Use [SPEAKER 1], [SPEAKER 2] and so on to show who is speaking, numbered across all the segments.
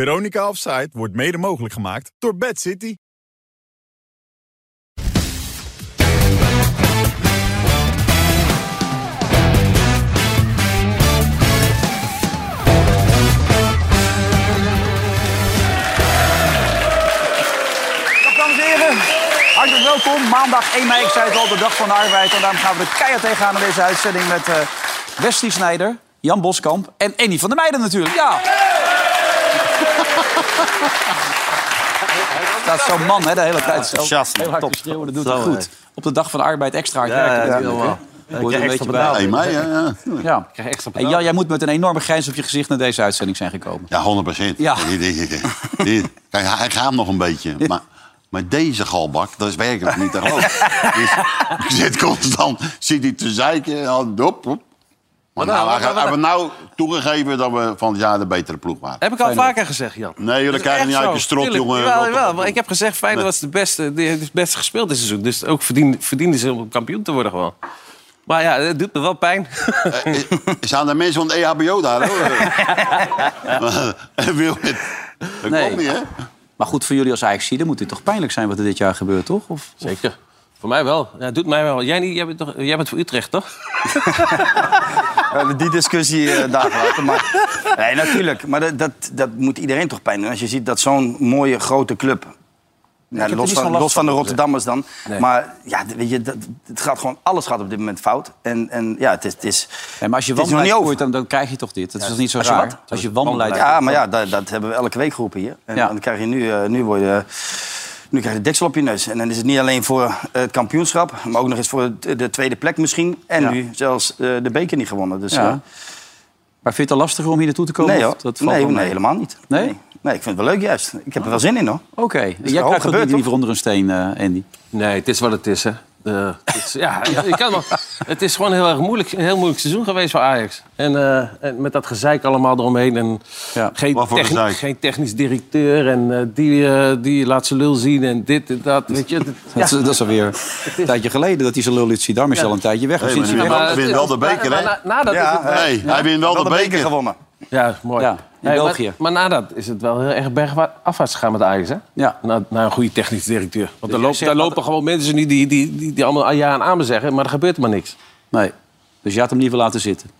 [SPEAKER 1] Veronica Offside wordt mede mogelijk gemaakt door Bad City.
[SPEAKER 2] Dag dames en heren. Hartelijk welkom. Maandag 1 mei, ik zei het al, de dag van de arbeid. En daarom gaan we de keihard tegenaan in deze uitzending met eh Wesley Snijder, Jan Boskamp en Annie van der Meijden natuurlijk. Ja. Dat is zo'n man, hè, de hele tijd. Zo,
[SPEAKER 3] enthousiast,
[SPEAKER 2] heel hard
[SPEAKER 3] top.
[SPEAKER 2] te schreeuwen, dat doet
[SPEAKER 3] Zo,
[SPEAKER 2] hij goed. Op de dag van de arbeid extra hard werken.
[SPEAKER 3] ja,
[SPEAKER 2] natuurlijk,
[SPEAKER 3] helemaal.
[SPEAKER 2] hè. Hoort er een beetje bij.
[SPEAKER 3] betaald.
[SPEAKER 4] 1 mei, ja. Ja,
[SPEAKER 2] Oh. Ja.
[SPEAKER 3] krijg extra
[SPEAKER 2] En Jan, jij moet met een enorme grijns op je gezicht naar deze uitzending zijn gekomen.
[SPEAKER 4] ja 100 procent.
[SPEAKER 2] Ja.
[SPEAKER 4] Kijk, hij, hij gaat nog een beetje. Maar, maar deze galbak, dat is werkelijk niet te geloven. Dus, ik zit constant zit hij te zeiken. en dan Hop, hop. Maar nou, hij gaat- hebben we nou toegegeven dat we van het jaar de betere ploeg waren?
[SPEAKER 3] Heb ik al vaker gezegd, Jan.
[SPEAKER 4] Nee, jullie
[SPEAKER 3] Dat is
[SPEAKER 4] krijgen
[SPEAKER 3] echt
[SPEAKER 4] niet uit
[SPEAKER 3] zo.
[SPEAKER 4] je strot,
[SPEAKER 3] Tuurlijk.
[SPEAKER 4] jongen.
[SPEAKER 3] Jawel,
[SPEAKER 4] Rot op.
[SPEAKER 3] jawel, maar ik heb gezegd, Feyenoord was de beste, die heeft het beste gespeeld dit seizoen. Dus ook verdiende, verdiende ze om kampioen te worden gewoon. Maar ja, het doet me wel pijn.
[SPEAKER 4] Eh, eh, Zijn er mensen van het E EHBO daar? hoor? Eh, Wil het? Dat
[SPEAKER 2] Nee.
[SPEAKER 4] komt niet, hè?
[SPEAKER 2] Maar goed, voor jullie als Ajaxide moet dit toch pijnlijk zijn wat er dit jaar gebeurt, toch? Of,
[SPEAKER 3] Zeker. Voor mij wel. Ja, het doet mij wel. Jij, niet, jij, bent, toch, jij bent voor Utrecht, toch?
[SPEAKER 5] Ja, die discussie eh daar laten. Maar, nee, natuurlijk. Maar dat, dat, dat moet iedereen toch pijn doen. Als je ziet dat zo'n mooie grote club. Ja,
[SPEAKER 2] er
[SPEAKER 5] los,
[SPEAKER 2] niet zo'n
[SPEAKER 5] van,
[SPEAKER 2] last
[SPEAKER 5] los van de
[SPEAKER 2] van,
[SPEAKER 5] Rotterdammers dan. Maar ja, d- weet je, dat, het gaat gewoon, alles gaat op dit moment fout. En, en ja, het is. Het is
[SPEAKER 2] Nee, maar als je
[SPEAKER 5] het is nog
[SPEAKER 2] wanbeleid
[SPEAKER 5] niet over.
[SPEAKER 2] voert, dan, dan krijg je toch dit. Dat is toch niet zo
[SPEAKER 5] Als je
[SPEAKER 2] raar?
[SPEAKER 5] wat?
[SPEAKER 2] Als je wanbeleid
[SPEAKER 5] Ja, maar ja, dat, dat hebben we elke week geroepen hier. En
[SPEAKER 2] Ja.
[SPEAKER 5] dan krijg je nu, eh, nu word je... Nu krijg je de deksel op je neus. En dan is het niet alleen voor eh, het kampioenschap... maar ook nog eens voor de- de tweede plek misschien. En
[SPEAKER 2] Ja.
[SPEAKER 5] nu zelfs eh, de beker niet gewonnen. Dus,
[SPEAKER 2] Ja.
[SPEAKER 5] eh,
[SPEAKER 2] Maar vind je het al lastiger om hier naartoe te komen?
[SPEAKER 5] nee,
[SPEAKER 2] Of
[SPEAKER 5] hoor.
[SPEAKER 2] Dat valt
[SPEAKER 5] nee,
[SPEAKER 2] wel mee?
[SPEAKER 5] nee, helemaal niet.
[SPEAKER 2] Nee?
[SPEAKER 5] nee, ik vind het wel leuk juist. Ik heb er wel zin in, hoor.
[SPEAKER 2] Oké, jij
[SPEAKER 5] wel gebeurd,
[SPEAKER 2] krijgt ook niet
[SPEAKER 5] toch?
[SPEAKER 2] liever onder een steen, eh, Andy.
[SPEAKER 3] Nee, het is wat het is, hè. Eh, het is- ja, je kan wel- het is gewoon heel erg moeilijk, een heel moeilijk seizoen geweest voor Ajax. En, eh, en met dat gezeik allemaal eromheen. En
[SPEAKER 2] Ja.
[SPEAKER 3] geen,
[SPEAKER 4] Wat voor
[SPEAKER 3] techni-
[SPEAKER 4] gezeik?
[SPEAKER 3] geen technisch directeur. En eh, die, eh, die laat ze lul zien. En dit en dat. Weet je, dit-
[SPEAKER 2] Dat, is, dat is alweer een tijdje geleden dat hij zijn lul liet zien. Daarom is hij al een tijdje weg.
[SPEAKER 4] Hey,
[SPEAKER 2] Sinds
[SPEAKER 4] maar
[SPEAKER 2] hij
[SPEAKER 4] nu-
[SPEAKER 2] weg-
[SPEAKER 4] Hij wint wel de beker, hè? eh,
[SPEAKER 3] Na, na- nadat is het-
[SPEAKER 4] Nee, hij wint wel de beker.
[SPEAKER 5] gewonnen.
[SPEAKER 3] ja, mooi.
[SPEAKER 2] Ja, in
[SPEAKER 3] maar-
[SPEAKER 2] België.
[SPEAKER 3] Maar, nadat is het wel heel erg bergafwaarts gegaan met Ajax, hè?
[SPEAKER 2] Ja.
[SPEAKER 3] Na, na een goede technisch directeur. Want daar,
[SPEAKER 2] jij
[SPEAKER 3] lopen,
[SPEAKER 2] zegt
[SPEAKER 3] daar
[SPEAKER 2] dat-
[SPEAKER 3] lopen gewoon mensen nu die, die, die, die allemaal ja en amen zeggen. Maar er gebeurt maar niks.
[SPEAKER 2] Nee, dus je had hem liever laten zitten.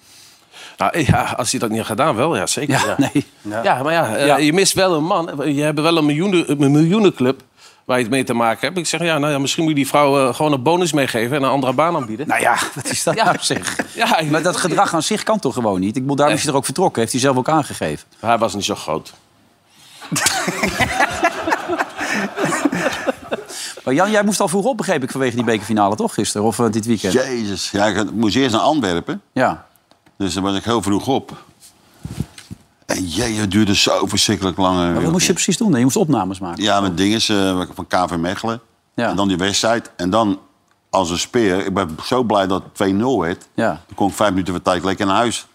[SPEAKER 3] Nou, ja, als hij dat niet had gedaan, wel, ja,
[SPEAKER 2] Ja,
[SPEAKER 3] zeker. Ja,
[SPEAKER 2] nee.
[SPEAKER 3] ja. maar ja, eh,
[SPEAKER 2] Ja.
[SPEAKER 3] je mist wel een man. Je hebt wel een, miljoenen, een miljoenenclub waar je het mee te maken hebt. Ik zeg, ja, nou ja, misschien moet je die vrouw eh, gewoon een bonus meegeven... en een andere baan aanbieden.
[SPEAKER 2] Nou ja, wat is dat
[SPEAKER 3] Ja.
[SPEAKER 2] nou zeg?
[SPEAKER 3] Ja, ik-
[SPEAKER 2] maar dat gedrag aan zich kan toch gewoon niet? Ik bedoel, daarom is hij er ook vertrokken. Heeft hij zelf ook aangegeven.
[SPEAKER 3] Hij was niet zo groot.
[SPEAKER 2] Maar Jan, jij moest al vroeg op, begreep ik, vanwege die bekerfinale toch gisteren? Of eh, dit weekend? Ja.
[SPEAKER 4] Jezus, ja, ik moest eerst naar Antwerpen. Dus dan was ik heel vroeg op. En jee, het duurde zo verschrikkelijk lang. eh,
[SPEAKER 2] Maar wat
[SPEAKER 4] joh.
[SPEAKER 2] moest je precies doen? dan? Je moest opnames maken.
[SPEAKER 4] Ja, met dingen eh, van KV Mechelen.
[SPEAKER 2] Ja.
[SPEAKER 4] En dan die wedstrijd. En dan als een speer. Ik ben zo blij dat het 2-0 werd.
[SPEAKER 2] Ja.
[SPEAKER 4] Dan kon ik vijf minuten van tijd lekker naar huis.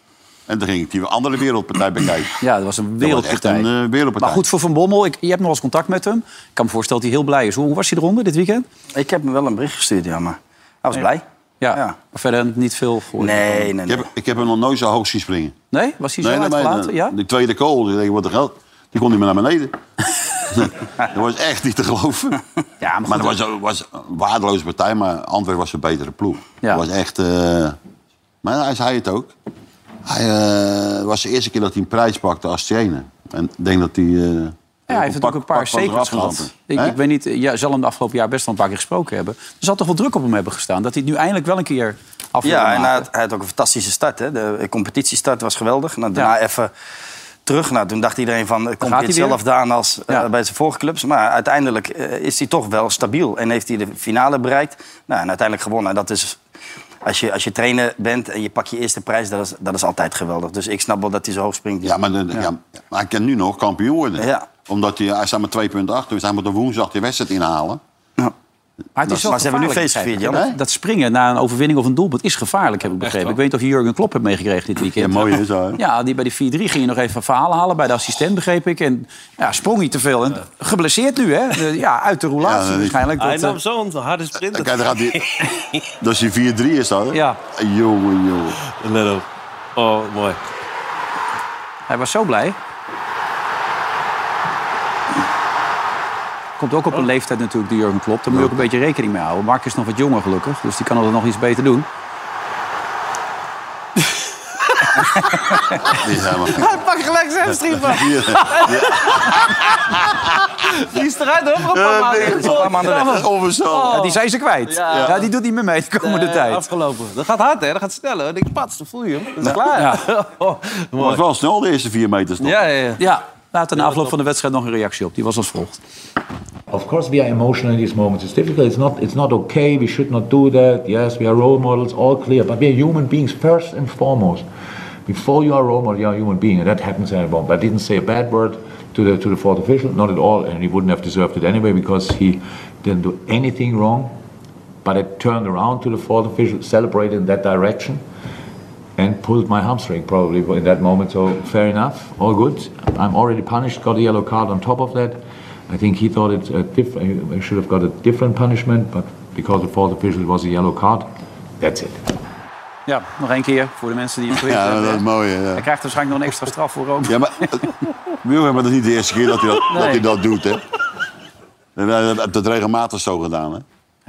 [SPEAKER 4] En dan ging ik die andere wereldpartij bekijken.
[SPEAKER 2] Ja, dat was een wereldpartij.
[SPEAKER 4] echt een, eh, wereldpartij.
[SPEAKER 2] Maar goed, voor Van Bommel, ik, je hebt nog wel eens contact met hem. Ik kan me voorstellen dat hij heel blij is. Hoe hoe was hij eronder dit weekend?
[SPEAKER 5] Ik heb hem wel een bericht gestuurd, ja, maar... Hij was blij.
[SPEAKER 2] Ja,
[SPEAKER 5] Ja.
[SPEAKER 2] maar verder niet veel gehoord.
[SPEAKER 5] Nee, nee,
[SPEAKER 4] Ik
[SPEAKER 5] nee.
[SPEAKER 4] heb, ik heb hem nog nooit zo hoog zien springen.
[SPEAKER 2] Nee? Was hij zo uitgelaten?
[SPEAKER 4] nee, eh,
[SPEAKER 2] ja?
[SPEAKER 4] De tweede kool, die, denk ik, wat een geld. Die kon niet meer naar beneden. dat was echt niet te geloven.
[SPEAKER 2] Ja, maar
[SPEAKER 4] maar
[SPEAKER 2] goed, eh,
[SPEAKER 4] dat was, was een waardeloze partij, maar Antwerpen was een betere ploeg.
[SPEAKER 2] Ja.
[SPEAKER 4] Dat was echt... eh, maar hij zei het ook. Hij eh, was de eerste keer dat hij een prijs pakte als trainer. En ik denk dat hij... eh,
[SPEAKER 2] Ja, hij heeft
[SPEAKER 4] pak-
[SPEAKER 2] natuurlijk een paar
[SPEAKER 4] pak van
[SPEAKER 2] zekers
[SPEAKER 4] eraf
[SPEAKER 2] gehad.
[SPEAKER 4] gehaald.
[SPEAKER 2] Ik,
[SPEAKER 4] Hè?
[SPEAKER 2] ik weet niet, eh, ja, zal hem de afgelopen jaar best wel een paar keer gesproken hebben. Er zal toch wel druk op hem hebben gestaan. Dat hij het nu eindelijk wel een keer af wil
[SPEAKER 5] Ja, en hij
[SPEAKER 2] maken.
[SPEAKER 5] had, hij had ook een fantastische start. Hè? De eh, competitiestart was geweldig. Nou, daarna even terug. Nou, toen dacht iedereen van, eh, komt
[SPEAKER 2] gaat
[SPEAKER 5] hij
[SPEAKER 2] hij weer.
[SPEAKER 5] hetzelfde aan als eh,
[SPEAKER 2] Ja.
[SPEAKER 5] bij zijn vorige clubs. Maar uiteindelijk eh, is hij toch wel stabiel. En heeft hij de finale bereikt. Nou, en uiteindelijk gewonnen. En dat is, als je, als je trainer bent en je pakt je eerste prijs, dat is, dat is altijd geweldig. Dus ik snap wel dat hij zo hoog springt.
[SPEAKER 4] Ja, maar, de- ja. maar hij kan nu nog kampioen worden.
[SPEAKER 5] Ja.
[SPEAKER 4] Omdat hij, hij staat maar twee punten achter. Dus hij moet de woensdag die wedstrijd inhalen.
[SPEAKER 5] Ja.
[SPEAKER 2] Maar het is wel
[SPEAKER 5] Maar ze hebben nu
[SPEAKER 2] gevaarlijk,
[SPEAKER 5] feest gevierd,
[SPEAKER 2] begrijp ik.
[SPEAKER 5] Jan.
[SPEAKER 2] Dat, dat springen na een overwinning of een doelpunt is gevaarlijk, heb ik begrepen.
[SPEAKER 3] wel.
[SPEAKER 2] Ik weet niet of je Jurgen Klopp hebt meegekregen dit weekend.
[SPEAKER 4] Ja, mooi hè, zo. hè?
[SPEAKER 2] Ja, die bij die 4-3 ging je nog even verhalen halen bij de assistent, begreep ik. En ja, sprong hij te veel. En geblesseerd nu, hè? Eh, Ja, uit de roulatie
[SPEAKER 4] Ja, dat-
[SPEAKER 2] waarschijnlijk.
[SPEAKER 6] Hij
[SPEAKER 2] Dat, eh,
[SPEAKER 6] nam zo'n harde sprint.
[SPEAKER 4] Kijk, dan gaat hij... dat is die 4-3 is dat, hè?
[SPEAKER 2] Ja.
[SPEAKER 4] Jongen, jongen.
[SPEAKER 6] Let op. Oh, mooi.
[SPEAKER 2] hij was zo blij. komt ook op een leeftijd natuurlijk, die Jurgen Klopp. Daar moet je ook een beetje rekening mee houden. Mark is nog wat jonger gelukkig, dus die kan altijd nog iets beter doen.
[SPEAKER 4] Dit is helemaal gek.
[SPEAKER 3] Pak gelijk zijn striepen. Die is eruit hoor, voor
[SPEAKER 4] Eh,
[SPEAKER 3] een
[SPEAKER 4] nee.
[SPEAKER 3] paar
[SPEAKER 5] Allemaal aan de weg.
[SPEAKER 4] Of een zo.
[SPEAKER 2] Ja, die zijn ze kwijt. Ja.
[SPEAKER 3] Ja.
[SPEAKER 2] die doet niet meer mee de komende
[SPEAKER 3] Eh,
[SPEAKER 2] tijd.
[SPEAKER 3] Afgelopen. Dat gaat hard, hè? Dat gaat snel, hoor. Ik pats, dan voel je hem. Dat is klaar. Oh,
[SPEAKER 4] Het was
[SPEAKER 3] mooi.
[SPEAKER 4] wel snel de eerste vier meters toch?
[SPEAKER 3] Ja, ja, ja.
[SPEAKER 2] Ja, laat na afloop van de wedstrijd nog een reactie op. Die was als volgt.
[SPEAKER 6] Of course, we are emotional in these moments. It's difficult. It's not. It's not okay. We should not do that. Yes, we are role models, all clear. But we are human beings first and foremost. Before you are a role model, you are a human being, and that happens at one. But I didn't say a bad word to the to the fourth official, not at all, and he wouldn't have deserved it anyway because he didn't do anything wrong. But I turned around to the fourth official, celebrated in that direction, and pulled my hamstring probably in that moment. So fair enough, all good. I'm already punished. Got a yellow card on top of that. I think he thought it a diff- I should have got a different punishment, but because the fourth official was a yellow card, that's it.
[SPEAKER 2] Ja, nog één keer voor de mensen die het geweten
[SPEAKER 4] Ja,
[SPEAKER 2] hebben.
[SPEAKER 4] dat is mooi. hè,
[SPEAKER 2] Hij
[SPEAKER 4] Ja,
[SPEAKER 2] krijgt waarschijnlijk nog een extra straf voor Rome.
[SPEAKER 4] ja maar eh, Wilhelm, maar dat is niet de eerste keer dat hij dat, dat, hij dat doet, hè? We hebben dat- dat regelmatig zo gedaan, hè?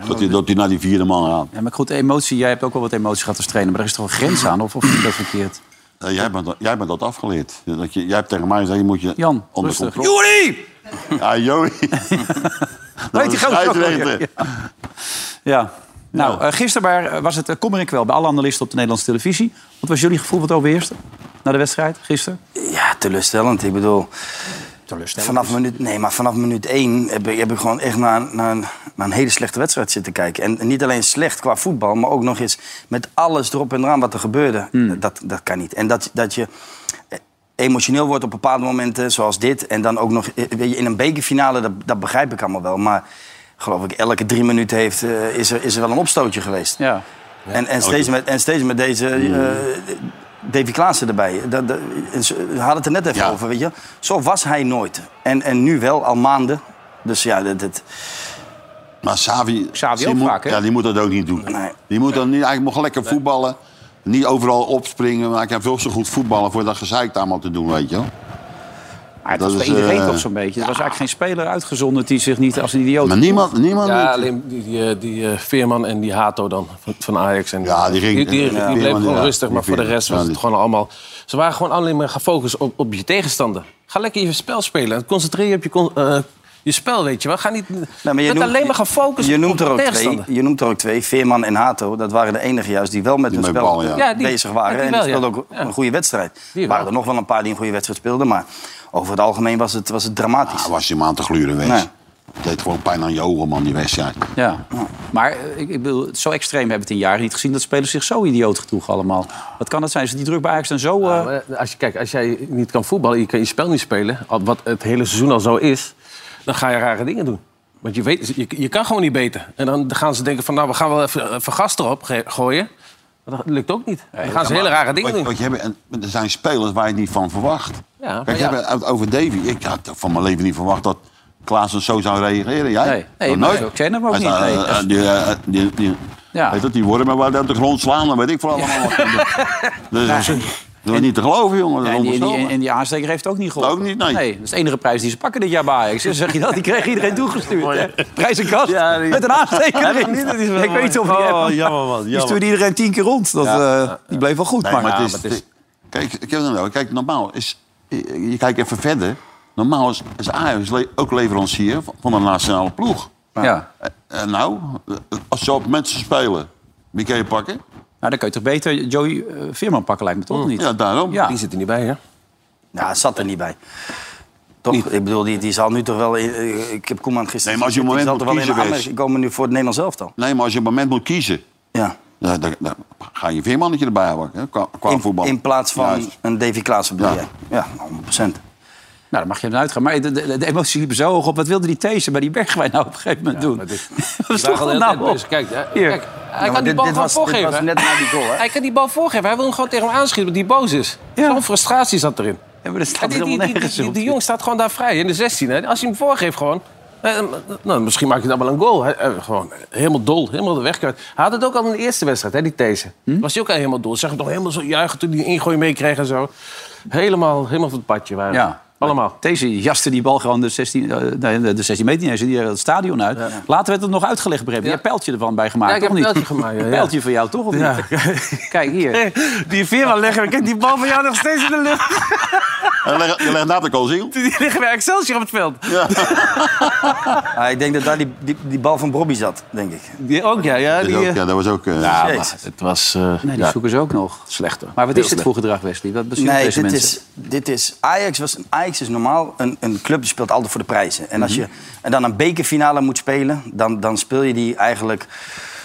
[SPEAKER 4] Dat hij, dat hij naar die vierde man gaat.
[SPEAKER 2] Ja, maar goed, emotie. Jij hebt ook wel wat emotie gehad als trainer. Maar er is toch een grens aan? Of, of vind ik dat verkeerd?
[SPEAKER 4] Eh, Jij bent, dat- jij bent dat afgeleerd. Dat je, jij hebt tegen mij gezegd, je moet je
[SPEAKER 2] Jan,
[SPEAKER 4] onder
[SPEAKER 2] rustig.
[SPEAKER 4] controle...
[SPEAKER 2] Joeri!
[SPEAKER 4] Ja, Joey.
[SPEAKER 2] Weet
[SPEAKER 4] Dat
[SPEAKER 2] die
[SPEAKER 4] is
[SPEAKER 2] gozer ook wel,
[SPEAKER 4] scheidsrechter.
[SPEAKER 2] Ja. Nou, eh, gisteren waar- was het uh, kommer en kwel bij alle analisten op de Nederlandse televisie. Wat was jullie gevoel wat overheerste na de wedstrijd gisteren?
[SPEAKER 5] Ja, teleurstellend. Ik bedoel,
[SPEAKER 2] Teleurstellend.
[SPEAKER 5] vanaf minuut, nee, maar vanaf minuut één heb ik, heb ik gewoon echt naar, naar, een- naar een hele slechte wedstrijd zitten kijken. En niet alleen slecht qua voetbal, maar ook nog eens met alles erop en eraan wat er gebeurde. Dat, dat kan niet. En dat, dat je eh, emotioneel wordt op bepaalde momenten, zoals dit. En dan ook nog eh, weet je, in een bekerfinale, dat, dat begrijp ik allemaal wel. Maar geloof ik, elke drie minuten heeft, eh, is, er, is er wel een opstootje geweest.
[SPEAKER 2] Ja.
[SPEAKER 5] En,
[SPEAKER 4] Oh,
[SPEAKER 5] en, steeds met, en steeds met deze eh,
[SPEAKER 4] Hmm.
[SPEAKER 5] Davy Klaassen erbij. Dat, dat- ze- we hadden het er net even
[SPEAKER 4] Ja.
[SPEAKER 5] over, weet je. Zo was hij nooit. En, en nu wel, al maanden. Dus ja, dat, dat-
[SPEAKER 4] Maar Xavi,
[SPEAKER 2] Xavi
[SPEAKER 4] die
[SPEAKER 2] ook
[SPEAKER 4] moet,
[SPEAKER 2] vaak, hè?
[SPEAKER 4] Ja, die moet dat ook niet doen.
[SPEAKER 5] Nee.
[SPEAKER 4] Die moet dan niet, eigenlijk mag lekker voetballen. Niet overal opspringen, maar hij kan veel zo goed voetballen voor dat gezeik allemaal te doen, weet je wel.
[SPEAKER 2] Maar Ah, het
[SPEAKER 4] Dat
[SPEAKER 2] was bij
[SPEAKER 4] is,
[SPEAKER 2] iedereen
[SPEAKER 4] eh,
[SPEAKER 2] toch zo'n beetje. Er was eigenlijk geen speler uitgezonderd die zich niet als een idioot...
[SPEAKER 4] Maar niemand, niemand
[SPEAKER 3] Ja,
[SPEAKER 4] ja,
[SPEAKER 3] alleen die, die, eh, die eh, Veerman en die Hato dan van- van Ajax. En,
[SPEAKER 4] Ja, die ging-
[SPEAKER 3] die, die, die
[SPEAKER 4] ja,
[SPEAKER 3] bleef
[SPEAKER 4] Veerman,
[SPEAKER 3] gewoon
[SPEAKER 4] ja.
[SPEAKER 3] rustig, maar
[SPEAKER 4] Die
[SPEAKER 3] voor de
[SPEAKER 4] Veerman,
[SPEAKER 3] rest was
[SPEAKER 4] ja,
[SPEAKER 3] het
[SPEAKER 4] die-
[SPEAKER 3] gewoon allemaal... Ze waren gewoon alleen maar gefocust op, op je tegenstander. Ga lekker je spel spelen. en Concentreer je op je, con- eh, je spel, weet je wel. Ga niet...
[SPEAKER 5] Nou, maar
[SPEAKER 3] je bent alleen maar gefocust
[SPEAKER 5] je noemt
[SPEAKER 3] op
[SPEAKER 5] er ook
[SPEAKER 3] de
[SPEAKER 5] twee.
[SPEAKER 3] tegenstander.
[SPEAKER 5] Je noemt er ook twee, Veerman en Hato. Dat waren de enigen juist die wel met hun
[SPEAKER 4] met
[SPEAKER 5] spel
[SPEAKER 4] ballen, ja.
[SPEAKER 3] Ja, die-
[SPEAKER 5] bezig waren.
[SPEAKER 3] ja, die
[SPEAKER 5] en die
[SPEAKER 3] wel, ja.
[SPEAKER 5] speelden ook
[SPEAKER 3] Ja.
[SPEAKER 5] een goede wedstrijd.
[SPEAKER 3] Die
[SPEAKER 5] Er
[SPEAKER 3] wel.
[SPEAKER 5] waren er nog wel een paar die een goede wedstrijd speelden. Maar over het algemeen was het, was het dramatisch.
[SPEAKER 4] was je maand te gluren weg.
[SPEAKER 5] Nee.
[SPEAKER 4] Deed gewoon pijn aan je ogen, man, die wedstrijd.
[SPEAKER 2] Ja, maar eh, ik, ik bedoel, zo extreem hebben we het in jaren niet gezien... dat spelers zich zo idioot getoegen allemaal. Wat kan dat zijn? Ze die druk bij Ajax dan zo... eh,
[SPEAKER 3] Ja, maar als je, kijk, als jij niet kan voetballen, je kan je spel niet spelen... al- wat het hele seizoen al zo is, dan ga je rare dingen doen. Want je, weet, je, je kan gewoon niet beter. En dan gaan ze denken van, nou, we gaan wel even, even gas erop ge- gooien. Maar dat lukt ook niet. Dan gaan ze hele rare dingen
[SPEAKER 4] Want,
[SPEAKER 3] doen.
[SPEAKER 4] want je hebt, en er zijn spelers waar je het niet van verwacht.
[SPEAKER 3] Ja, maar
[SPEAKER 4] Kijk,
[SPEAKER 3] ja.
[SPEAKER 4] je hebt het over Davy. Ik had van mijn leven niet verwacht dat Klaassen zo zou reageren. Jij?
[SPEAKER 2] Nee. Nee,
[SPEAKER 4] Nog
[SPEAKER 2] maar
[SPEAKER 4] nooit.
[SPEAKER 2] zo kennen we hem ook
[SPEAKER 4] Hij
[SPEAKER 2] niet,
[SPEAKER 4] staat, eh, eh, die, eh, die, die,
[SPEAKER 2] Ja.
[SPEAKER 4] Weet dat, die wormen waar die op de grond slaan, dan weet ik voor allemaal wat. Dus, dat is- dat is niet te geloven, jongen. Dat
[SPEAKER 2] en,
[SPEAKER 4] is
[SPEAKER 2] die, en, die,
[SPEAKER 4] onvoorstelbaar.
[SPEAKER 2] en die aansteker heeft ook niet geholpen.
[SPEAKER 4] Ook niet, nee.
[SPEAKER 2] Dat is de enige prijs die ze pakken dit jaar bij Ajax. Dan zeg je dat? Die kreeg iedereen toegestuurd. hè? Prijzenkast met een aansteker erin. ik weet niet of
[SPEAKER 4] Oh,
[SPEAKER 2] die app-
[SPEAKER 3] jammer man.
[SPEAKER 2] Die stuurde iedereen tien keer rond. Dat, eh, die bleef wel goed.
[SPEAKER 4] Nee,
[SPEAKER 2] maar,
[SPEAKER 4] maar het is,
[SPEAKER 2] maar het is-
[SPEAKER 4] Kijk, ik heb het nou, kijk, normaal is... Je, je kijkt even verder. Normaal is, is Ajax le- ook leverancier van, van de nationale ploeg.
[SPEAKER 2] ja.
[SPEAKER 4] Eh, eh, nou, eh, als je op mensen spelen, wie kan je pakken?
[SPEAKER 2] Nou, dan kun je toch beter Joey eh, Veerman pakken, lijkt me toch of niet?
[SPEAKER 4] Mm. Ja, daarom.
[SPEAKER 2] Ja.
[SPEAKER 3] Die zit er niet bij, hè?
[SPEAKER 5] Nou, het zat er niet bij. Toch? Ik bedoel, die, die zal nu toch wel... eh, Ik heb Koeman gisteren...
[SPEAKER 4] Nee, maar als je een moment
[SPEAKER 5] Die zal toch
[SPEAKER 4] moet
[SPEAKER 5] wel in
[SPEAKER 4] kiezen,
[SPEAKER 5] aanmerking komen nu voor het Nederlands elftal.
[SPEAKER 4] Nee, maar als je op het moment moet kiezen,
[SPEAKER 5] Ja.
[SPEAKER 4] dan, dan- dan ga je veermannetje erbij houden hè, qua, qua
[SPEAKER 5] In,
[SPEAKER 4] voetbal.
[SPEAKER 5] in plaats van
[SPEAKER 4] Juist.
[SPEAKER 5] een Davy Klaassen bedoel
[SPEAKER 4] Ja.
[SPEAKER 5] jij? Ja, 100 procent.
[SPEAKER 2] Nou, dan mag je hem uitgaan. Maar de, de, de emoties liepen zo hoog op. Wat wilde die Thees bij die Bergwijn nou op een gegeven moment doen? Dat was toch wel nou op.
[SPEAKER 3] Kijk, eh,
[SPEAKER 2] Hier.
[SPEAKER 3] kijk, hij kan die bal
[SPEAKER 5] dit
[SPEAKER 3] gewoon
[SPEAKER 5] was, dit
[SPEAKER 3] voorgeven.
[SPEAKER 5] was
[SPEAKER 3] hè?
[SPEAKER 5] net na die goal, hè?
[SPEAKER 3] Hij kan die bal voorgeven. Hij wil hem gewoon tegen hem aanschieten, omdat hij boos is.
[SPEAKER 2] Ja.
[SPEAKER 3] Zo'n frustratie zat erin.
[SPEAKER 2] Ja, maar dat staat
[SPEAKER 3] En die, die,
[SPEAKER 2] helemaal
[SPEAKER 3] die, die,
[SPEAKER 2] nergens
[SPEAKER 3] die-
[SPEAKER 2] op.
[SPEAKER 3] die jong staat gewoon daar vrij in de 16. Hè. Als je hem voorgeeft gewoon... eh, Nou, misschien maak je dan wel een goal. Hij- eh, Gewoon helemaal dol, helemaal de weg kwijt. Hij had het ook al in de eerste wedstrijd, hè, die These. Was hij ook al helemaal dol. Zeg hem toch helemaal zo juichen toen hij die ingooi meekreeg en zo. Helemaal, helemaal van het padje waren.
[SPEAKER 2] Ja.
[SPEAKER 3] Allemaal.
[SPEAKER 2] Deze jaste die bal gewoon de 16, eh, nee, de- de 16 meter niet eens, die eh, het stadion uit. Later werd het nog uitgelegd, Breb. Je hebt pijltje ervan bij gemaakt,
[SPEAKER 3] Ja, ik
[SPEAKER 2] toch
[SPEAKER 3] heb
[SPEAKER 2] niet?
[SPEAKER 3] een pijltje gemaakt, ja, ja.
[SPEAKER 2] Pijltje van jou, toch? Of
[SPEAKER 3] Ja.
[SPEAKER 2] niet? Kijk, hier.
[SPEAKER 3] Die veerman leggen we. Kijk, die bal van jou nog steeds in de lucht.
[SPEAKER 4] En leg- Je legt naast de koolziel.
[SPEAKER 3] Die liggen bij Excelsior op het veld.
[SPEAKER 5] Ah, ik denk dat daar die, die, die bal van Bobby zat, denk ik.
[SPEAKER 3] Die ook, ja. ja,
[SPEAKER 4] Dat
[SPEAKER 3] die,
[SPEAKER 4] is ook-
[SPEAKER 3] eh,
[SPEAKER 4] Ja, dat was ook... eh,
[SPEAKER 3] ja, maar
[SPEAKER 5] Jezus.
[SPEAKER 3] het was eh,
[SPEAKER 2] Nee, die
[SPEAKER 3] ja,
[SPEAKER 2] zoeken ze ook nog.
[SPEAKER 3] slechter.
[SPEAKER 2] Maar wat
[SPEAKER 3] Heel
[SPEAKER 2] is dit
[SPEAKER 3] slecht.
[SPEAKER 2] voor gedrag, Wesley? Wat bezielt
[SPEAKER 5] Nee,
[SPEAKER 2] deze
[SPEAKER 5] dit
[SPEAKER 2] mensen?
[SPEAKER 5] is, dit is... Ajax, was, Ajax is normaal een, een club die speelt altijd voor de prijzen. En als je
[SPEAKER 2] Mhm.
[SPEAKER 5] en dan een bekerfinale moet spelen... Dan, dan speel je die eigenlijk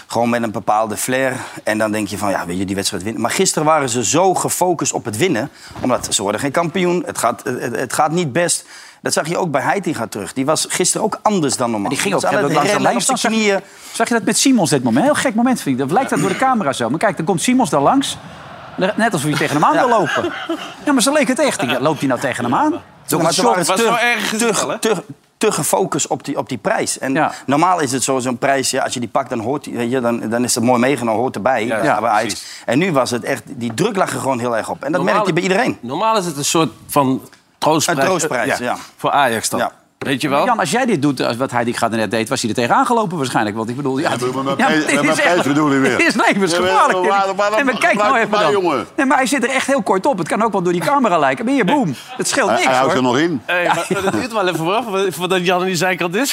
[SPEAKER 5] gewoon met een bepaalde flair. En dan denk je van, ja, weet je, die wedstrijd winnen. Maar gisteren waren ze zo gefocust op het winnen... omdat ze worden geen kampioen, het gaat, het, het gaat niet best... Dat zag je ook bij Heitinga terug. Die was gisteren ook anders dan normaal.
[SPEAKER 2] Die ging ook
[SPEAKER 5] Ze hadden
[SPEAKER 2] heel
[SPEAKER 5] het
[SPEAKER 2] langzaam
[SPEAKER 5] rennen
[SPEAKER 2] langs.
[SPEAKER 5] op zijn
[SPEAKER 2] Dan
[SPEAKER 5] knieën.
[SPEAKER 2] Zag je dat met Simons dit moment? Heel gek moment vind ik. Dat lijkt dat door de camera zo. Maar kijk, dan komt Simons daar langs. Net alsof je tegen hem aan wil lopen. Ja, maar zo leek het echt. Ik dacht, Loopt hij nou tegen hem aan?
[SPEAKER 5] Zo, maar ze waren
[SPEAKER 3] was wel erg
[SPEAKER 5] te,
[SPEAKER 3] gezien wel, hè?
[SPEAKER 5] te, te, te gefocust op die, op die prijs. En
[SPEAKER 2] Ja.
[SPEAKER 5] normaal is het zo, zo'n prijs, ja, als je die pakt, dan, hoort, die- weet je, dan, dan is het mooi meegenomen, hoort erbij. Ja,
[SPEAKER 2] ja,
[SPEAKER 5] bij Ajax. En nu was het echt, die druk lag er gewoon heel erg op. En dat merk je bij iedereen.
[SPEAKER 3] Normaal is het een soort van troostprijs.
[SPEAKER 5] Een troostprijs, ja.
[SPEAKER 3] Voor Ajax dan.
[SPEAKER 5] Ja.
[SPEAKER 3] Weet je wel?
[SPEAKER 2] Jan, als jij dit doet, als wat hij die gaat net deed, was hij er tegenaan gelopen waarschijnlijk. Want ik bedoel, ja,
[SPEAKER 4] Ja, maar met
[SPEAKER 2] ja,
[SPEAKER 4] Pees-
[SPEAKER 2] dit
[SPEAKER 4] met
[SPEAKER 2] is
[SPEAKER 4] Pees
[SPEAKER 2] echt-
[SPEAKER 4] bedoel je weer.
[SPEAKER 2] Dit is nee, maar het is
[SPEAKER 4] Ja, maar
[SPEAKER 2] gevaarlijk.
[SPEAKER 4] waar- waar- waar-
[SPEAKER 2] Nee, maar kijk nou
[SPEAKER 4] waar-
[SPEAKER 2] even
[SPEAKER 4] waar-
[SPEAKER 2] dan.
[SPEAKER 4] jongen?
[SPEAKER 2] Nee, maar hij zit er echt heel kort op. Het kan ook wel door die camera lijken. Maar hier, boem. Het scheelt
[SPEAKER 4] Hij,
[SPEAKER 2] niks,
[SPEAKER 4] hij houdt er
[SPEAKER 2] hoor.
[SPEAKER 4] nog in.
[SPEAKER 3] Hey, maar, maar dat duurt wel even vooraf, voordat Jan aan die zijkant is.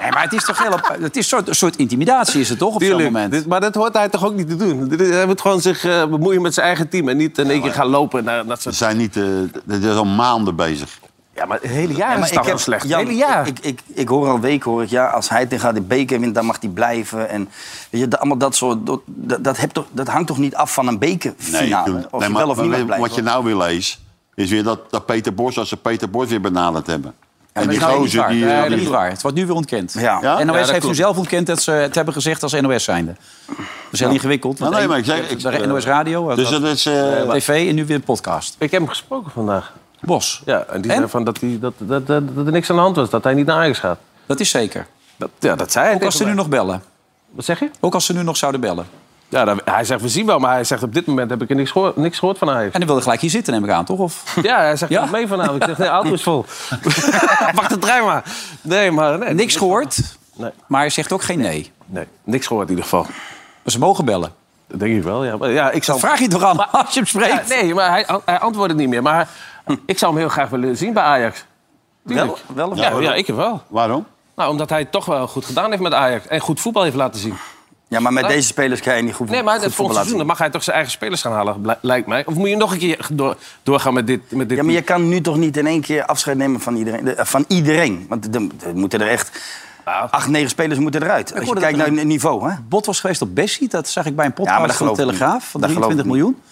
[SPEAKER 2] Nee, maar het is toch heel... op- Het is een soort, soort intimidatie, is het toch, op zo'n moment?
[SPEAKER 3] Dit- maar dat hoort hij toch ook niet te doen? Dit is- Hij moet gewoon zich eh, bemoeien met zijn eigen team. En niet in één keer gaan lopen naar dat
[SPEAKER 4] Ze
[SPEAKER 3] soort...
[SPEAKER 4] zijn niet... eh, dit is al maanden bezig.
[SPEAKER 3] Ja, maar het hele jaar
[SPEAKER 5] Ja,
[SPEAKER 3] is
[SPEAKER 5] maar
[SPEAKER 3] dat wel slecht.
[SPEAKER 5] Jan,
[SPEAKER 3] hele jaar.
[SPEAKER 5] Ik, ik, ik hoor al weken, hoor ik, ja, als hij tegen de beker wint, dan mag hij blijven. En weet je, dat- allemaal dat soort, dat, dat, dat hebt toch, dat hangt toch niet af van een bekerfinale?
[SPEAKER 4] natuurlijk.
[SPEAKER 5] of
[SPEAKER 4] Nee,
[SPEAKER 5] je
[SPEAKER 4] maar-
[SPEAKER 5] wel of niet mag
[SPEAKER 4] maar
[SPEAKER 5] blijven.
[SPEAKER 4] Wat je nou weer leest, is weer dat, dat Peter Bos, als ze Peter Bos weer benaderd hebben. en
[SPEAKER 2] Dat
[SPEAKER 4] die
[SPEAKER 2] is nou niet
[SPEAKER 4] gozer,
[SPEAKER 2] waar.
[SPEAKER 4] die...
[SPEAKER 2] Nee,
[SPEAKER 4] eh,
[SPEAKER 2] dat is
[SPEAKER 4] die-
[SPEAKER 2] niet waar. Het wordt nu weer ontkend.
[SPEAKER 5] Ja.
[SPEAKER 4] Ja?
[SPEAKER 2] En NOS
[SPEAKER 3] Ja, dat
[SPEAKER 2] heeft nu
[SPEAKER 3] klopt.
[SPEAKER 2] zelf ontkend dat ze het hebben gezegd als NOS zijnde. Dat is heel ingewikkeld.
[SPEAKER 4] Nou,
[SPEAKER 2] want
[SPEAKER 4] nee, maar ik
[SPEAKER 2] één-
[SPEAKER 4] zeg... ik-
[SPEAKER 2] de NOS Radio,
[SPEAKER 4] Dus
[SPEAKER 2] dat-
[SPEAKER 4] dat is... eh,
[SPEAKER 2] tv en nu weer een podcast.
[SPEAKER 3] Ik heb hem gesproken vandaag.
[SPEAKER 2] Bos,
[SPEAKER 3] Ja, en die
[SPEAKER 2] En?
[SPEAKER 3] zei van dat, hij, dat, dat, dat, dat er niks aan de hand was. Dat hij niet naar Ajax gaat.
[SPEAKER 2] dat is zeker.
[SPEAKER 3] Dat, ja, dat zei hij.
[SPEAKER 2] Ook als ze
[SPEAKER 3] tegen
[SPEAKER 2] nu
[SPEAKER 3] mij.
[SPEAKER 2] nog bellen.
[SPEAKER 3] Wat zeg je?
[SPEAKER 2] Ook als ze nu nog zouden bellen.
[SPEAKER 3] Ja, dat- hij zegt, we zien wel. Maar hij zegt, op dit moment heb ik er niks gehoord, niks gehoord van Ajax.
[SPEAKER 2] En dan wilde gelijk hier zitten, neem ik aan, toch? Of...
[SPEAKER 3] Ja, hij zegt,
[SPEAKER 2] Ja?
[SPEAKER 3] ja? mee vanavond. Ik zeg, nee, auto is vol. Pak de trein maar. Nee, maar... Nee,
[SPEAKER 2] Niks gehoord,
[SPEAKER 3] Nee,
[SPEAKER 2] maar hij zegt ook geen nee.
[SPEAKER 3] nee, niks gehoord in ieder geval.
[SPEAKER 2] Maar ze mogen bellen.
[SPEAKER 3] Dat denk ik wel, ja. Maar ja ik
[SPEAKER 5] Oh.
[SPEAKER 3] zal...
[SPEAKER 2] Dat vraag je toch aan als je hem
[SPEAKER 3] Ja,
[SPEAKER 2] spreekt?
[SPEAKER 3] nee, maar hij, hij antwoordde niet meer. Maar ik zou hem heel graag willen zien bij Ajax.
[SPEAKER 5] wel, wel of niet?
[SPEAKER 3] Ja, ja ik wel.
[SPEAKER 4] waarom?
[SPEAKER 3] Nou, omdat hij het toch wel goed gedaan heeft met Ajax. En goed voetbal heeft laten zien.
[SPEAKER 5] Ja, maar met deze spelers kan je niet goed
[SPEAKER 3] Nee, maar het
[SPEAKER 5] goed voetbal
[SPEAKER 3] volgende
[SPEAKER 5] laten zien.
[SPEAKER 3] seizoen dan mag hij toch zijn eigen spelers gaan halen, blijk- lijkt mij. Of moet je nog een keer door, doorgaan met dit, met dit
[SPEAKER 5] Ja, maar je kan nu toch niet in één keer afscheid nemen van iedereen? de- eh, van iedereen. Want er er moeten er echt... Acht, negen spelers moeten eruit. Als je
[SPEAKER 2] hoorde
[SPEAKER 5] kijkt
[SPEAKER 2] dat
[SPEAKER 5] naar het niveau, hè?
[SPEAKER 2] Bot was geweest op Bessie, dat zag ik bij een podcast
[SPEAKER 5] Ja, maar dat
[SPEAKER 2] van de
[SPEAKER 5] geloof ik
[SPEAKER 2] Telegraaf.
[SPEAKER 5] niet.
[SPEAKER 2] Van
[SPEAKER 5] Dat geloof ik
[SPEAKER 2] 23 miljoen.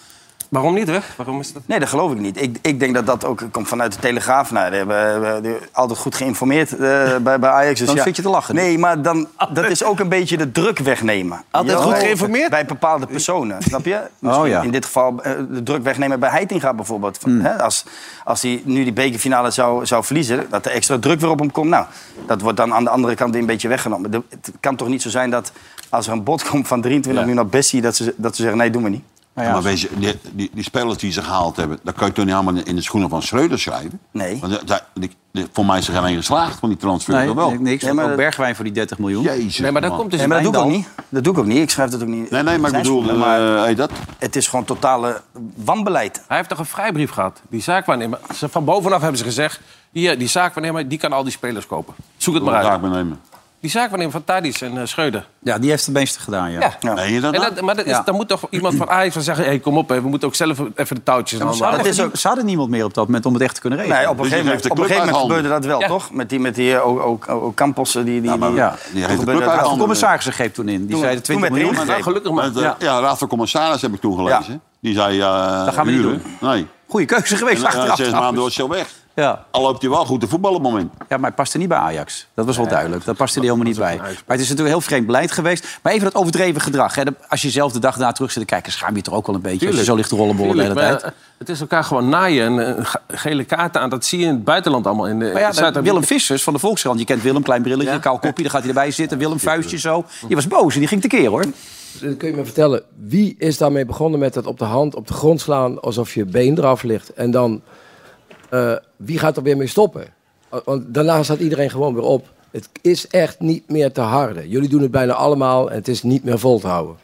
[SPEAKER 3] Waarom niet, hè? Waarom is dat?
[SPEAKER 5] Nee, dat geloof ik niet. Ik, ik denk dat dat ook komt vanuit de Telegraaf. Nou, die hebben, eh, die hebben altijd goed geïnformeerd eh, bij, bij Ajax. Dus
[SPEAKER 2] Dan
[SPEAKER 5] ja.
[SPEAKER 2] zit je te lachen.
[SPEAKER 5] Nee, maar dan, dat is ook een beetje de druk wegnemen.
[SPEAKER 3] Altijd
[SPEAKER 5] Ja,
[SPEAKER 3] goed
[SPEAKER 5] bij-
[SPEAKER 3] geïnformeerd?
[SPEAKER 5] Bij bepaalde personen, snap je? Misschien
[SPEAKER 2] Oh, ja. Hmm.
[SPEAKER 5] In dit geval eh, de druk wegnemen bij Heitinga bijvoorbeeld. Van, hè, als als hij nu die bekerfinale zou, zou verliezen... dat er extra druk weer op hem komt. Nou, dat wordt dan aan de andere kant weer een beetje weggenomen. De- het kan toch niet zo zijn dat als er een bod komt van 23 miljoen naar Bessie... Dat ze, dat ze zeggen, nee, doen we niet.
[SPEAKER 4] Ja, maar weet je, die, die, die spelers die ze gehaald hebben... dat kan je toch niet allemaal in de schoenen van Schreuder schrijven?
[SPEAKER 5] Nee.
[SPEAKER 4] Want, dat- dat- die- die- voor mij is er geen één geslaagd van die transfer.
[SPEAKER 2] Nee,
[SPEAKER 4] toch wel?
[SPEAKER 2] niks.
[SPEAKER 5] Ja, maar
[SPEAKER 2] ook
[SPEAKER 5] dat-
[SPEAKER 2] Bergwijn voor die 30 miljoen.
[SPEAKER 4] Jezus,
[SPEAKER 3] Nee, maar dat
[SPEAKER 4] man.
[SPEAKER 3] komt dus...
[SPEAKER 5] Nee, maar dat doe ik ook
[SPEAKER 2] Wijndal.
[SPEAKER 5] niet. Dat doe ik ook niet. Ik schrijf dat ook niet.
[SPEAKER 4] Nee, nee, maar ik
[SPEAKER 5] Zijn
[SPEAKER 4] bedoel,
[SPEAKER 5] schoenen, maar
[SPEAKER 4] eh, hey, dat...
[SPEAKER 5] het is gewoon totale wanbeleid.
[SPEAKER 3] Hij heeft toch een vrijbrief gehad, die zaakwaarnemer. Ze- Van bovenaf hebben ze gezegd, hier, die zaakwaarnemer, die kan al die spelers kopen. Zoek het maar
[SPEAKER 4] Daar
[SPEAKER 3] uit.
[SPEAKER 4] nemen.
[SPEAKER 3] Die zaakwaarnemer van Tadic en eh, Schreuder.
[SPEAKER 2] Ja, die heeft het meeste gedaan, ja.
[SPEAKER 3] Ja.
[SPEAKER 4] Meen je dat
[SPEAKER 3] En
[SPEAKER 4] nou?
[SPEAKER 3] dat, maar dat is,
[SPEAKER 2] Ja.
[SPEAKER 3] dan moet toch iemand van Ajax van zeggen... Hey, kom op, hè, we moeten ook zelf even de touwtjes aan
[SPEAKER 2] Ze hadden,
[SPEAKER 5] het is
[SPEAKER 2] echt-
[SPEAKER 5] ook-
[SPEAKER 2] ze hadden niemand meer op dat moment om het echt te kunnen regelen.
[SPEAKER 5] Nee, op een
[SPEAKER 4] Dus je
[SPEAKER 5] gegeven
[SPEAKER 4] geeft
[SPEAKER 5] moment,
[SPEAKER 4] de
[SPEAKER 5] op een
[SPEAKER 4] club
[SPEAKER 5] gebeurde
[SPEAKER 4] uit handen.
[SPEAKER 5] dat wel,
[SPEAKER 3] Ja.
[SPEAKER 5] toch? Met die, met die eh, ook, ook, ook Campos, eh, die... die,
[SPEAKER 4] maar
[SPEAKER 5] die-
[SPEAKER 2] ja.
[SPEAKER 5] toen
[SPEAKER 4] Die heeft de
[SPEAKER 5] gebeurde dat
[SPEAKER 4] club uit
[SPEAKER 5] wel.
[SPEAKER 2] de
[SPEAKER 4] handen.
[SPEAKER 2] commissarissen greep toen in. Die
[SPEAKER 5] Toen-
[SPEAKER 2] zeiden
[SPEAKER 5] toen
[SPEAKER 2] 20
[SPEAKER 5] werd er
[SPEAKER 2] miljoen.
[SPEAKER 5] ingegrepen.
[SPEAKER 3] Nou, gelukkig maar.
[SPEAKER 4] Met, eh, ja. Raad van Commissaris heb ik toen gelezen. Die zei... eh dat
[SPEAKER 2] gaan we niet
[SPEAKER 4] Nee.
[SPEAKER 2] Goeie keuze
[SPEAKER 4] En,
[SPEAKER 2] geweest
[SPEAKER 4] eh, zes
[SPEAKER 2] achteraf.
[SPEAKER 4] maanden
[SPEAKER 2] trouwens.
[SPEAKER 4] was hij al weg.
[SPEAKER 2] Ja.
[SPEAKER 4] Al loopt hij wel goed te voetballen op het moment.
[SPEAKER 2] Ja, maar hij paste niet bij Ajax. Dat was wel duidelijk. Dat paste er helemaal niet bij. Maar het is natuurlijk heel vreemd beleid geweest. Maar even dat overdreven gedrag. Hè. Dat- Als je zelf de dag na terug zit te kijken, schaam je toch ook wel een beetje. Als je zo ligt te rollenbollen de hele
[SPEAKER 3] Tuurlijk, maar eh,
[SPEAKER 2] tijd.
[SPEAKER 3] ja, Het is elkaar gewoon naaien en eh, ge- gele kaarten aan. Dat zie je in het buitenland allemaal. In de,
[SPEAKER 2] Maar ja,
[SPEAKER 3] in Zuid-
[SPEAKER 2] dan- Willem Vissers van de Volkskrant. Je kent Willem, klein brilletje,
[SPEAKER 3] Ja.
[SPEAKER 2] kaal kopje. Daar gaat hij erbij zitten. Willem, vuistje zo. Die was boos en die ging tekeer, hoor.
[SPEAKER 7] Dan kun je me vertellen, wie is daarmee begonnen met het op de hand op de grond slaan alsof je been eraf ligt en dan eh, wie gaat er weer mee stoppen? Eh, Want daarna staat iedereen gewoon weer op. Het is echt niet meer te harden. Jullie doen het bijna allemaal en het is niet meer vol te houden.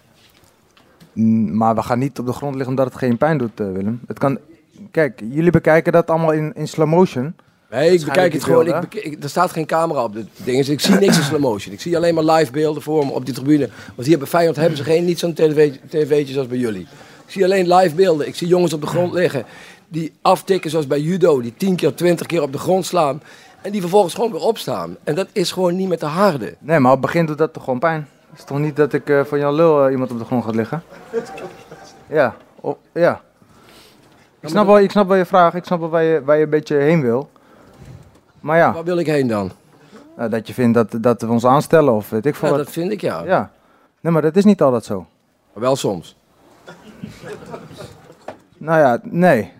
[SPEAKER 8] Mm, Maar we gaan niet op de grond liggen omdat het geen pijn doet, eh, Willem. Het kan... Kijk, jullie bekijken dat allemaal in, in slow motion.
[SPEAKER 7] Nee, ik bekijk het
[SPEAKER 8] die
[SPEAKER 7] gewoon. Ik
[SPEAKER 8] beelden.
[SPEAKER 7] bek- ik- er staat geen camera op dit ding. Dus ik zie niks in slow motion. Ik zie alleen maar live beelden voor me op die tribune. Want hier bij Feyenoord hebben ze geen, niet zo'n tv tv'tje als bij jullie. Ik zie alleen live beelden. Ik zie jongens op de grond liggen. Die aftikken zoals bij judo. Die 10 keer, 20 keer op de grond slaan. En die vervolgens gewoon weer opstaan. En dat is gewoon niet met de harde.
[SPEAKER 8] Nee, maar op het begin doet dat toch gewoon pijn. Het is toch niet dat ik eh, van jouw lul eh, iemand op de grond ga liggen? Ja, op- ja. Ik snap, wel, ik snap wel je vraag, ik snap wel waar je, waar je een beetje heen wil. Maar ja,
[SPEAKER 7] Waar wil ik heen dan?
[SPEAKER 8] eh, dat je vindt dat, dat we ons aanstellen of weet ik veel
[SPEAKER 7] Ja,
[SPEAKER 8] wat.
[SPEAKER 7] dat vind ik ja.
[SPEAKER 8] Ja, nee, maar dat is niet altijd zo.
[SPEAKER 7] Maar wel soms.
[SPEAKER 8] Nou ja, nee.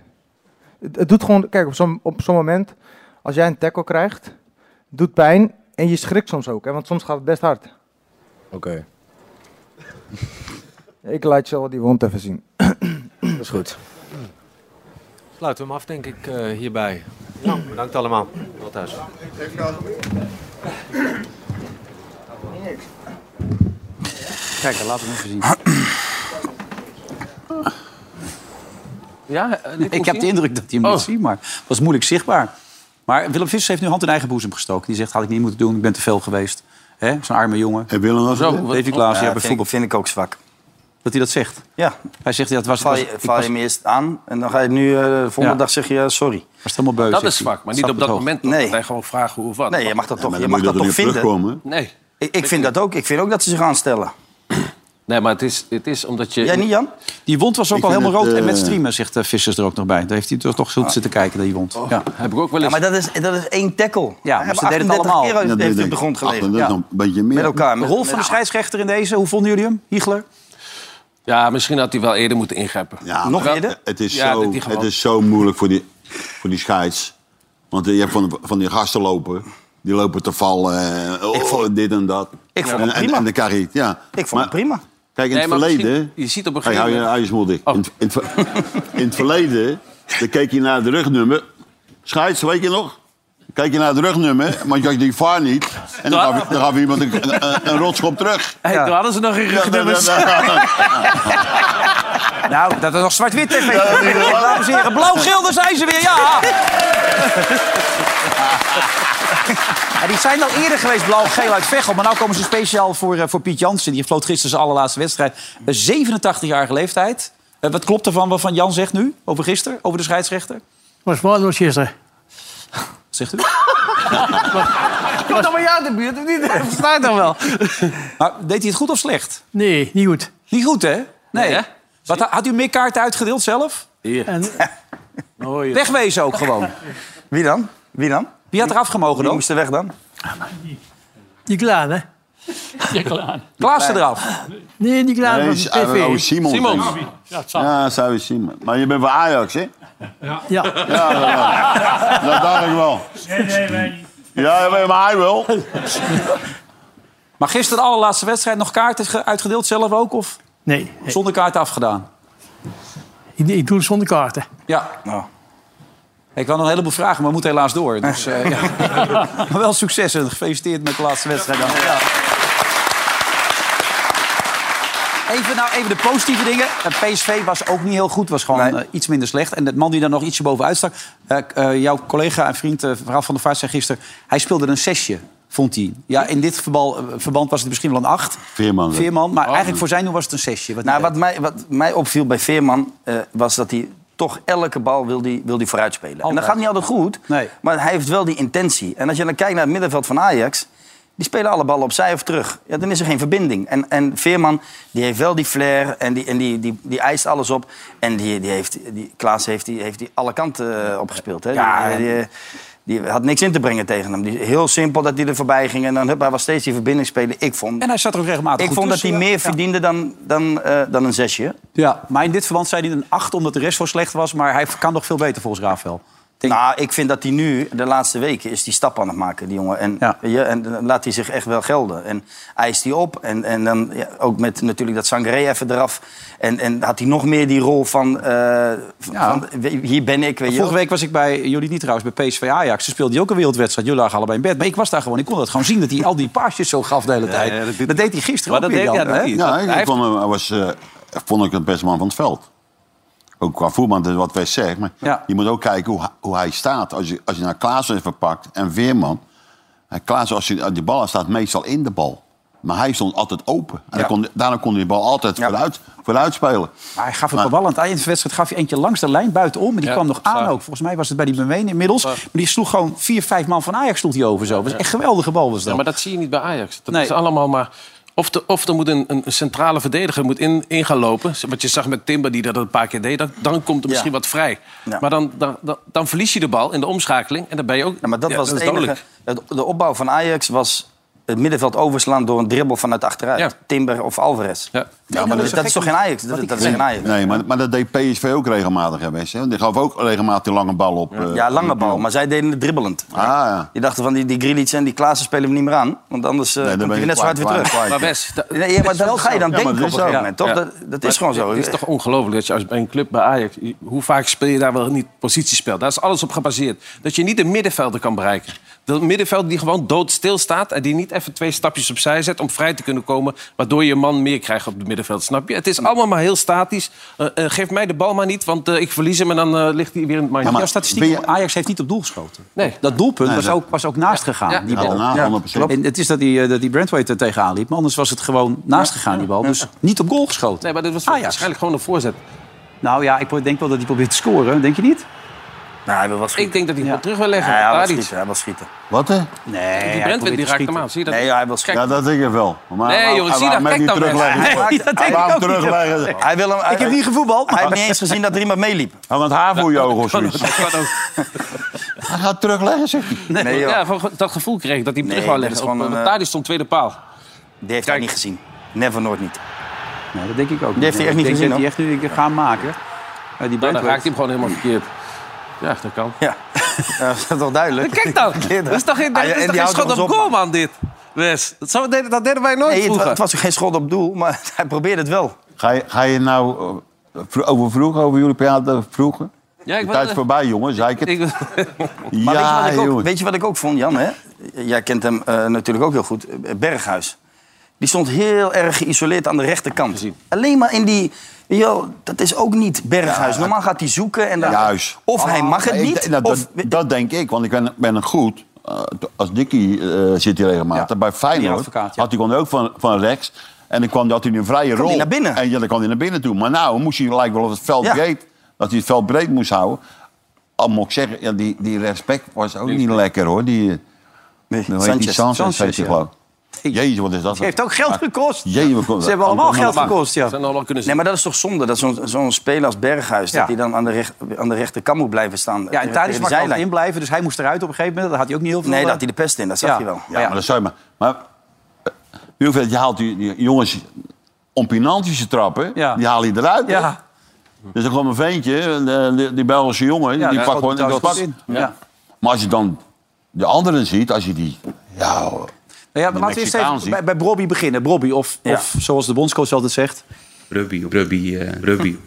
[SPEAKER 8] Het, het doet gewoon, kijk, op zo'n op zo'n moment, als jij een tackle krijgt, het doet pijn en je schrikt soms ook, hè, want soms gaat het best hard.
[SPEAKER 7] Oké,
[SPEAKER 8] Ik laat je wel die wond even zien.
[SPEAKER 7] dat is goed.
[SPEAKER 9] Sluiten we hem af, denk ik, eh, hierbij. Nou, bedankt allemaal. Wel thuis.
[SPEAKER 5] Kijk, laten we hem even zien.
[SPEAKER 3] Ja, eh, liet
[SPEAKER 2] Ik
[SPEAKER 3] ons
[SPEAKER 2] heb de
[SPEAKER 3] zien?
[SPEAKER 2] indruk dat hij hem niet
[SPEAKER 3] Oh.
[SPEAKER 2] ziet, maar het was moeilijk zichtbaar. Maar Willem Vissers heeft nu hand in eigen boezem gestoken. Die zegt, had ik niet moeten doen, ik ben te veel geweest. Hè, Zo'n arme jongen.
[SPEAKER 4] Heb Willem dat
[SPEAKER 3] Zo, wat-
[SPEAKER 2] Davy Klaas, ja, bij
[SPEAKER 5] vind, ik,
[SPEAKER 2] voetbal.
[SPEAKER 5] vind ik ook zwak.
[SPEAKER 2] Dat hij dat zegt.
[SPEAKER 5] Ja,
[SPEAKER 2] Hij zegt, ja, het was,
[SPEAKER 5] val
[SPEAKER 2] was,
[SPEAKER 5] je,
[SPEAKER 2] ik
[SPEAKER 5] val
[SPEAKER 2] was,
[SPEAKER 5] je hem eerst aan en dan ga je nu eh, de volgende
[SPEAKER 2] Ja.
[SPEAKER 5] dag zeg je eh, sorry.
[SPEAKER 2] was helemaal beu.
[SPEAKER 3] dat
[SPEAKER 2] zegt
[SPEAKER 3] is
[SPEAKER 2] hij.
[SPEAKER 3] zwak, maar niet
[SPEAKER 2] Staat
[SPEAKER 3] op dat
[SPEAKER 2] hoog.
[SPEAKER 3] moment. Nee.
[SPEAKER 5] Nee.
[SPEAKER 3] Dat hij gewoon vraagt hoe of wat.
[SPEAKER 5] Nee, je mag dat toch,
[SPEAKER 4] maar
[SPEAKER 5] je
[SPEAKER 4] dan
[SPEAKER 5] mag
[SPEAKER 4] moet
[SPEAKER 5] dat toch
[SPEAKER 4] er niet op
[SPEAKER 5] vinden.
[SPEAKER 4] terugkomen.
[SPEAKER 3] nee.
[SPEAKER 5] Ik, ik vind dat ook. Ik vind ook dat ze zich aanstellen.
[SPEAKER 3] Nee, maar het is, het is omdat je...
[SPEAKER 5] Jij niet, Jan?
[SPEAKER 2] Die wond was ook
[SPEAKER 4] Ik
[SPEAKER 2] al
[SPEAKER 4] vind
[SPEAKER 2] helemaal rood.
[SPEAKER 4] het,
[SPEAKER 2] En met
[SPEAKER 4] eh,
[SPEAKER 2] streamen, zegt eh, Ah. Vissers er ook nog bij. Daar heeft hij toch, toch goed zitten kijken, die wond. Ja.
[SPEAKER 3] Heb ik ook wel
[SPEAKER 5] Ja,
[SPEAKER 3] eens...
[SPEAKER 5] maar dat is, dat is één tackle.
[SPEAKER 2] Ja, maar
[SPEAKER 5] Hij
[SPEAKER 2] ze deden het
[SPEAKER 5] 38
[SPEAKER 2] allemaal.
[SPEAKER 5] keer heeft-
[SPEAKER 4] Dat
[SPEAKER 5] heeft hij
[SPEAKER 4] denk
[SPEAKER 5] op de
[SPEAKER 4] ik.
[SPEAKER 5] grond gelegen.
[SPEAKER 4] Ach, dat is
[SPEAKER 5] Ja.
[SPEAKER 4] nog een beetje meer.
[SPEAKER 5] Met elkaar.
[SPEAKER 2] De
[SPEAKER 5] Met,
[SPEAKER 2] rol van de
[SPEAKER 5] met-
[SPEAKER 2] scheidsrechter in deze, hoe vonden jullie hem, Hiegler?
[SPEAKER 3] Ja, misschien had hij wel eerder moeten ingrijpen.
[SPEAKER 4] Ja,
[SPEAKER 5] Nog
[SPEAKER 4] maar
[SPEAKER 5] eerder?
[SPEAKER 4] Het is,
[SPEAKER 3] Ja,
[SPEAKER 4] zo,
[SPEAKER 3] dat die gewoon-
[SPEAKER 4] het is zo moeilijk voor die, voor die scheids. Want je hebt van, van die gasten lopen. Die lopen te vallen. eh, oh, dit en dat.
[SPEAKER 5] ik vond
[SPEAKER 4] en,
[SPEAKER 5] het
[SPEAKER 4] en-
[SPEAKER 5] prima.
[SPEAKER 4] En, dan krijg je het, ja.
[SPEAKER 5] Ik vond het prima.
[SPEAKER 4] Kijk, in
[SPEAKER 3] Nee,
[SPEAKER 4] het
[SPEAKER 3] maar
[SPEAKER 4] verleden...
[SPEAKER 3] misschien- je ziet op een
[SPEAKER 4] Hey,
[SPEAKER 3] gegeven
[SPEAKER 4] hou je, hou je smoel
[SPEAKER 3] moment-
[SPEAKER 4] dicht.
[SPEAKER 3] Oh.
[SPEAKER 4] In, het- in, het ver- in het verleden, dan keek je naar de rugnummer. Scheids, weet je nog? Kijk je naar het rugnummer, want je had die vaar niet. En dan gaf, dan gaf iemand een, een, een rotschop terug.
[SPEAKER 3] Hey, Toen hadden ze nog geen rugnummers.
[SPEAKER 2] Nou, dat is nog zwart-wit tv. Dames en heren, blauw-geel, daar zijn ze weer, ja! Ja, die zijn al eerder geweest, blauw-geel uit Veghel. Maar nu komen ze speciaal voor, eh, voor Piet Jansen. Die floot gisteren zijn allerlaatste wedstrijd. Een 87-jarige leeftijd. Eh, wat klopt ervan wat Van Jan zegt nu? Over gisteren? Over de scheidsrechter?
[SPEAKER 10] Was waardeloos gisteren.
[SPEAKER 2] Wat zegt u?
[SPEAKER 10] Komt dat bij jou de buurt of niet? Dat versta ik dan wel.
[SPEAKER 2] Maar deed hij het goed of slecht?
[SPEAKER 10] Nee, niet goed.
[SPEAKER 2] Niet goed, hè? Nee.
[SPEAKER 3] hè?
[SPEAKER 2] Wat, had u meer kaarten uitgedeeld zelf?
[SPEAKER 10] En,
[SPEAKER 2] Wegwezen ook gewoon.
[SPEAKER 5] Wie dan? Wie dan?
[SPEAKER 2] Wie had er afgemogen
[SPEAKER 5] Wie
[SPEAKER 2] dan?
[SPEAKER 5] moest er weg dan?
[SPEAKER 10] die Klaan, hè?
[SPEAKER 2] Klaassen eraf.
[SPEAKER 10] Nee, die Klaan
[SPEAKER 4] Nee,
[SPEAKER 10] van de
[SPEAKER 4] Simon. Oh,
[SPEAKER 10] TV.
[SPEAKER 4] Simon. Ja, zou je Simon. Maar je bent bij Ajax, hè?
[SPEAKER 10] Ja,
[SPEAKER 4] Ja, dat, wel. dat dacht ik wel. Nee, nee, wij niet. Ja, maar hij wel.
[SPEAKER 2] Maar gisteren de allerlaatste wedstrijd nog kaarten ge- uitgedeeld zelf ook? Of
[SPEAKER 10] nee. nee.
[SPEAKER 2] zonder kaart afgedaan?
[SPEAKER 10] Ik, ik doe het zonder kaarten.
[SPEAKER 2] Ja.
[SPEAKER 5] Nou.
[SPEAKER 2] Ik wil nog een heleboel vragen, maar we moeten helaas door. Dus, eh, ja. maar wel succes en gefeliciteerd met de laatste wedstrijd. Dan. Ja. Even, nou, even de positieve dingen. Eh, PSV was ook niet heel goed, was gewoon
[SPEAKER 5] Nee.
[SPEAKER 2] eh, iets minder slecht. En de man die daar nog ietsje bovenuit stak... eh, k- eh, jouw collega en vriend, eh Ralf van der Vaart, zei gisteren... hij speelde een zesje, vond hij. Ja, in dit verbal- eh, verband was het misschien wel een acht.
[SPEAKER 4] Veerman.
[SPEAKER 2] Veerman, maar eigenlijk voor zijn doen was het een zesje. Wat
[SPEAKER 5] Oh, Nou,
[SPEAKER 2] hij
[SPEAKER 5] wat mij, wat mij opviel bij Veerman eh, was dat hij toch elke bal wil die, wil die vooruit spelen. En dat
[SPEAKER 2] Altijd.
[SPEAKER 5] gaat niet altijd goed,
[SPEAKER 2] Nee.
[SPEAKER 5] maar hij heeft wel die intentie. En als je dan kijkt naar het middenveld van Ajax... die spelen alle ballen opzij of terug. Ja, dan is er geen verbinding. En, en Veerman die heeft wel die flair en die, en die, die, die eist alles op. En die, die heeft, die, Klaas heeft die, heeft die alle kanten eh, opgespeeld. Hè? Die, die, eh, die had niks in te brengen tegen hem. Die, heel simpel dat hij er voorbij ging. En dan hup, hij was steeds die verbinding spelen. Ik vond...
[SPEAKER 2] En hij zat er ook regelmatig
[SPEAKER 5] Ik
[SPEAKER 2] goed
[SPEAKER 5] vond dat hij
[SPEAKER 2] tussen,
[SPEAKER 5] meer
[SPEAKER 2] ja.
[SPEAKER 5] verdiende dan, dan, eh, dan een zesje.
[SPEAKER 2] Ja, maar in dit verband zei hij een 8 omdat de rest wel slecht was. Maar hij kan nog veel beter volgens Rafael.
[SPEAKER 5] Nou, ik vind dat hij nu, de laatste weken, is die stap aan het maken, die jongen. En,
[SPEAKER 2] Ja.
[SPEAKER 5] weet je, en dan laat hij zich echt wel gelden. En eist hij op. En, en dan ja, ook met natuurlijk dat Sangaré even eraf. En, en had hij nog meer die rol van, eh, van-
[SPEAKER 2] Ja.
[SPEAKER 5] van, we- hier ben ik, weet je wel.
[SPEAKER 2] Vorige week was ik bij jullie niet trouwens, bij PSV Ajax. Ze speelden die ook een wereldwedstrijd. Jullie lagen allebei in bed. Maar ik was daar gewoon. Ik kon dat gewoon zien dat hij al die paasjes zo gaf de hele tijd.
[SPEAKER 10] ja, dat
[SPEAKER 2] dat,
[SPEAKER 10] doet-
[SPEAKER 2] deed hij gisteren
[SPEAKER 10] Maar
[SPEAKER 2] ook
[SPEAKER 10] dat
[SPEAKER 2] weer,
[SPEAKER 10] deed-
[SPEAKER 2] Jan,
[SPEAKER 10] ja, dat
[SPEAKER 2] hè?
[SPEAKER 10] deed
[SPEAKER 4] Ja, ik
[SPEAKER 10] Hij heeft-
[SPEAKER 4] vond hem, hij was, eh, vond ik het beste man van het veld. Ook qua voetbal, dat is wat wij zeggen. Maar
[SPEAKER 2] Ja.
[SPEAKER 4] je moet ook kijken hoe, hij- hoe hij staat. Als je, als je naar Klaassen even pakt en Veerman. En Klaassen, als hij aan die bal aan staat, meestal in de bal. Maar hij stond altijd open. En dan
[SPEAKER 2] Ja.
[SPEAKER 4] kon, daarna kon hij de bal altijd vooruit, vooruit spelen.
[SPEAKER 2] Maar hij gaf het wel aan het eind van de wedstrijd gaf hij eentje langs de lijn buitenom. Maar die
[SPEAKER 3] Ja,
[SPEAKER 2] kwam nog aan
[SPEAKER 3] zwaar.
[SPEAKER 2] ook. Volgens mij was het bij die Bemeen inmiddels. Maar die sloeg gewoon vier, vijf man van Ajax sloeg die over zo. Dat was echt een geweldige bal was dat.
[SPEAKER 3] Ja, maar dat zie je niet bij Ajax. Dat
[SPEAKER 2] Nee.
[SPEAKER 3] is allemaal maar... Of, de, of er moet een, een centrale verdediger moet in, in gaan lopen. Wat je zag met Timber, die dat een paar keer deed. Dan, dan komt er misschien wat vrij.
[SPEAKER 5] Ja.
[SPEAKER 3] Maar dan, dan, dan, dan verlies je de bal in de omschakeling. En dan ben je ook...
[SPEAKER 5] Ja, Nou, maar dat
[SPEAKER 3] ja,
[SPEAKER 5] was
[SPEAKER 3] is
[SPEAKER 5] het enige.
[SPEAKER 3] dodelijk.
[SPEAKER 5] Het, de opbouw van Ajax was het middenveld overslaan door een dribbel vanuit achteruit.
[SPEAKER 3] Ja.
[SPEAKER 5] Timber of Alvarez.
[SPEAKER 3] Ja.
[SPEAKER 5] Ja, maar dat, dat is toch geen Ajax? Dat, dat is geen Ajax.
[SPEAKER 4] Nee, maar, maar dat deed PSV ook regelmatig. Hè, Wes, hè? Die gaf ook regelmatig die lange bal op. eh,
[SPEAKER 5] Ja, lange
[SPEAKER 4] op de
[SPEAKER 5] bal,
[SPEAKER 4] doel.
[SPEAKER 5] maar zij deden het dribbelend.
[SPEAKER 4] Ah, ja.
[SPEAKER 5] Je dacht van die, die Grealish en die Klaassen spelen we niet meer aan. Want anders eh
[SPEAKER 4] Nee, dan
[SPEAKER 5] komt hij
[SPEAKER 4] ben je
[SPEAKER 5] net zo hard weer
[SPEAKER 4] kwijt,
[SPEAKER 5] terug.
[SPEAKER 4] kwijt.
[SPEAKER 3] Maar Wes, dat-
[SPEAKER 5] Nee, ja, maar dat ga je dan
[SPEAKER 4] Ja, maar
[SPEAKER 5] denken op
[SPEAKER 4] dat
[SPEAKER 5] een
[SPEAKER 4] is
[SPEAKER 5] gegeven
[SPEAKER 4] zo.
[SPEAKER 5] moment, toch?
[SPEAKER 3] Ja.
[SPEAKER 5] Dat, dat is gewoon zo.
[SPEAKER 3] Het is toch ongelooflijk dat je als bij een club bij Ajax... Hoe vaak speel je daar wel niet positiespel? Daar is alles op gebaseerd. Dat je niet een middenvelder kan bereiken. Dat middenvelder die gewoon doodstil staat... en die niet even twee stapjes opzij zet om vrij te kunnen komen... waardoor je een man meer krijgt op het middenveld, snap je? Het is allemaal maar heel statisch. Eh, eh, geef mij de bal maar niet, want eh, ik verlies hem... en dan eh, ligt hij weer in het mandje.
[SPEAKER 4] Ja, maar-
[SPEAKER 2] Jouw statistiek,
[SPEAKER 4] Ben je-
[SPEAKER 2] Ajax heeft niet op doel geschoten.
[SPEAKER 3] Nee.
[SPEAKER 2] Dat doelpunt
[SPEAKER 4] Nee,
[SPEAKER 2] was,
[SPEAKER 4] dat-
[SPEAKER 2] ook, was ook naast gegaan,
[SPEAKER 3] Ja.
[SPEAKER 4] Ja,
[SPEAKER 2] die bal.
[SPEAKER 4] daarna 100%.
[SPEAKER 2] En het is dat die, eh, dat die Brentwaite er tegenaan liep. Maar anders was het gewoon naast gegaan, die bal. Dus niet op goal geschoten.
[SPEAKER 3] Nee, maar dit was
[SPEAKER 2] Ajax.
[SPEAKER 3] waarschijnlijk gewoon een voorzet.
[SPEAKER 2] Nou ja, ik denk wel dat hij probeert te scoren. Denk je niet?
[SPEAKER 5] Nou, hij wil wel schieten.
[SPEAKER 3] Ik denk dat hij
[SPEAKER 2] Ja.
[SPEAKER 3] hem terug wil leggen.
[SPEAKER 5] Ja, hij wil
[SPEAKER 3] Daar iets.
[SPEAKER 5] schieten. Hij wil schieten.
[SPEAKER 4] Wat hè?
[SPEAKER 2] Nee,
[SPEAKER 3] Die Brentwit die raakt hem aan, zie je dat?
[SPEAKER 5] Nee, hij wil schieten.
[SPEAKER 4] Ja, dat denk ik wel. Maar
[SPEAKER 3] Nee,
[SPEAKER 4] waarom-
[SPEAKER 3] jongen, zie
[SPEAKER 4] waarom
[SPEAKER 3] dat?
[SPEAKER 4] heb je
[SPEAKER 3] Kijk dan, Wes.
[SPEAKER 4] terugleggen?
[SPEAKER 2] Nee, dat denk ik
[SPEAKER 4] Waarom
[SPEAKER 2] ook niet.
[SPEAKER 4] terugleggen?
[SPEAKER 5] Hij wil hem,
[SPEAKER 2] Ik heb niet gevoetbald.
[SPEAKER 5] Hij heeft niet eens gezien dat er iemand meeliep.
[SPEAKER 4] Hij had haar voor je ogen of zoiets.
[SPEAKER 3] Dat kan ook.
[SPEAKER 4] Hij gaat terugleggen, zeg ik.
[SPEAKER 5] Nee, joh.
[SPEAKER 3] Ja, van dat gevoel kreeg ik dat hij hem
[SPEAKER 5] Nee,
[SPEAKER 3] terug wou
[SPEAKER 5] dit is
[SPEAKER 3] leggen.
[SPEAKER 5] gewoon
[SPEAKER 3] Op-
[SPEAKER 5] een,
[SPEAKER 3] want
[SPEAKER 5] eh,
[SPEAKER 3] Tadic stond tweede paal.
[SPEAKER 5] Die heeft hij niet gezien. Never, nooit niet.
[SPEAKER 2] Nee, dat denk ik ook niet.
[SPEAKER 5] heeft hij echt
[SPEAKER 2] Nee,
[SPEAKER 5] niet
[SPEAKER 2] ik denk
[SPEAKER 5] gezien,
[SPEAKER 2] dat
[SPEAKER 5] hoor.
[SPEAKER 2] hij echt nu een keer gaan maken. Ja, die
[SPEAKER 3] Nou, dan raakt hij
[SPEAKER 2] Brentwaite.
[SPEAKER 3] hem gewoon helemaal verkeerd. Ja, dat kan.
[SPEAKER 5] Ja, dat is toch duidelijk?
[SPEAKER 3] Eh, Kijk dan! Dat is toch geen, dat
[SPEAKER 5] Ah, ja, en die
[SPEAKER 3] is toch geen
[SPEAKER 5] houdt
[SPEAKER 3] schot
[SPEAKER 5] ons
[SPEAKER 3] op
[SPEAKER 5] op,
[SPEAKER 3] goal, man, dit? Wes, dat, zo deden, dat deden wij nooit
[SPEAKER 5] Nee, het, wa-
[SPEAKER 3] vroeger.
[SPEAKER 5] het was geen schot op doel, maar hij probeerde het wel.
[SPEAKER 4] Ga je, ga je nou eh, vro- over vroeger, over jullie praten vroeger?
[SPEAKER 3] ja, ik
[SPEAKER 4] De tijd is voorbij, jongens. Zei ik het?
[SPEAKER 3] ik,
[SPEAKER 5] eh, Maar
[SPEAKER 4] ja,
[SPEAKER 5] weet, je wat ik ook,
[SPEAKER 4] jongens.
[SPEAKER 5] weet je wat ik ook vond, Jan? Hè? Jij kent hem eh, natuurlijk ook heel goed. eh, Berghuis. Die stond heel erg geïsoleerd aan de rechterkant. Alleen maar in die... Yo, dat is ook niet Berghuis. Normaal gaat hij zoeken en dan...
[SPEAKER 4] Juist.
[SPEAKER 5] Of hij mag het
[SPEAKER 4] Ik
[SPEAKER 5] niet.
[SPEAKER 4] denk- nou,
[SPEAKER 5] of,
[SPEAKER 4] dat, dat denk ik, want ik ben, ben een goed. eh, t- als Dikkie eh, zit hier regelmatig.
[SPEAKER 2] Ja,
[SPEAKER 4] Bij Feyenoord
[SPEAKER 2] advocaat, ja.
[SPEAKER 4] had hij kon ook van, van rechts. En dan kwam, had hij een vrije rol.
[SPEAKER 5] hij naar binnen.
[SPEAKER 4] En ja, dan kwam hij naar binnen toe. Maar nou moest hij gelijk wel op het veld
[SPEAKER 5] Ja.
[SPEAKER 4] breed. Dat hij het veld breed moest houden. Al moet ik zeggen, ja, die, die respect was ook niet lekker hoor. Die, eh,
[SPEAKER 5] nee,
[SPEAKER 4] hoe heet die?
[SPEAKER 5] Sanchez.
[SPEAKER 4] Sanchez,
[SPEAKER 2] Sanchez,
[SPEAKER 4] heet die
[SPEAKER 2] ja.
[SPEAKER 4] geloof ik. Jezus, wat is dat? Ah,
[SPEAKER 2] Het heeft ook
[SPEAKER 5] Ah,
[SPEAKER 2] geld gekost.
[SPEAKER 4] Jezus, wat komt
[SPEAKER 2] Ze hebben allemaal geld
[SPEAKER 3] maar-
[SPEAKER 2] gekost, ja.
[SPEAKER 3] Ze hadden allemaal nou kunnen
[SPEAKER 5] Nee,
[SPEAKER 3] zien.
[SPEAKER 5] maar dat is toch zonde dat zo'n zo'n speler als Berghuis...
[SPEAKER 2] Ja.
[SPEAKER 5] dat hij dan aan de, recht, aan de rechterkant moet blijven staan. eh,
[SPEAKER 2] Ja, en
[SPEAKER 5] tegen
[SPEAKER 2] Tadic
[SPEAKER 5] de
[SPEAKER 2] mag er altijd
[SPEAKER 5] zijlijn.
[SPEAKER 2] in blijven. Dus hij moest eruit op een gegeven moment. Daar had hij ook niet heel veel...
[SPEAKER 5] Nee,
[SPEAKER 2] eh,
[SPEAKER 5] dat hij de pest in, dat zag
[SPEAKER 2] Ja.
[SPEAKER 5] je wel.
[SPEAKER 4] Ja, maar dat zou je maar. Maar eh, Wilfred, je haalt die, die jongens om penaltische trappen,
[SPEAKER 2] Ja.
[SPEAKER 4] die haal je eruit. hè?
[SPEAKER 2] Ja,
[SPEAKER 4] Dus er kwam een ventje, eh, die, die Belgische jongen,
[SPEAKER 2] ja,
[SPEAKER 4] die
[SPEAKER 2] dat
[SPEAKER 4] pakt gewoon
[SPEAKER 2] schoot
[SPEAKER 4] dat
[SPEAKER 2] hem thuis
[SPEAKER 4] pakt.
[SPEAKER 2] goed in. Ja.
[SPEAKER 4] Maar als je dan de anderen ziet, als je die. Ja, hoor.
[SPEAKER 2] Nou Ja, maar
[SPEAKER 4] Die
[SPEAKER 2] laten we eerst
[SPEAKER 4] Mexicaan zie.
[SPEAKER 2] even bij, bij Brobby beginnen. Brobby, of, of zoals de bondscoach altijd zegt...
[SPEAKER 11] Rugby, rugby, eh, rugby.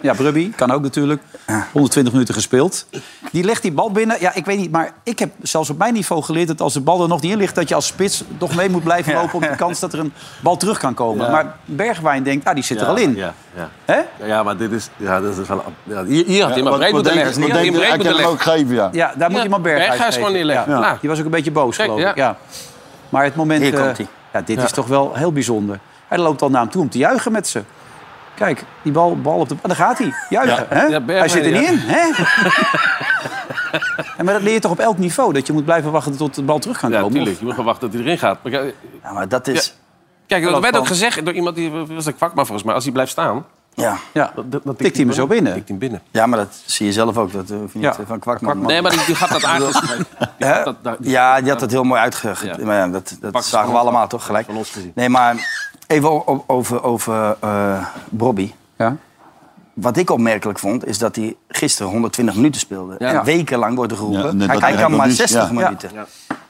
[SPEAKER 2] Ja, Brubby, kan ook natuurlijk. 120 minuten gespeeld. Die legt die bal binnen. Ja, ik weet niet, maar ik heb zelfs op mijn niveau geleerd... dat als de bal er nog niet in ligt... dat je als spits toch mee moet blijven lopen... op de kans dat er een bal terug kan komen. Maar Bergwijn denkt, ah, die zit er al in.
[SPEAKER 9] Ja, ja.
[SPEAKER 2] Hè?
[SPEAKER 9] ja, maar dit is... Ja, dit is wel... Ja,
[SPEAKER 3] Hier, hier had hij maar
[SPEAKER 4] Wat-
[SPEAKER 3] breed
[SPEAKER 4] wat
[SPEAKER 3] moeten
[SPEAKER 4] denk-
[SPEAKER 3] leggen.
[SPEAKER 4] wat
[SPEAKER 3] Hier had hij
[SPEAKER 4] denk
[SPEAKER 3] hem
[SPEAKER 4] je? Hij
[SPEAKER 3] breed
[SPEAKER 4] kan
[SPEAKER 3] moeten
[SPEAKER 4] hem
[SPEAKER 3] leggen.
[SPEAKER 4] ook geven, ja.
[SPEAKER 2] Ja, daar moet
[SPEAKER 3] Ja,
[SPEAKER 2] iemand Berghuis
[SPEAKER 3] Berghuis
[SPEAKER 2] geven.
[SPEAKER 3] gewoon neerleggen.
[SPEAKER 2] Ja.
[SPEAKER 3] Ja.
[SPEAKER 2] Die was ook een beetje boos,
[SPEAKER 3] Kijk,
[SPEAKER 2] geloof ik.
[SPEAKER 3] ja.
[SPEAKER 2] Ja. Maar het moment...
[SPEAKER 5] Hier
[SPEAKER 2] eh,
[SPEAKER 5] komt-ie.
[SPEAKER 2] ja, dit is toch wel heel bijzonder. Hij loopt al naar hem toe om te juichen met ze. Kijk, die bal, bal op de... ah, Daar gaat hij. Juichen, hè?
[SPEAKER 3] Ja, Bergwijn,
[SPEAKER 2] hij zit er niet
[SPEAKER 3] ja.
[SPEAKER 2] in, hè? En maar dat leer je toch op elk niveau? Dat je moet blijven wachten tot de bal terug kan
[SPEAKER 3] Ja,
[SPEAKER 2] komen?
[SPEAKER 3] natuurlijk. Je moet gewoon wachten tot hij erin gaat. Maar kijk,
[SPEAKER 5] Ja, maar dat is...
[SPEAKER 3] Kijk, dat
[SPEAKER 2] Klopt,
[SPEAKER 3] werd ook
[SPEAKER 2] want-
[SPEAKER 3] gezegd door iemand die was een kwakman volgens mij. Als hij blijft staan,
[SPEAKER 5] Ja.
[SPEAKER 2] Ja,
[SPEAKER 3] dat,
[SPEAKER 2] tikt hij hem zo binnen.
[SPEAKER 3] Tikt hij hem binnen.
[SPEAKER 5] Ja, maar dat zie je zelf ook. Dat hoef je niet
[SPEAKER 2] Ja.
[SPEAKER 5] eh, van kwakman.
[SPEAKER 3] Nee, maar die, die gaat dat aangespreken. Die gaat dat- dat-
[SPEAKER 5] Ja, die had het heel mooi uitgegeven.
[SPEAKER 3] Ja.
[SPEAKER 5] Maar ja, dat,
[SPEAKER 3] Pak
[SPEAKER 5] dat
[SPEAKER 3] ze
[SPEAKER 5] zagen we
[SPEAKER 3] van-
[SPEAKER 5] allemaal toch gelijk.
[SPEAKER 3] van ons gezien.
[SPEAKER 5] Nee, maar even o- o- over, over eh Bobby.
[SPEAKER 2] Ja.
[SPEAKER 5] Wat ik opmerkelijk vond, is dat hij gisteren 120 minuten speelde.
[SPEAKER 2] Ja.
[SPEAKER 5] En wekenlang wordt er
[SPEAKER 4] Ja,
[SPEAKER 5] geroepen,
[SPEAKER 4] net
[SPEAKER 5] hij,
[SPEAKER 4] dat
[SPEAKER 5] hij
[SPEAKER 4] heb ik
[SPEAKER 5] kan
[SPEAKER 4] nog
[SPEAKER 5] maar
[SPEAKER 4] niet-
[SPEAKER 5] 60
[SPEAKER 4] ja.
[SPEAKER 5] minuten.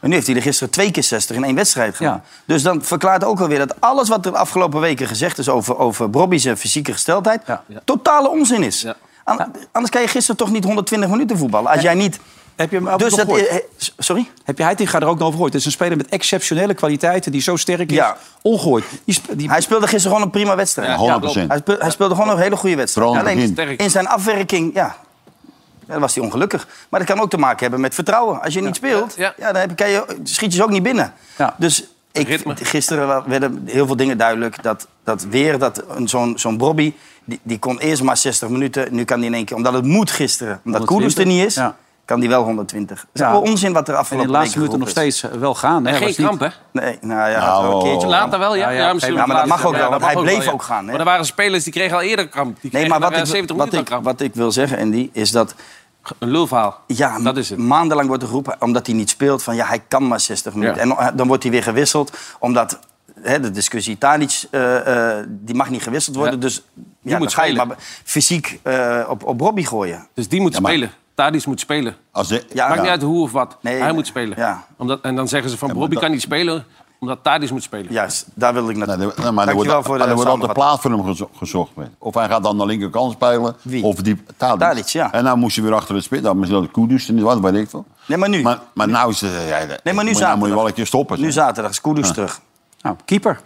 [SPEAKER 5] En nu heeft hij er gisteren twee keer 60 in één wedstrijd gedaan.
[SPEAKER 2] Ja.
[SPEAKER 5] Dus dan verklaart ook alweer dat alles wat er de afgelopen weken gezegd is... over, over Bobby zijn fysieke gesteldheid,
[SPEAKER 2] Ja.
[SPEAKER 5] totale onzin is. An- Anders kan je gisteren toch niet 120 minuten voetballen. Als jij niet...
[SPEAKER 2] Heb je hem ook
[SPEAKER 5] Dus
[SPEAKER 2] nog
[SPEAKER 5] dat,
[SPEAKER 2] gehoord?
[SPEAKER 5] eh, eh, s- sorry?
[SPEAKER 2] Heb je Heitinga er ook nog over gehoord? Het is een speler met exceptionele kwaliteiten die zo sterk is.
[SPEAKER 5] Ja.
[SPEAKER 2] Ongehoord. Die, sp- die,
[SPEAKER 5] Hij speelde gisteren gewoon een prima wedstrijd.
[SPEAKER 4] Ja, 100%.
[SPEAKER 5] Hij speelde, hij speelde gewoon een hele goede wedstrijd.
[SPEAKER 4] Vooral aan het
[SPEAKER 5] Alleen
[SPEAKER 4] begin.
[SPEAKER 5] in zijn afwerking, ja, ja, was hij ongelukkig. Maar dat kan ook te maken hebben met vertrouwen. Als je niet speelt, ja.
[SPEAKER 3] Ja.
[SPEAKER 5] dan heb, kan je, schiet je ze ook niet binnen.
[SPEAKER 2] Ja.
[SPEAKER 5] Dus ik,
[SPEAKER 3] Ritme.
[SPEAKER 5] gisteren wa- werden heel veel dingen duidelijk. Dat, dat weer dat een- zo'n zo'n Bobby, die, die kon eerst maar 60 minuten. Nu kan hij in één keer, omdat het moet gisteren, omdat Koeders er niet is...
[SPEAKER 2] Ja.
[SPEAKER 5] Kan die wel 120? Dat is
[SPEAKER 2] Ja.
[SPEAKER 5] wel onzin wat er
[SPEAKER 2] en in
[SPEAKER 5] afgelopen
[SPEAKER 2] de laatste
[SPEAKER 5] weken
[SPEAKER 2] minuten nog
[SPEAKER 5] geroepen is.
[SPEAKER 2] steeds eh, wel gaan. Hè?
[SPEAKER 3] En geen
[SPEAKER 2] Was niet-
[SPEAKER 3] kramp, hè?
[SPEAKER 5] Nee, nou ja, gaat wel een
[SPEAKER 4] Nou,
[SPEAKER 5] keertje.
[SPEAKER 3] Later wel, ja.
[SPEAKER 2] Ja,
[SPEAKER 3] Ja,
[SPEAKER 2] ja,
[SPEAKER 3] misschien
[SPEAKER 2] ja,
[SPEAKER 5] maar dat
[SPEAKER 3] later.
[SPEAKER 5] mag ook wel,
[SPEAKER 3] Ja, dat
[SPEAKER 5] want
[SPEAKER 3] mag
[SPEAKER 5] hij
[SPEAKER 3] ook
[SPEAKER 5] bleef
[SPEAKER 3] wel, ja.
[SPEAKER 5] ook gaan, hè?
[SPEAKER 3] Maar er waren spelers die kregen al eerder kramp. Die
[SPEAKER 5] Nee,
[SPEAKER 3] kregen
[SPEAKER 5] maar
[SPEAKER 3] na,
[SPEAKER 5] wat
[SPEAKER 3] eh,
[SPEAKER 5] ik,
[SPEAKER 3] 70
[SPEAKER 5] wat,
[SPEAKER 3] minuten
[SPEAKER 5] ik,
[SPEAKER 3] al kramp.
[SPEAKER 5] wat ik wil zeggen, en die is dat
[SPEAKER 3] Een lulverhaal.
[SPEAKER 5] Ja,
[SPEAKER 3] Dat is het.
[SPEAKER 5] maandenlang wordt er geroepen, omdat hij niet speelt, van ja, hij kan maar 60 minuten. En eh, dan wordt hij weer gewisseld, omdat hè, de discussie Tadic, eh, eh, die mag niet gewisseld worden.
[SPEAKER 3] Ja.
[SPEAKER 5] Dus ja, dan
[SPEAKER 3] moet
[SPEAKER 5] ga je
[SPEAKER 3] spelen.
[SPEAKER 5] maar fysiek eh, op, op Robbie gooien.
[SPEAKER 3] Dus die moet
[SPEAKER 4] maar-
[SPEAKER 3] spelen. Tadis moet spelen.
[SPEAKER 4] Als de,
[SPEAKER 5] Ja,
[SPEAKER 3] Maakt niet uit hoe of wat.
[SPEAKER 5] Nee,
[SPEAKER 3] hij
[SPEAKER 5] nee.
[SPEAKER 3] moet spelen.
[SPEAKER 5] Ja.
[SPEAKER 3] Omdat, en dan zeggen ze van Bobby kan niet spelen omdat Tadis moet spelen.
[SPEAKER 5] Juist, daar wil ik
[SPEAKER 4] Nou,
[SPEAKER 5] naartoe.
[SPEAKER 4] er- nou, maar er wordt,
[SPEAKER 5] Dankjewel voor de
[SPEAKER 4] maar er wordt altijd
[SPEAKER 5] samenvatting.
[SPEAKER 4] plaats voor hem gezo- gezocht. weet je. Of hij gaat dan de linkerkant spelen.
[SPEAKER 5] Wie?
[SPEAKER 4] Of die Tadic.
[SPEAKER 5] Tadic, ja.
[SPEAKER 4] En dan moest je weer achter het spit. Dan misschien Koedus en wat weet ik veel.
[SPEAKER 5] Nee, maar nu.
[SPEAKER 4] Maar, maar nou is het... Ja,
[SPEAKER 5] Nee, maar nu
[SPEAKER 4] moet, nou moet je
[SPEAKER 5] zaterdag.
[SPEAKER 4] wel een keer stoppen.
[SPEAKER 5] Nu
[SPEAKER 4] zeg.
[SPEAKER 5] zaterdag is Kudus terug.
[SPEAKER 2] Nou, keeper.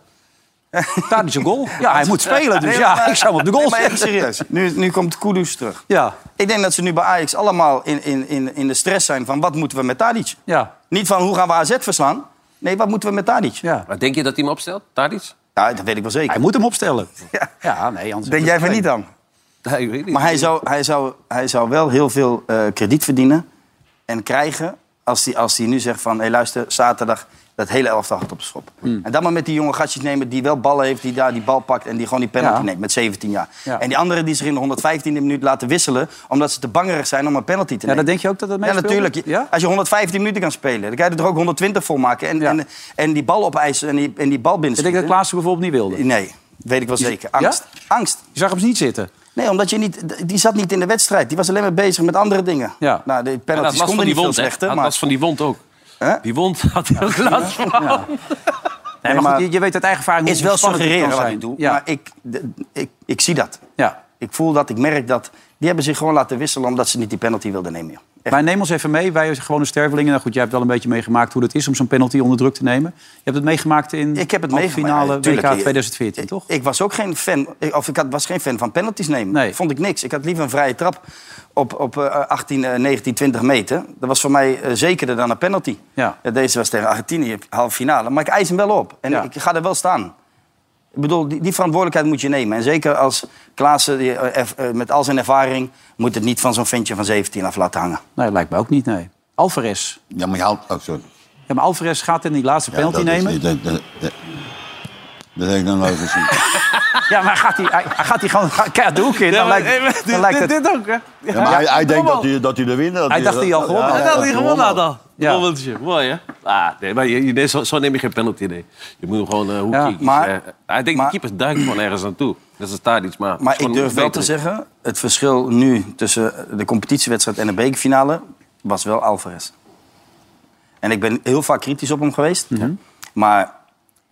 [SPEAKER 2] Daar is een goal. Ja, hij moet spelen. Dus
[SPEAKER 5] Nee,
[SPEAKER 2] ja,
[SPEAKER 5] maar-
[SPEAKER 2] ik zou hem op de goal
[SPEAKER 5] Nee, maar echt
[SPEAKER 2] zetten.
[SPEAKER 5] serieus, nu, nu komt Kudus terug.
[SPEAKER 2] Ja,
[SPEAKER 5] Ik denk dat ze nu bij Ajax allemaal in, in, in, in de stress zijn van wat moeten we met Tadic?
[SPEAKER 2] ja,
[SPEAKER 5] Niet van hoe gaan we AZ verslaan. Nee, wat moeten we met Tadic?
[SPEAKER 2] ja.
[SPEAKER 3] Maar denk je dat hij hem opstelt, Tadis?
[SPEAKER 5] Ja, dat weet ik wel
[SPEAKER 2] Hij
[SPEAKER 5] zeker.
[SPEAKER 2] moet hem opstellen.
[SPEAKER 5] Ja.
[SPEAKER 2] Ja, nee, anders...
[SPEAKER 5] Denk jij van niet dan?
[SPEAKER 3] Nee, ik weet niet.
[SPEAKER 5] Maar hij zou, hij zou, hij zou wel heel veel eh, krediet verdienen en krijgen... als hij, als hij nu zegt van, hé luister, zaterdag dat hele elftal gaat op de schop.
[SPEAKER 2] Hmm.
[SPEAKER 5] En dan maar met die jonge gastjes nemen die wel ballen heeft... die daar die bal pakt en die gewoon die penalty
[SPEAKER 2] Ja.
[SPEAKER 5] neemt met 17 jaar.
[SPEAKER 2] Ja.
[SPEAKER 5] En die anderen die zich in de 115e minuut laten wisselen... omdat ze te bangerig zijn om een penalty te
[SPEAKER 2] Ja,
[SPEAKER 5] nemen.
[SPEAKER 2] dan denk je ook dat dat
[SPEAKER 5] Ja,
[SPEAKER 2] meespeelt?
[SPEAKER 5] natuurlijk. Je-
[SPEAKER 2] Ja?
[SPEAKER 5] Als je 115 minuten kan spelen, dan kan je er ook 120 voor maken. En, en, en die bal opeisen en die, en die bal binnen
[SPEAKER 2] Ik denk dat Klaassen bijvoorbeeld niet wilde.
[SPEAKER 5] Nee, weet ik wel zeker. Angst. Angst.
[SPEAKER 2] Je zag hem dus niet zitten.
[SPEAKER 5] Nee, omdat je niet, d- die zat niet in de wedstrijd. Die was alleen maar bezig met andere dingen.
[SPEAKER 2] Ja.
[SPEAKER 5] Nou, de
[SPEAKER 3] En dat
[SPEAKER 5] penalties
[SPEAKER 3] was van
[SPEAKER 5] konden niet
[SPEAKER 3] die
[SPEAKER 5] veel
[SPEAKER 3] wond, hè?
[SPEAKER 5] slechter.
[SPEAKER 3] Dat
[SPEAKER 5] Maar,
[SPEAKER 3] was van die wond ook.
[SPEAKER 5] Hè?
[SPEAKER 3] Die wond had hij ook last van.
[SPEAKER 2] Nee, maar, goed, je, je weet uit eigen ervaring
[SPEAKER 5] is
[SPEAKER 2] hoe
[SPEAKER 5] wel
[SPEAKER 2] spannend het kan
[SPEAKER 5] suggereren wat
[SPEAKER 2] zijn.
[SPEAKER 5] ik doe.
[SPEAKER 2] Ja.
[SPEAKER 5] Maar ik, d- ik, ik zie dat.
[SPEAKER 2] ja.
[SPEAKER 5] Ik voel dat, ik merk dat. Die hebben zich gewoon laten wisselen omdat ze niet die penalty wilden nemen. joh. Echt.
[SPEAKER 2] Wij nemen ons even mee. Wij zijn gewone stervelingen. Nou goed, jij hebt wel een beetje meegemaakt hoe dat is om zo'n penalty onder druk te nemen. Je hebt het meegemaakt in
[SPEAKER 5] Ik heb het
[SPEAKER 2] de
[SPEAKER 5] meegemaakt.
[SPEAKER 2] finale
[SPEAKER 5] Ja, tuurlijk.
[SPEAKER 2] WK 2014,
[SPEAKER 5] ik,
[SPEAKER 2] toch?
[SPEAKER 5] Ik was ook geen fan, ik- of ik had, was geen fan van penalties nemen.
[SPEAKER 2] Nee.
[SPEAKER 5] Vond ik niks. Ik had liever een vrije trap op, op eh, 18, eh, 19, 20 meter. Dat was voor mij eh, zekerder dan een penalty. Eh,
[SPEAKER 2] Ja.
[SPEAKER 5] deze was tegen Argentinië, halve finale. Maar ik eis hem wel op. En
[SPEAKER 2] Ja.
[SPEAKER 5] ik ga er wel staan. Ik bedoel, die, die verantwoordelijkheid moet je nemen. En zeker als Klaassen, die, eh, erf- eh, met al zijn ervaring... moet het niet van zo'n ventje van 17 af laten hangen.
[SPEAKER 2] Nee, lijkt me ook niet, nee. Alvarez.
[SPEAKER 4] Ja, maar je haalt... Oh, sorry.
[SPEAKER 2] Ja, maar Alvarez gaat in die laatste
[SPEAKER 4] Ja,
[SPEAKER 2] penalty
[SPEAKER 4] dat is-
[SPEAKER 2] nemen.
[SPEAKER 4] dat, dat, dat, dat heb ik nog nooit gezien.
[SPEAKER 2] Ja, maar gaat hij, hij, hij gaat hij gewoon ga- keihard de hoek in. Dan
[SPEAKER 10] Ja, maar-
[SPEAKER 2] lijkt,
[SPEAKER 10] eh, maar
[SPEAKER 2] dan lijkt het...
[SPEAKER 10] dit ook, hè?
[SPEAKER 4] Ja, maar hij, hij denkt dat hij, dat hij de winnaar... dat
[SPEAKER 2] Hij dacht dat hij al gewonnen had.
[SPEAKER 10] Dat had hij gewonnen had al.
[SPEAKER 2] Ja.
[SPEAKER 10] Dobbeltje, mooi hè?
[SPEAKER 3] Ah, nee, maar je, je- nee, zo, zo neem je geen penalty, nee. Je moet hem gewoon eh, hoekje.
[SPEAKER 2] Ja,
[SPEAKER 3] kiezen.
[SPEAKER 5] maar-
[SPEAKER 3] Eh, hij denkt,
[SPEAKER 5] maar-
[SPEAKER 3] de keeper duikt gewoon ergens naartoe. Dat is daar iets, maar...
[SPEAKER 5] Maar ik durf wel te zeggen, het verschil nu tussen de competitiewedstrijd en de bekerfinale was wel Alvarez. En ik ben heel vaak kritisch op hem geweest.
[SPEAKER 2] Mhm.
[SPEAKER 5] Maar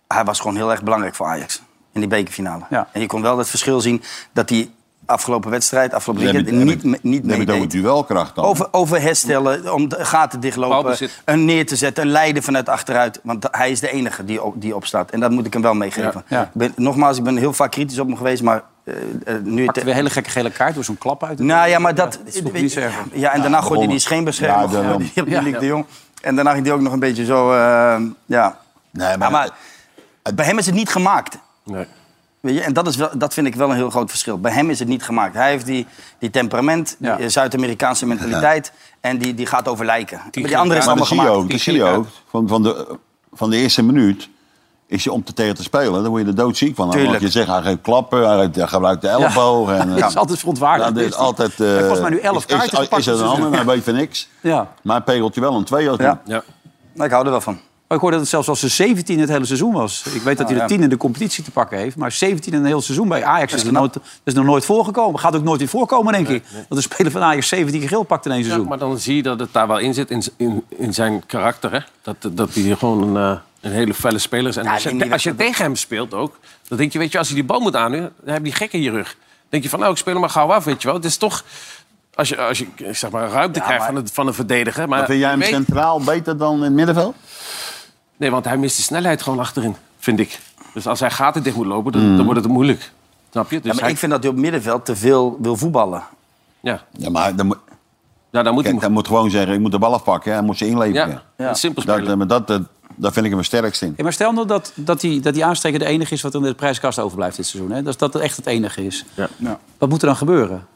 [SPEAKER 5] hij was gewoon heel erg belangrijk voor Ajax in die bekerfinale.
[SPEAKER 2] Ja.
[SPEAKER 5] En je kon wel het verschil zien dat die afgelopen wedstrijd, afgelopen
[SPEAKER 4] Dan heb
[SPEAKER 5] weekend,
[SPEAKER 4] je- dan
[SPEAKER 5] niet,
[SPEAKER 4] heb
[SPEAKER 5] me- niet
[SPEAKER 4] Dan heb je het over
[SPEAKER 5] meedeed.
[SPEAKER 4] duelkracht dan.
[SPEAKER 5] Over, over herstellen, om de gaten dichtlopen,
[SPEAKER 3] Balbezit.
[SPEAKER 5] een neer te zetten, een leiden vanuit achteruit. Want da- hij is de enige die, op, die opstaat. En dat moet ik hem wel meegeven.
[SPEAKER 2] Ja.
[SPEAKER 5] Ik ben, nogmaals, ik ben heel vaak kritisch op hem geweest, maar eh, eh, nu...
[SPEAKER 2] Pakte weer een hele gekke gele kaart door zo'n klap uit.
[SPEAKER 5] Nou ja, maar dat...
[SPEAKER 2] is toch niet zo erg.
[SPEAKER 5] ja, en daarna gooide hij die
[SPEAKER 4] begonnen.
[SPEAKER 5] scheenbeschermer.
[SPEAKER 4] Ja,
[SPEAKER 5] Ja,
[SPEAKER 4] daarom.
[SPEAKER 5] die op die Luc de Jong. En daarna ging die ook nog een beetje zo... eh, ja.
[SPEAKER 4] Nee,
[SPEAKER 5] Maar,
[SPEAKER 4] maar,
[SPEAKER 5] maar bij hem is het niet gemaakt.
[SPEAKER 3] Nee.
[SPEAKER 5] Weet je? En dat, is wel, dat vind ik wel een heel groot verschil. Bij hem is het niet gemaakt. Hij heeft die, die temperament, die
[SPEAKER 2] Ja.
[SPEAKER 5] eh, Zuid-Amerikaanse mentaliteit... en die, die gaat over lijken. Maar die andere is
[SPEAKER 4] maar
[SPEAKER 5] allemaal
[SPEAKER 4] dat zie je
[SPEAKER 5] gemaakt.
[SPEAKER 4] ook. Dat zie je ook. Van, van, de, van de eerste minuut is je om te tegen te spelen. Dan word je er doodziek van.
[SPEAKER 5] Tuurlijk.
[SPEAKER 4] Want je zegt, hij geeft klappen, hij, geeft- hij gebruikt de elleboog. En, eh,
[SPEAKER 2] Dat is altijd verontwaardigd.
[SPEAKER 4] dat is altijd... eh,
[SPEAKER 2] Hij heeft volgens mij nu elf
[SPEAKER 4] is-
[SPEAKER 2] kaarten
[SPEAKER 4] Is, is,
[SPEAKER 2] gepakt
[SPEAKER 4] er
[SPEAKER 2] dit
[SPEAKER 4] een ander, Nou,
[SPEAKER 2] seizoen.
[SPEAKER 4] maar weet van niks.
[SPEAKER 2] Ja.
[SPEAKER 4] Maar hij pegelt je wel een twee als
[SPEAKER 5] Ja.
[SPEAKER 4] ja.
[SPEAKER 3] Ja.
[SPEAKER 4] Dus
[SPEAKER 5] Nou, ik hou er wel van.
[SPEAKER 2] Oké, Maar ik hoorde dat het zelfs als ze 17 het hele seizoen was. Ik weet dat
[SPEAKER 5] Nou,
[SPEAKER 2] hij de
[SPEAKER 5] ja.
[SPEAKER 2] 10 in de competitie te pakken heeft. Maar 17 in een heel seizoen bij Ajax is, er nooit, dat is nog nooit voorgekomen. Gaat ook nooit weer voorkomen, denk ik. Dat een speler van Ajax 17 keer geel pakt in één
[SPEAKER 3] Ja,
[SPEAKER 2] seizoen.
[SPEAKER 3] maar dan zie je dat het daar wel in zit, in, z- in, in zijn karakter. Hè? Dat, dat hij gewoon een, eh, een hele felle speler is. En
[SPEAKER 5] Ja,
[SPEAKER 3] als,
[SPEAKER 5] die-
[SPEAKER 3] je,
[SPEAKER 5] die-
[SPEAKER 3] als je tegen hem speelt ook, dan denk je, weet je, als hij die bal moet aannemen, dan heb je die gek in je rug. Dan denk je van, nou, ik speel hem maar gauw af, weet je wel. Het is toch, als je, als je ik zeg maar, ruimte krijgt van, het, van een verdediger... Maar
[SPEAKER 4] Maar vind jij hem
[SPEAKER 3] je weet-
[SPEAKER 4] centraal beter dan in het middenveld?
[SPEAKER 3] Nee, want hij mist de snelheid gewoon achterin, vind ik. Dus als hij gaten dicht moet lopen, dan, dan wordt het moeilijk. Snap je? Dus
[SPEAKER 5] Ja, maar
[SPEAKER 3] hij-
[SPEAKER 5] ik vind dat hij op middenveld te veel wil voetballen.
[SPEAKER 3] ja.
[SPEAKER 4] Ja, maar dan, moet-
[SPEAKER 3] ja, daar moet
[SPEAKER 4] kijk,
[SPEAKER 3] hij...
[SPEAKER 4] hij moet gewoon zeggen, ik moet de bal afpakken. Hij moet ze inleveren.
[SPEAKER 3] Ja, simpel
[SPEAKER 4] Dat,
[SPEAKER 3] spelen.
[SPEAKER 4] eh, maar dat, eh, daar vind ik hem het sterkst in.
[SPEAKER 2] Ja, maar stel nou dat, dat, die, dat die aansteker de enige is wat in de prijskast overblijft dit seizoen. Hè? Dat, dat het echt het enige is.
[SPEAKER 3] Ja.
[SPEAKER 2] Wat moet er dan gebeuren?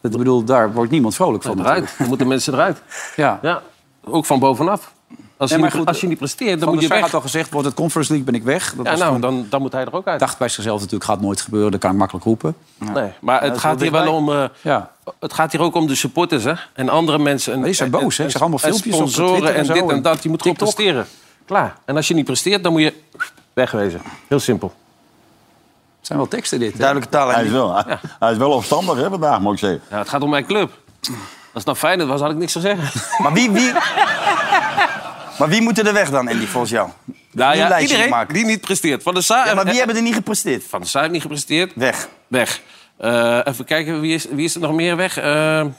[SPEAKER 2] Dat, ik bedoel, daar wordt niemand vrolijk van. natuurlijk.
[SPEAKER 3] Eruit. Dan moeten mensen eruit.
[SPEAKER 2] Ja.
[SPEAKER 3] Ja, ook van bovenaf. Als,
[SPEAKER 2] Nee,
[SPEAKER 3] je,
[SPEAKER 2] maar
[SPEAKER 3] niet,
[SPEAKER 2] goed,
[SPEAKER 3] als je niet presteert, dan
[SPEAKER 2] Van
[SPEAKER 3] moet
[SPEAKER 2] der
[SPEAKER 3] je
[SPEAKER 2] Sar
[SPEAKER 3] weg.
[SPEAKER 2] had al gezegd, wordt het Conference League ben ik weg. Dat
[SPEAKER 3] Ja,
[SPEAKER 2] was
[SPEAKER 3] nou,
[SPEAKER 2] toen-
[SPEAKER 3] dan, dan moet hij er ook uit.
[SPEAKER 2] dacht bij zichzelf natuurlijk, gaat nooit gebeuren. Dat kan ik makkelijk roepen.
[SPEAKER 3] Nee, maar het gaat hier wel om... eh,
[SPEAKER 2] Ja.
[SPEAKER 3] Het gaat hier ook om de supporters hè? en andere mensen. En,
[SPEAKER 2] die zijn boos, hè?
[SPEAKER 3] en-
[SPEAKER 2] Ik zag allemaal
[SPEAKER 3] en
[SPEAKER 2] filmpjes op
[SPEAKER 3] sponsoren
[SPEAKER 2] Twitter en
[SPEAKER 3] en
[SPEAKER 2] zo
[SPEAKER 3] dit en
[SPEAKER 2] en
[SPEAKER 3] dat. Je moet gewoon
[SPEAKER 2] TikTok.
[SPEAKER 3] presteren. Klaar. En als je niet presteert, dan moet je wegwezen. Heel simpel.
[SPEAKER 2] Het zijn wel teksten dit. hè?
[SPEAKER 5] Duidelijke taal.
[SPEAKER 4] Hij is, wel, hij, hij is wel opstandig hè, vandaag, moet ik zeggen.
[SPEAKER 3] Ja, het gaat om mijn club. Als het nou Feyenoord was, had ik niks te zeggen.
[SPEAKER 5] Maar wie, wie... maar wie moeten er weg dan, Andy, volgens jou?
[SPEAKER 3] Nou
[SPEAKER 5] Nieuw
[SPEAKER 3] ja,
[SPEAKER 5] lijstje
[SPEAKER 3] iedereen
[SPEAKER 5] maken.
[SPEAKER 3] die niet presteert. Van de Saar,
[SPEAKER 5] Ja, maar wie hebben er niet gepresteerd?
[SPEAKER 3] Van de Saar heeft niet gepresteerd.
[SPEAKER 5] Weg.
[SPEAKER 3] Weg. Eh, even kijken, wie is, wie is er nog meer weg? Eh,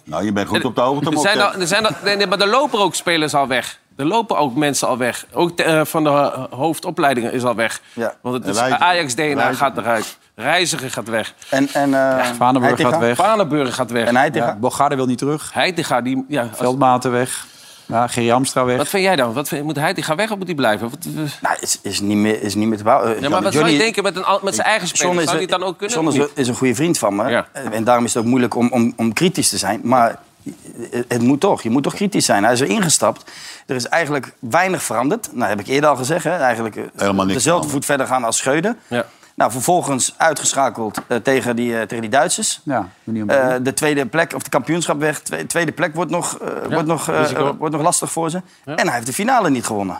[SPEAKER 4] Nou, je bent goed op de hoogte.
[SPEAKER 3] Er
[SPEAKER 4] moet ik
[SPEAKER 3] zijn nou-
[SPEAKER 4] zeggen.
[SPEAKER 3] al, er zijn al, nee, nee, maar er lopen ook spelers al weg. Er lopen ook mensen al weg. Ook de, eh, van de eh, hoofdopleidingen is al weg.
[SPEAKER 5] Ja.
[SPEAKER 3] Want het is,
[SPEAKER 4] Reiziger.
[SPEAKER 3] Ajax DNA
[SPEAKER 4] Reiziger.
[SPEAKER 3] gaat eruit. Reiziger gaat weg.
[SPEAKER 5] En, en, eh,
[SPEAKER 2] Vaneburg
[SPEAKER 5] Heitinga?
[SPEAKER 2] gaat weg.
[SPEAKER 3] Vanenburg gaat weg.
[SPEAKER 5] En hij tegen...
[SPEAKER 2] Bogarde wil niet terug.
[SPEAKER 3] Heitinga, die... Ja, als-
[SPEAKER 2] Veldmaten weg. Ja, Gerry Amstra weg.
[SPEAKER 3] wat vind jij dan? Wat vind, moet Heitinga weg of moet hij blijven? Wat, eh,
[SPEAKER 5] Nou, is, is, niet meer, is niet meer te bouwen. Eh,
[SPEAKER 3] ja, maar wat zou je
[SPEAKER 5] Johnny-
[SPEAKER 3] denken met, een, al- met zijn eigen speler?
[SPEAKER 5] John
[SPEAKER 3] Zou
[SPEAKER 5] een-
[SPEAKER 3] die het dan ook kunnen?
[SPEAKER 5] John
[SPEAKER 3] of
[SPEAKER 5] is,
[SPEAKER 3] niet?
[SPEAKER 5] is een goede vriend van me. Eh,
[SPEAKER 3] Ja.
[SPEAKER 5] En daarom is het ook moeilijk om, om, om kritisch te zijn. Maar het- het moet toch. Je moet toch kritisch zijn. Hij is er ingestapt. Er is eigenlijk weinig veranderd. Nou, heb ik eerder al gezegd. Hè. Eigenlijk eh,
[SPEAKER 4] Helemaal niks
[SPEAKER 5] dezelfde
[SPEAKER 4] veranderd.
[SPEAKER 5] voet verder gaan als Scheuden.
[SPEAKER 3] Ja.
[SPEAKER 5] Nou, vervolgens uitgeschakeld eh, tegen, die, eh, tegen die Duitsers.
[SPEAKER 2] Ja, manier om-
[SPEAKER 5] Eh, de tweede plek, of de kampioenschap weg. Twee- tweede plek wordt nog, eh, wordt, nog, eh,
[SPEAKER 3] risico.
[SPEAKER 5] wordt nog lastig voor ze. En hij heeft de finale niet gewonnen.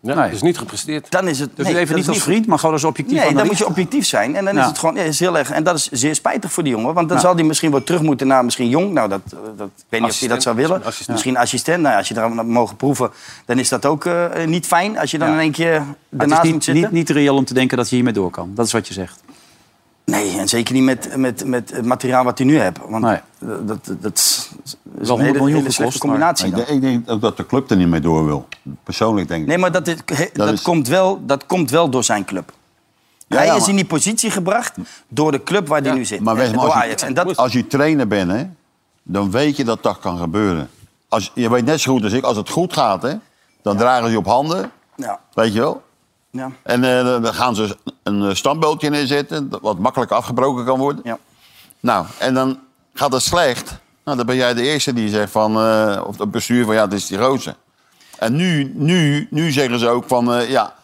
[SPEAKER 3] Ja,
[SPEAKER 2] Nee.
[SPEAKER 3] Dus niet gepresteerd.
[SPEAKER 5] Dan is het.
[SPEAKER 2] dus
[SPEAKER 5] nee, dat
[SPEAKER 2] even
[SPEAKER 5] is
[SPEAKER 2] niet als vriend, maar gewoon als objectief
[SPEAKER 5] Nee, dan moet
[SPEAKER 2] analist.
[SPEAKER 5] je objectief zijn. En dan
[SPEAKER 2] Ja.
[SPEAKER 5] is het gewoon ja, is heel erg. En dat is zeer spijtig voor die jongen. Want dan zal hij misschien wel terug moeten naar misschien jong. Nou, dat, eh, dat, ik weet niet of hij dat zou willen. Misschien assistent. Nou, ja, als je eraan mogen proeven, dan is dat ook eh, niet fijn. Als je dan
[SPEAKER 2] Ja.
[SPEAKER 5] in één keer
[SPEAKER 2] Maar het
[SPEAKER 5] daarnaast
[SPEAKER 2] is
[SPEAKER 5] moet
[SPEAKER 2] niet,
[SPEAKER 5] zitten.
[SPEAKER 2] niet, niet reëel om te denken dat je hiermee door kan. Dat is wat je zegt.
[SPEAKER 5] Nee, en zeker niet met, met, met het materiaal wat hij nu hebt. Want
[SPEAKER 2] Nee.
[SPEAKER 5] dat, dat, dat is
[SPEAKER 2] Wel 100 miljoen
[SPEAKER 5] hele slechte
[SPEAKER 2] gekost, maar-
[SPEAKER 5] combinatie.
[SPEAKER 4] Ik
[SPEAKER 5] dan.
[SPEAKER 4] denk, ik denk ook dat de club er niet mee door wil. Persoonlijk denk ik.
[SPEAKER 5] Nee, maar dat, is- he- dat,
[SPEAKER 4] is-
[SPEAKER 5] komt wel, dat komt wel door zijn club.
[SPEAKER 4] Ja,
[SPEAKER 5] hij
[SPEAKER 4] ja,
[SPEAKER 5] is
[SPEAKER 4] maar-
[SPEAKER 5] in die positie gebracht door de club waar hij nu zit.
[SPEAKER 4] Maar,
[SPEAKER 5] En-
[SPEAKER 4] Wes, maar
[SPEAKER 5] door
[SPEAKER 4] als,
[SPEAKER 5] Ajax.
[SPEAKER 4] je,
[SPEAKER 5] En dat,
[SPEAKER 4] als je trainer bent, hè, dan weet je dat dat kan gebeuren. Als, je weet net zo goed als ik, als het goed gaat, hè, dan dragen ze je op handen.
[SPEAKER 5] ja,
[SPEAKER 4] Weet je wel?
[SPEAKER 5] ja.
[SPEAKER 4] En eh, dan gaan ze een eh, standbeeldje neerzetten, dat wat makkelijk afgebroken kan worden.
[SPEAKER 5] Ja.
[SPEAKER 4] Nou, en dan gaat het slecht. Nou, dan ben jij de eerste die zegt van, eh, of het bestuur van, ja, het is die roze. En nu, nu, nu zeggen ze ook van, eh, ja,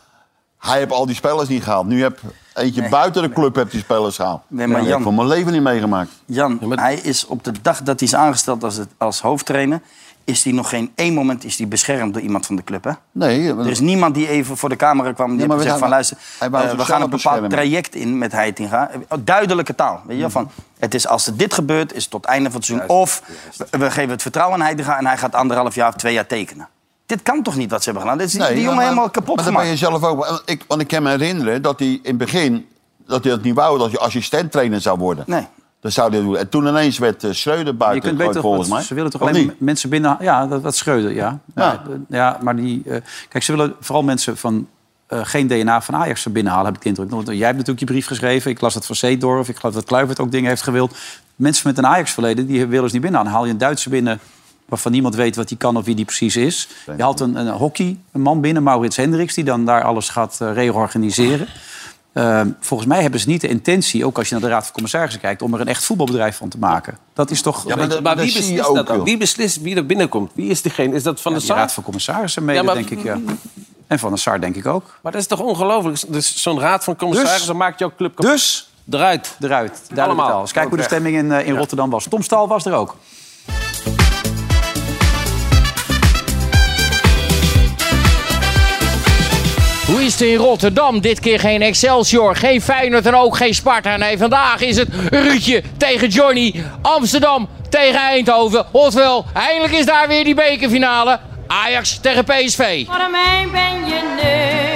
[SPEAKER 4] hij heeft al die spelers niet gehaald. Nu heb eentje buiten de club heb die spelers gehaald.
[SPEAKER 5] Nee, maar
[SPEAKER 4] Ja, Ik
[SPEAKER 5] Jan-
[SPEAKER 4] heb van mijn leven niet meegemaakt.
[SPEAKER 5] Jan, hij is op de dag dat hij is aangesteld als, het, als hoofdtrainer... is hij nog geen één moment is hij beschermd door iemand van de club. Hè?
[SPEAKER 4] Nee, eh,
[SPEAKER 5] Er is niemand die even voor de camera kwam en die
[SPEAKER 4] Ja,
[SPEAKER 5] heeft
[SPEAKER 4] maar
[SPEAKER 5] gezegd
[SPEAKER 4] we-
[SPEAKER 5] van... luister,
[SPEAKER 4] hij wou
[SPEAKER 5] eh, we
[SPEAKER 4] zichzelf
[SPEAKER 5] gaan een bepaald
[SPEAKER 4] beschermen. Mhm.
[SPEAKER 5] traject in met Heitinga. Eh, Duidelijke taal. Weet je, wel, van, het is als er dit gebeurt, is het tot het einde van het seizoen. Of we, we geven het vertrouwen aan Heitinga... en hij gaat anderhalf jaar of twee jaar tekenen. Dit kan toch niet wat ze hebben gedaan? Dit is die
[SPEAKER 4] ja,
[SPEAKER 5] jongen
[SPEAKER 4] maar-
[SPEAKER 5] helemaal kapot
[SPEAKER 4] Maar dan ben je
[SPEAKER 5] gemaakt.
[SPEAKER 4] zelf ook. want Ik, want ik kan me herinneren dat hij in het begin. dat hij dat niet wou dat je assistent-trainer zou worden.
[SPEAKER 5] Nee.
[SPEAKER 4] Dat zou hij doen. En toen ineens werd eh, Schreuder
[SPEAKER 2] Je
[SPEAKER 4] buiten.
[SPEAKER 2] kunt beter
[SPEAKER 4] gegooid, volgens
[SPEAKER 2] want
[SPEAKER 4] mij.
[SPEAKER 2] Ze willen toch
[SPEAKER 4] Of
[SPEAKER 2] alleen
[SPEAKER 4] niet?
[SPEAKER 2] maar mensen binnen. Ja, dat, dat scheuden, ja. Maar,
[SPEAKER 4] Ja.
[SPEAKER 2] eh, ja, maar die. eh, kijk, ze willen vooral mensen van. eh, geen DNA van Ajax er binnenhalen, heb ik de indruk. Want eh, jij hebt natuurlijk je brief geschreven. Ik las dat van Zeedorf. Ik geloof dat Kluivert ook dingen heeft gewild. Mensen met een Ajax-verleden, die willen ze niet binnen. Dan haal je een Duitser binnen waarvan niemand weet wat die kan of wie die precies is. Je haalt een, een hockey, een man binnen, Maurits Hendricks... die dan daar alles gaat eh, reorganiseren. Ehm, volgens mij hebben ze niet de intentie, ook als je naar de Raad van Commissarissen kijkt... om er een echt voetbalbedrijf van te maken. Dat is toch...
[SPEAKER 4] Ja, maar dat-
[SPEAKER 3] Maar
[SPEAKER 4] dat
[SPEAKER 3] wie
[SPEAKER 4] zie je
[SPEAKER 3] beslist
[SPEAKER 4] ook,
[SPEAKER 3] dat dan?
[SPEAKER 4] joh.
[SPEAKER 3] Wie beslist wie er binnenkomt? Wie is diegene? Is dat Van de
[SPEAKER 2] De
[SPEAKER 3] Saar?
[SPEAKER 2] Raad van Commissarissen mede,
[SPEAKER 3] Ja, maar-
[SPEAKER 2] denk ik, ja. En Van der Sar, denk ik ook.
[SPEAKER 3] Maar dat is toch ongelooflijk? Dus zo'n raad van commissarissen
[SPEAKER 2] Dus-
[SPEAKER 3] maakt jouw club kapot.
[SPEAKER 2] Dus,
[SPEAKER 3] Eruit.
[SPEAKER 2] eruit. Duidelijk
[SPEAKER 3] Allemaal.
[SPEAKER 2] taal. Eens kijken hoe de
[SPEAKER 3] Ook
[SPEAKER 2] stemming in, eh, in Rotterdam was. Tom Staal was er ook.
[SPEAKER 12] is het in Rotterdam. Dit keer geen Excelsior, geen Feyenoord en ook geen Sparta. Nee, vandaag is het Ruudje tegen Johnny. Amsterdam tegen Eindhoven. Oftewel, eindelijk is daar weer die bekerfinale. Ajax tegen PSV.
[SPEAKER 13] Voor mij ben je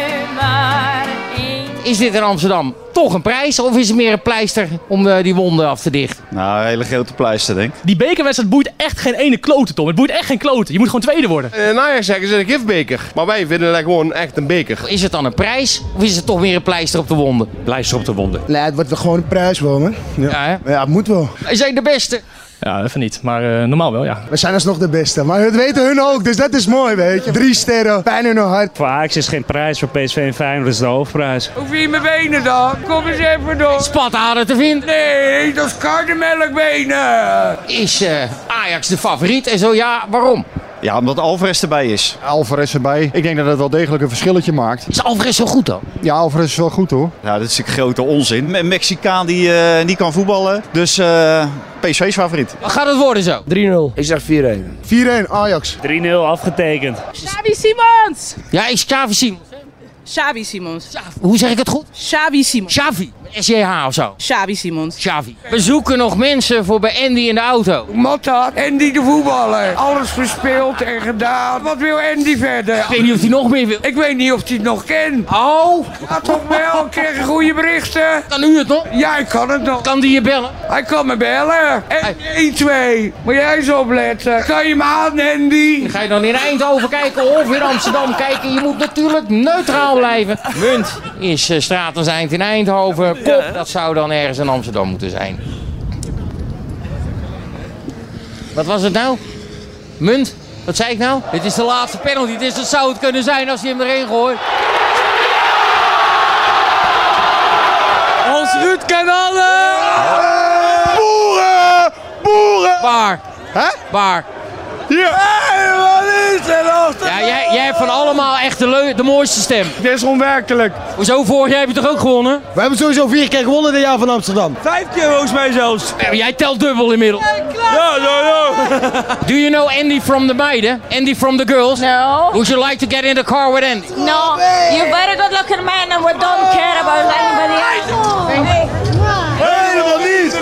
[SPEAKER 13] nummer één.
[SPEAKER 12] Is dit in Amsterdam toch een prijs of is het meer een pleister om eh, die wonden af te dichten?
[SPEAKER 14] Nou, een hele grote pleister, denk ik.
[SPEAKER 15] Die bekerwedstrijd boeit echt geen ene klote, Tom. Het boeit echt geen klote. Je moet gewoon tweede worden.
[SPEAKER 16] In Ajax zeggen ze een gifbeker. Maar wij vinden dat gewoon echt een beker.
[SPEAKER 12] Is het dan een prijs of is het toch meer een pleister op de wonden?
[SPEAKER 16] Pleister op de wonden.
[SPEAKER 17] Nee, het wordt wel gewoon een prijs wel, man. Ja, ja, het moet wel.
[SPEAKER 12] Wij zijn de beste.
[SPEAKER 15] Ja, even niet. Maar eh, normaal wel, ja.
[SPEAKER 17] We zijn alsnog de beste, maar dat weten hun ook, dus dat is mooi, weet je. Drie sterren, pijn in hun hart.
[SPEAKER 18] Voor Ajax is geen prijs, voor PSV en Feyenoord is de hoofdprijs.
[SPEAKER 10] Hoe vind je mijn benen dan? Kom eens even door.
[SPEAKER 12] Spathaden te vinden?
[SPEAKER 10] Nee, dat is kardemelkbenen.
[SPEAKER 12] Is eh, Ajax de favoriet en zo ja, waarom?
[SPEAKER 14] Ja, omdat Alvarez erbij is. Alvarez erbij. Ik denk dat het wel degelijk een verschilletje maakt.
[SPEAKER 12] Is Alvarez zo goed dan?
[SPEAKER 14] Ja, Alvarez is wel goed hoor. Ja, dat is een grote onzin. Een Mexicaan die eh, niet kan voetballen. Dus eh PSV is favoriet.
[SPEAKER 12] Wat gaat het worden zo?
[SPEAKER 15] 3-0. Ik zeg 4-1.
[SPEAKER 17] 4-1, Ajax.
[SPEAKER 18] 3-0 afgetekend.
[SPEAKER 19] Xavi Simons!
[SPEAKER 12] Ja, is Xavi Simons.
[SPEAKER 19] Xavi Simons.
[SPEAKER 12] Hoe zeg ik het goed?
[SPEAKER 19] Xavi Simons.
[SPEAKER 12] Xavi. SJH of zo.
[SPEAKER 19] Xavi Simons.
[SPEAKER 12] Xavi. We zoeken nog mensen voor bij Andy in de auto.
[SPEAKER 10] Matta, Andy de voetballer. Alles gespeeld en gedaan. Wat wil Andy verder?
[SPEAKER 12] Ik weet niet of hij nog meer wil.
[SPEAKER 10] Ik weet niet of hij het nog kent. Oh, ja, toch wel. Ik krijg goede berichten.
[SPEAKER 12] Kan u het nog?
[SPEAKER 10] Ja, ik kan het nog.
[SPEAKER 12] Kan die je bellen?
[SPEAKER 10] Hij kan me bellen. En 1, 2. Moet jij eens opletten. Kan je hem aan, Andy?
[SPEAKER 12] Ga je dan in Eindhoven kijken of in Amsterdam kijken? Je moet natuurlijk neutraal blijven. Munt is eh, straatens eind in Eindhoven. Kop, dat zou dan ergens in Amsterdam moeten zijn. Wat was het nou? Munt? Wat zei ik nou? Dit is de laatste penalty. Dus dat zou het kunnen zijn als hij hem erin gooit.
[SPEAKER 10] Ons Ruud kan alles.
[SPEAKER 12] Boeren! Boeren! Waar?
[SPEAKER 14] Hè?
[SPEAKER 12] Waar?
[SPEAKER 14] Hier!
[SPEAKER 10] wat is er
[SPEAKER 12] Ja, jij, jij hebt van allemaal echt de, leu- de mooiste stem.
[SPEAKER 14] Dit is onwerkelijk.
[SPEAKER 12] Hoezo, vorig jaar heb je toch ook gewonnen?
[SPEAKER 20] We hebben sowieso vier keer gewonnen dit jaar van Amsterdam.
[SPEAKER 10] Vijf keer volgens mij zelfs.
[SPEAKER 12] Ja, maar Jij telt dubbel inmiddels.
[SPEAKER 10] Ja, ja, ja.
[SPEAKER 12] Do you know Andy from the meiden? Andy from the girls?
[SPEAKER 13] No.
[SPEAKER 12] Would you like to get in the car with Andy?
[SPEAKER 13] No, you're very good looking man and we don't care about anybody else.
[SPEAKER 14] Helemaal niet!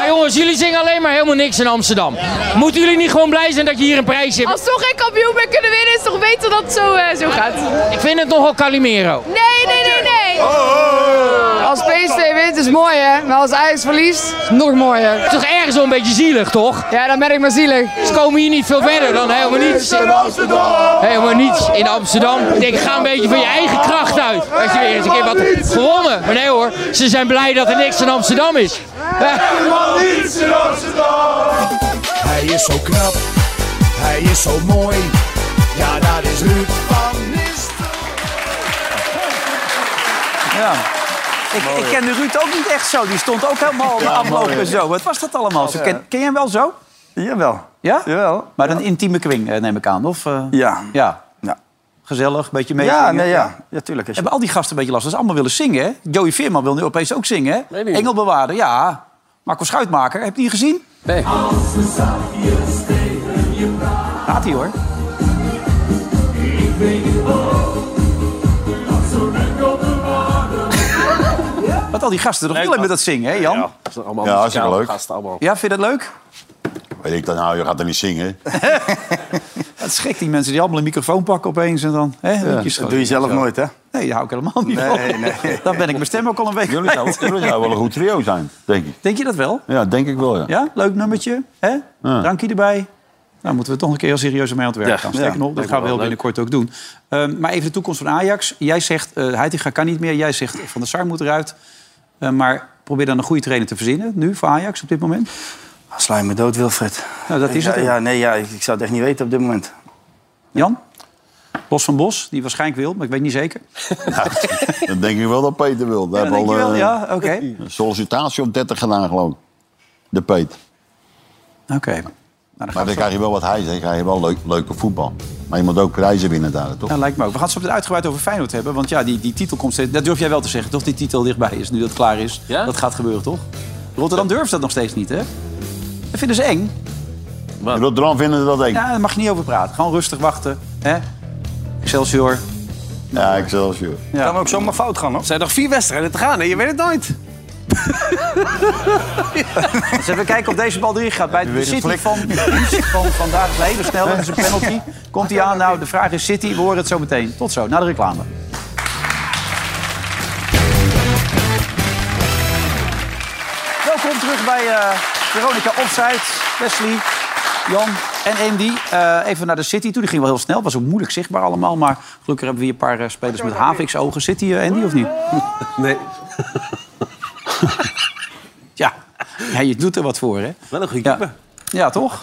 [SPEAKER 12] Ah, jongens, jullie zingen alleen maar helemaal niks in Amsterdam. Moeten jullie niet gewoon blij zijn dat je hier een prijs hebt?
[SPEAKER 19] Als toch geen kampioen ben kunnen winnen, is toch beter dat het zo, eh, zo gaat?
[SPEAKER 12] Ik vind het nogal Calimero.
[SPEAKER 19] Nee, nee, nee, nee!
[SPEAKER 21] Als PSV wint is mooi hè, maar als Ajax verliest is nog mooier.
[SPEAKER 12] Het is toch ergens wel een beetje zielig, toch?
[SPEAKER 21] Ja, dan ben ik maar zielig.
[SPEAKER 12] Ze komen hier niet veel verder dan helemaal niets. Helemaal niets in Amsterdam. Ik denk, ga een beetje van je eigen kracht uit. Als je weer eens een keer wat gewonnen. Maar nee hoor, ze zijn blij dat er niks in Amsterdam is.
[SPEAKER 22] Hij is zo knap, hij is zo mooi. Ja, dat is Ruud van Nistelrooy.
[SPEAKER 2] Ja. Ik, ik kende Ruud ook niet echt zo. Die stond ook helemaal
[SPEAKER 5] Ja,
[SPEAKER 2] aflopen
[SPEAKER 5] mooi, hè?
[SPEAKER 2] zo. Wat was dat allemaal? Zo, ken, ken jij hem wel zo?
[SPEAKER 5] Jawel.
[SPEAKER 2] Ja?
[SPEAKER 5] Jawel.
[SPEAKER 2] Maar een intieme kring, eh, neem ik aan. Of, eh,
[SPEAKER 5] Ja.
[SPEAKER 2] ja. Gezellig, een beetje mee.
[SPEAKER 5] Ja, nee, ja. Ja, tuurlijk. Als je...
[SPEAKER 2] Hebben al die gasten een beetje last? Dat ze allemaal willen zingen, hè? Joey Veerman wil nu opeens ook zingen, hè?
[SPEAKER 3] niet.
[SPEAKER 2] Engelbewaarder, ja. Marco Schuitmaker, heb je die gezien?
[SPEAKER 3] Nee.
[SPEAKER 2] Gaat hij hoor. Wat al die gasten toch willen met dat zingen, hè, Jan? Ja,
[SPEAKER 3] Allemaal
[SPEAKER 4] Ja, hartstikke leuk.
[SPEAKER 3] Gasten, allemaal.
[SPEAKER 2] vind je dat leuk?
[SPEAKER 4] Weet ik dan nou, je gaat er niet zingen.
[SPEAKER 2] Dat is gek, die mensen die allemaal een microfoon pakken opeens en dan... Hè, liedjes
[SPEAKER 5] Dat doe je
[SPEAKER 2] gewoon.
[SPEAKER 5] zelf nooit, hè?
[SPEAKER 2] Nee, daar hou ik helemaal niet
[SPEAKER 5] Nee,
[SPEAKER 2] van.
[SPEAKER 5] nee.
[SPEAKER 2] Dan ben ik mijn stem ook al een week
[SPEAKER 4] Jullie
[SPEAKER 2] kwijt.
[SPEAKER 4] zouden, jullie zouden wel een goed trio zijn, denk ik.
[SPEAKER 2] Denk je dat wel?
[SPEAKER 4] Ja, denk ik wel, ja.
[SPEAKER 2] Ja, leuk nummertje. Hè? Drankje erbij. Nou, moeten we toch een keer heel serieus mee aan het werk
[SPEAKER 3] Ja,
[SPEAKER 2] gaan. Sterker
[SPEAKER 5] ja,
[SPEAKER 2] nog, dat
[SPEAKER 3] lijkt me
[SPEAKER 2] gaan we
[SPEAKER 3] wel
[SPEAKER 2] heel
[SPEAKER 3] leuk.
[SPEAKER 2] binnenkort ook doen. Ehm, maar even de toekomst van Ajax. Jij zegt, eh Heitinga kan niet meer. Jij zegt, Van der Sar moet eruit. Eh, maar probeer dan een goede trainer te verzinnen. Nu, voor Ajax op dit moment.
[SPEAKER 5] Sla je me dood, Wilfred.
[SPEAKER 2] Nou, dat is
[SPEAKER 5] ja,
[SPEAKER 2] het. hè?
[SPEAKER 5] Ja, nee, ja, ik, ik zou het echt niet weten op dit moment.
[SPEAKER 2] Jan? Bos van Bos, die waarschijnlijk wil, maar ik weet niet zeker.
[SPEAKER 4] Dan denk ik wel dat Peter wil. Daar
[SPEAKER 2] Ja, denk je wel?
[SPEAKER 4] eh,
[SPEAKER 2] Ja, oké.
[SPEAKER 4] een sollicitatie op 30 gedaan, geloof ik. De Peet.
[SPEAKER 2] Oké. Nou, dan gaan
[SPEAKER 4] Maar
[SPEAKER 2] we
[SPEAKER 4] dan
[SPEAKER 2] zo-
[SPEAKER 4] krijg je wel wat hij zegt. krijg je wel leuk, leuke voetbal. Maar je moet ook prijzen winnen daar, toch?
[SPEAKER 2] Ja, Nou, lijkt me ook. We gaan het zo meteen uitgebreid over Feyenoord hebben. Want ja, die, die titel komt steeds... Dat durf jij wel te zeggen, toch? Die titel dichtbij is, nu dat klaar is.
[SPEAKER 3] Ja?
[SPEAKER 2] Dat gaat gebeuren, toch? Rotterdam durft dat nog steeds niet, hè? Dat vinden ze eng.
[SPEAKER 4] In Rotterdam vinden ze dat één.
[SPEAKER 2] Ja, daar mag je niet over praten. Gewoon rustig wachten. Hè? Excelsior,
[SPEAKER 4] Ja, Excelsior.
[SPEAKER 5] Ja. Kan ook zomaar fout gaan, hoor.
[SPEAKER 3] Er zijn nog vier wedstrijden te gaan en je weet het nooit.
[SPEAKER 2] Dus
[SPEAKER 5] even kijken of deze bal erin gaat. Bij de City van, van vandaag is even snel.
[SPEAKER 2] Dat is een penalty. Komt hij aan? Nou, de vraag is City. We horen het zo meteen. Tot zo, na de reclame. Welkom terug bij eh, Veronica Opzijd, Wesley, Jan en Andy. Eh, even naar de City toe. Die ging wel heel snel. Was ook moeilijk zichtbaar allemaal. Maar gelukkig hebben we hier een paar eh, spelers met Havix-ogen. Zit die eh, Andy of niet?
[SPEAKER 3] Nee.
[SPEAKER 2] ja. ja, je doet er wat voor, hè?
[SPEAKER 3] Wel een goede
[SPEAKER 2] keeper. Ja, ja toch?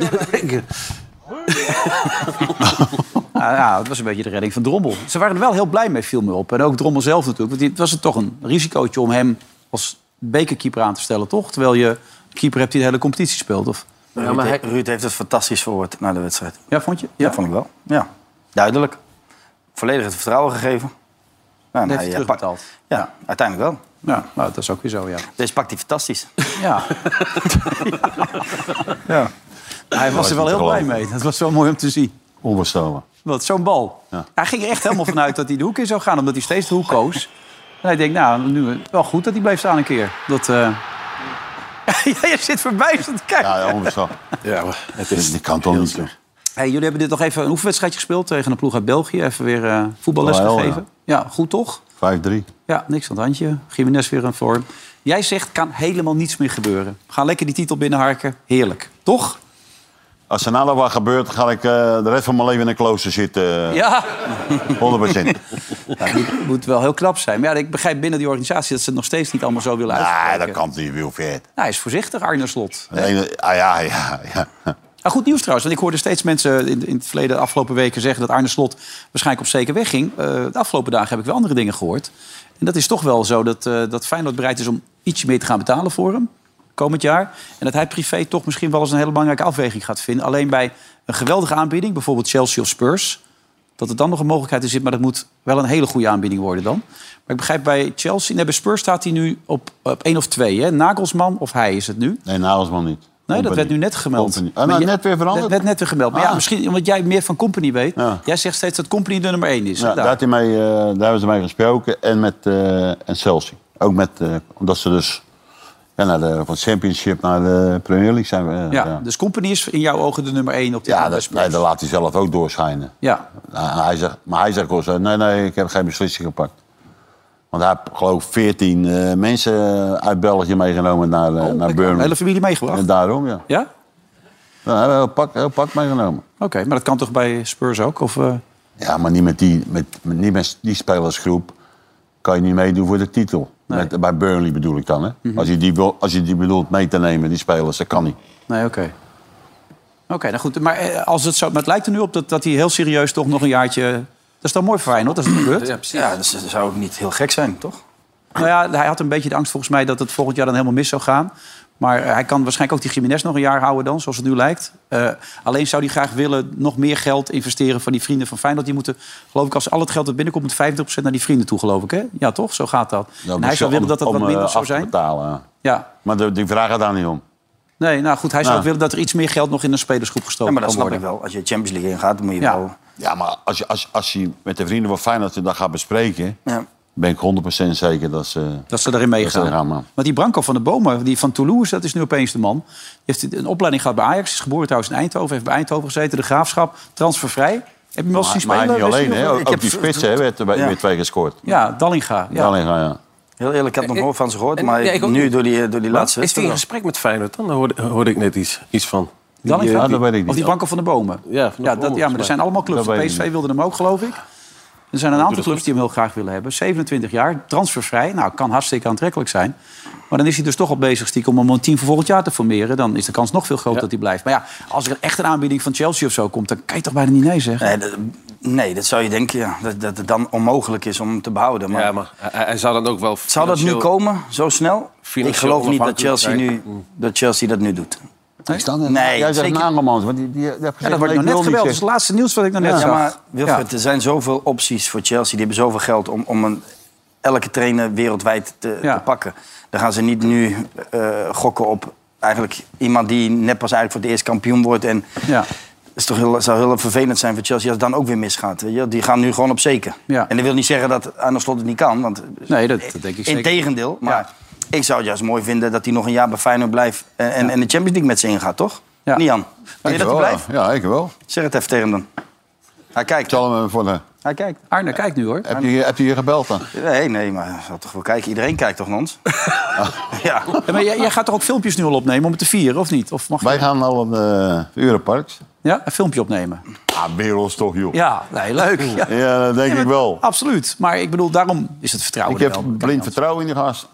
[SPEAKER 2] Nou ja, het was een beetje de redding van Drommel. Ze waren er wel heel blij mee, viel me op. En ook Drommel zelf natuurlijk. Want het was het toch een risicootje om hem als bekerkeeper aan te stellen, toch? Terwijl je een keeper hebt die de hele competitie speelt. Of...
[SPEAKER 5] Ruud, Ruud heeft het fantastisch verwoord na de wedstrijd.
[SPEAKER 2] Ja, vond je?
[SPEAKER 5] Ja, vond ik wel. Ja, duidelijk. Volledig het vertrouwen gegeven. Ja,
[SPEAKER 2] heeft hij terugbetaald.
[SPEAKER 5] Ja, uiteindelijk wel.
[SPEAKER 2] Ja, nou, dat is ook weer zo, ja.
[SPEAKER 5] Deze pakt hij fantastisch.
[SPEAKER 2] Ja. ja. Hij was er wel heel blij mee. Dat was wel mooi om te zien.
[SPEAKER 4] Onbestelbaar.
[SPEAKER 2] Wat, zo'n bal.
[SPEAKER 4] Ja.
[SPEAKER 2] Hij ging er echt helemaal vanuit dat hij de hoek in zou gaan, omdat hij steeds de hoek koos. En hij denkt, nou, nu wel goed dat hij blijft staan een keer. Dat, eh Jij zit verbijsterd te kijken.
[SPEAKER 4] Ja, onbestelbaar.
[SPEAKER 3] Ja, maar het
[SPEAKER 4] is... Dit kan toch niet, joh.
[SPEAKER 2] Hey, jullie hebben dit nog even een oefenwedstrijdje gespeeld tegen een ploeg uit België. Even weer eh, voetballes
[SPEAKER 4] Oh, ja.
[SPEAKER 2] gegeven. Ja. goed toch?
[SPEAKER 4] 5-3.
[SPEAKER 2] Ja, niks aan het handje. Jiménez weer in vorm. Jij zegt, kan helemaal niets meer gebeuren. Ga lekker die titel binnenharken. Heerlijk. Toch?
[SPEAKER 4] Als er nou wat gebeurt, ga ik eh, de rest van mijn leven in een klooster zitten. eh,
[SPEAKER 2] Ja.
[SPEAKER 4] 100%.
[SPEAKER 2] Ja, het moet, moet wel heel knap zijn. Maar ja, ik begrijp binnen die organisatie dat ze het nog steeds niet allemaal zo willen uitspreken.
[SPEAKER 4] Ah, dat kan niet, Wilfred.
[SPEAKER 2] Nou, hij is voorzichtig, Arne Slot.
[SPEAKER 4] De ene- Ah ja, ja, ja.
[SPEAKER 2] Nou, goed nieuws trouwens, want ik hoorde steeds mensen in, in het verleden, de afgelopen weken, zeggen dat Arne Slot waarschijnlijk op zeker weg ging. Eh, de afgelopen dagen heb ik wel andere dingen gehoord. En dat is toch wel zo dat, eh dat Feyenoord bereid is om ietsje meer te gaan betalen voor hem komend jaar. En dat hij privé toch misschien wel eens een hele belangrijke afweging gaat vinden. Alleen bij een geweldige aanbieding, bijvoorbeeld Chelsea of Spurs, dat er dan nog een mogelijkheid in zit, maar dat moet wel een hele goede aanbieding worden dan. Maar ik begrijp bij Chelsea, nee, bij Spurs staat hij nu op, op één of twee, hè? Nagelsman of hij is het nu.
[SPEAKER 4] Nee, Nagelsman niet.
[SPEAKER 2] Nee, dat
[SPEAKER 4] Company.
[SPEAKER 2] werd nu net gemeld.
[SPEAKER 4] Company. Ah,
[SPEAKER 2] Maar
[SPEAKER 4] nou,
[SPEAKER 2] je-
[SPEAKER 4] net weer veranderd?
[SPEAKER 2] Net, net, net weer gemeld. Maar ja,
[SPEAKER 4] Ah.
[SPEAKER 2] misschien omdat jij meer van Company weet.
[SPEAKER 4] Ja.
[SPEAKER 2] Jij zegt steeds dat Company de nummer één is. Nou,
[SPEAKER 4] Ja,
[SPEAKER 2] Daar.
[SPEAKER 4] daar, had hij mee, eh, daar hebben ze mee gesproken. En met eh en Chelsea. Ook met, eh, omdat ze dus ja, naar de, van Championship naar de Premier League zijn. we, eh,
[SPEAKER 2] ja.
[SPEAKER 4] ja.
[SPEAKER 2] Dus Company is in jouw ogen de nummer één op
[SPEAKER 4] Ja,
[SPEAKER 2] dit moment bij
[SPEAKER 4] dat,
[SPEAKER 2] Spurs.
[SPEAKER 4] nee, dat laat hij zelf ook doorschijnen.
[SPEAKER 2] Ja,
[SPEAKER 4] Nou, hij zegt, maar hij zegt ook zo, nee, nee, ik heb geen beslissing gepakt. Want hij heeft geloof ik 14 eh, mensen uit België meegenomen naar, eh naar
[SPEAKER 2] de
[SPEAKER 4] Burnley.
[SPEAKER 2] hele familie meegebracht.
[SPEAKER 4] En daarom, ja.
[SPEAKER 2] Ja? Oké,
[SPEAKER 4] Dan
[SPEAKER 2] Nou,
[SPEAKER 4] hebben we een pak, heel pak meegenomen.
[SPEAKER 2] maar dat kan toch bij Spurs ook? Of, eh,
[SPEAKER 4] Ja, maar niet met die, met, met- niet met die spelersgroep kan je niet meedoen voor de titel. Met, bij Burnley bedoel ik dan. Hè? als, je die, wil- als je die bedoelt mee te nemen, die spelers, dat kan niet.
[SPEAKER 2] Mhm. Nee, oké. Oké, nou goed. Maar, eh, als het, zo, maar het lijkt er nu op dat, dat hij heel serieus toch nog een jaartje... Dat is dan mooi voor Feyenoord als dat gebeurt.
[SPEAKER 5] Ja, dus dat zou ook niet heel gek zijn, toch?
[SPEAKER 2] Nou ja, hij had een beetje de angst volgens mij dat het volgend jaar dan helemaal mis zou gaan. Maar eh, hij kan waarschijnlijk ook die Jiménez nog een jaar houden dan, zoals het nu lijkt. Eh, alleen zou hij graag willen nog meer geld investeren van die vrienden van Feyenoord. Die moeten, geloof ik, als al het geld dat binnenkomt... moet 50% naar die vrienden toe, geloof ik, hè? Ja, toch? Zo gaat dat. en hij zou willen dat dat
[SPEAKER 4] Nou, Om,
[SPEAKER 2] wat
[SPEAKER 4] eh,
[SPEAKER 2] minder
[SPEAKER 4] af
[SPEAKER 2] zou
[SPEAKER 4] te
[SPEAKER 2] zijn.
[SPEAKER 4] Betalen, ja.
[SPEAKER 2] Ja.
[SPEAKER 4] Maar de, die vragen daar niet om.
[SPEAKER 2] Nee, nou goed, hij zou
[SPEAKER 4] Ja.
[SPEAKER 2] ook willen dat er iets meer geld nog in een spelersgroep
[SPEAKER 5] Ja,
[SPEAKER 2] gestoken
[SPEAKER 5] maar dat
[SPEAKER 2] kan
[SPEAKER 5] snap
[SPEAKER 2] worden.
[SPEAKER 5] ik wel. Als je de Champions League ingaat, dan moet je
[SPEAKER 2] Ja.
[SPEAKER 5] wel...
[SPEAKER 4] Ja, maar als je, als, als je met de vrienden van Feyenoord dat gaat bespreken...
[SPEAKER 5] Ja.
[SPEAKER 4] ben ik 100% zeker dat ze...
[SPEAKER 2] Dat ze daarin
[SPEAKER 4] dat ze
[SPEAKER 2] meegaan.
[SPEAKER 4] eraan gaan.
[SPEAKER 2] Want die Branco van de Bomen, die van Toulouse, dat is nu opeens de man. Die heeft een opleiding gehad bij Ajax, is geboren trouwens in Eindhoven, heeft bij Eindhoven gezeten, de graafschap, transfervrij. Heb je hem wel eens zien
[SPEAKER 4] Maar, maar
[SPEAKER 2] spelen?
[SPEAKER 4] hij niet alleen,
[SPEAKER 2] Wesley,
[SPEAKER 4] hè?
[SPEAKER 2] of-
[SPEAKER 4] Ook, ook die spits hè, werd er bij-
[SPEAKER 5] Ja.
[SPEAKER 4] weer twee gescoord.
[SPEAKER 2] Ja, Dallinga. Ja.
[SPEAKER 4] Alleen gaan, ja.
[SPEAKER 5] Heel eerlijk, ik had nog nooit van ze gehoord.
[SPEAKER 3] en-
[SPEAKER 5] Maar
[SPEAKER 3] nee, ik ook
[SPEAKER 5] nu
[SPEAKER 3] niet.
[SPEAKER 5] door die, eh, door die laatste
[SPEAKER 3] Is hij in
[SPEAKER 5] wedstrijd...
[SPEAKER 3] gesprek met Feyenoord dan? Daar hoorde, hoorde ik net iets, iets van. Die,
[SPEAKER 2] Dallinga?
[SPEAKER 3] eh,
[SPEAKER 4] Ja, dat weet ik
[SPEAKER 2] Of die
[SPEAKER 4] niet.
[SPEAKER 2] Branco van de Bomen.
[SPEAKER 3] Ja, van de
[SPEAKER 2] ja, dat,
[SPEAKER 3] Bomen,
[SPEAKER 2] ja, maar er
[SPEAKER 3] maar.
[SPEAKER 2] zijn allemaal clubs.
[SPEAKER 4] Dat weet ik
[SPEAKER 2] PSV
[SPEAKER 4] niet.
[SPEAKER 2] wilde hem ook, geloof ik. Er zijn een aantal clubs die hem heel graag willen hebben. 27 jaar, transfervrij. Nou, kan hartstikke aantrekkelijk zijn. Maar dan is hij dus toch al bezig stiekem om een team voor volgend jaar te formeren. Dan is de kans nog veel groter dat hij blijft. Maar ja, als er echt een aanbieding van Chelsea of zo komt... dan kan je toch bijna niet nee zeggen?
[SPEAKER 5] Nee, dat, nee, dat zou je denken, ja. Dat, dat het dan onmogelijk is om hem te behouden. Maar,
[SPEAKER 3] eh, Ja, maar hij, hij zou dan ook wel...
[SPEAKER 5] zou dat nu komen, zo snel? Ik
[SPEAKER 3] Financieel
[SPEAKER 5] geloof niet dat Chelsea, nu,
[SPEAKER 3] onafhankelijk
[SPEAKER 5] dat Chelsea dat nu doet.
[SPEAKER 4] Ik sta er-
[SPEAKER 5] Nee,
[SPEAKER 4] Jij zegt
[SPEAKER 5] zeker-
[SPEAKER 4] Nagelmans, want die, die, die, heeft
[SPEAKER 2] Ja,
[SPEAKER 4] gezegd,
[SPEAKER 2] dat
[SPEAKER 4] nee,
[SPEAKER 2] wordt nog
[SPEAKER 4] ik
[SPEAKER 2] net
[SPEAKER 4] wil
[SPEAKER 2] gebeld. Dat
[SPEAKER 4] niet
[SPEAKER 2] is het laatste nieuws wat ik nog net
[SPEAKER 5] Ja,
[SPEAKER 2] zag.
[SPEAKER 5] maar Wilfred,
[SPEAKER 2] Ja.
[SPEAKER 5] er zijn zoveel opties voor Chelsea. Die hebben zoveel geld om, om een, elke trainer wereldwijd te,
[SPEAKER 2] Ja.
[SPEAKER 5] te pakken. Dan gaan ze niet nu eh, gokken op eigenlijk iemand die net pas eigenlijk voor het eerst kampioen wordt. En
[SPEAKER 2] Ja.
[SPEAKER 5] is toch heel, zou heel vervelend zijn voor Chelsea als het dan ook weer misgaat. Weet je? wel. Die gaan nu gewoon op zeker. En dat wil niet zeggen dat Arne Slot het niet kan. Want
[SPEAKER 2] Nee, dat, dat denk ik zeker.
[SPEAKER 5] Integendeel, maar ik zou het juist mooi vinden dat hij nog een jaar bij Feyenoord blijft... en, en, en de Champions League met ze ingaat, toch? Ja. Nian, wil je dat hij
[SPEAKER 4] Dankjewel,
[SPEAKER 5] blijft?
[SPEAKER 4] Ja, Ja, ik wel.
[SPEAKER 5] Zeg het even tegen hem dan. Hij kijkt.
[SPEAKER 4] Zal hem eh, voor de...
[SPEAKER 5] Hij kijkt.
[SPEAKER 2] Arne, kijk nu hoor.
[SPEAKER 4] Heb je, heb je hier gebeld dan?
[SPEAKER 5] Nee, nee, maar hij zal toch wel kijken. Iedereen kijkt toch, Nons? ja.
[SPEAKER 2] Ja, maar jij, jij gaat toch ook filmpjes nu al opnemen om het te vieren, of niet? Of mag
[SPEAKER 4] Wij
[SPEAKER 2] je...
[SPEAKER 4] gaan nou eh, al op de Europarks.
[SPEAKER 2] Ja, een filmpje opnemen.
[SPEAKER 4] Ah, Berels toch, joh.
[SPEAKER 2] Ja, nee, leuk. Ja,
[SPEAKER 4] Ja, dat denk
[SPEAKER 2] Nee,
[SPEAKER 4] ik
[SPEAKER 2] maar-
[SPEAKER 4] wel.
[SPEAKER 2] Absoluut. Maar ik bedoel, daarom is het vertrouwen
[SPEAKER 4] Ik
[SPEAKER 2] er
[SPEAKER 4] heb
[SPEAKER 2] wel.
[SPEAKER 4] blind
[SPEAKER 2] Kijk,
[SPEAKER 4] vertrouwen in die gast.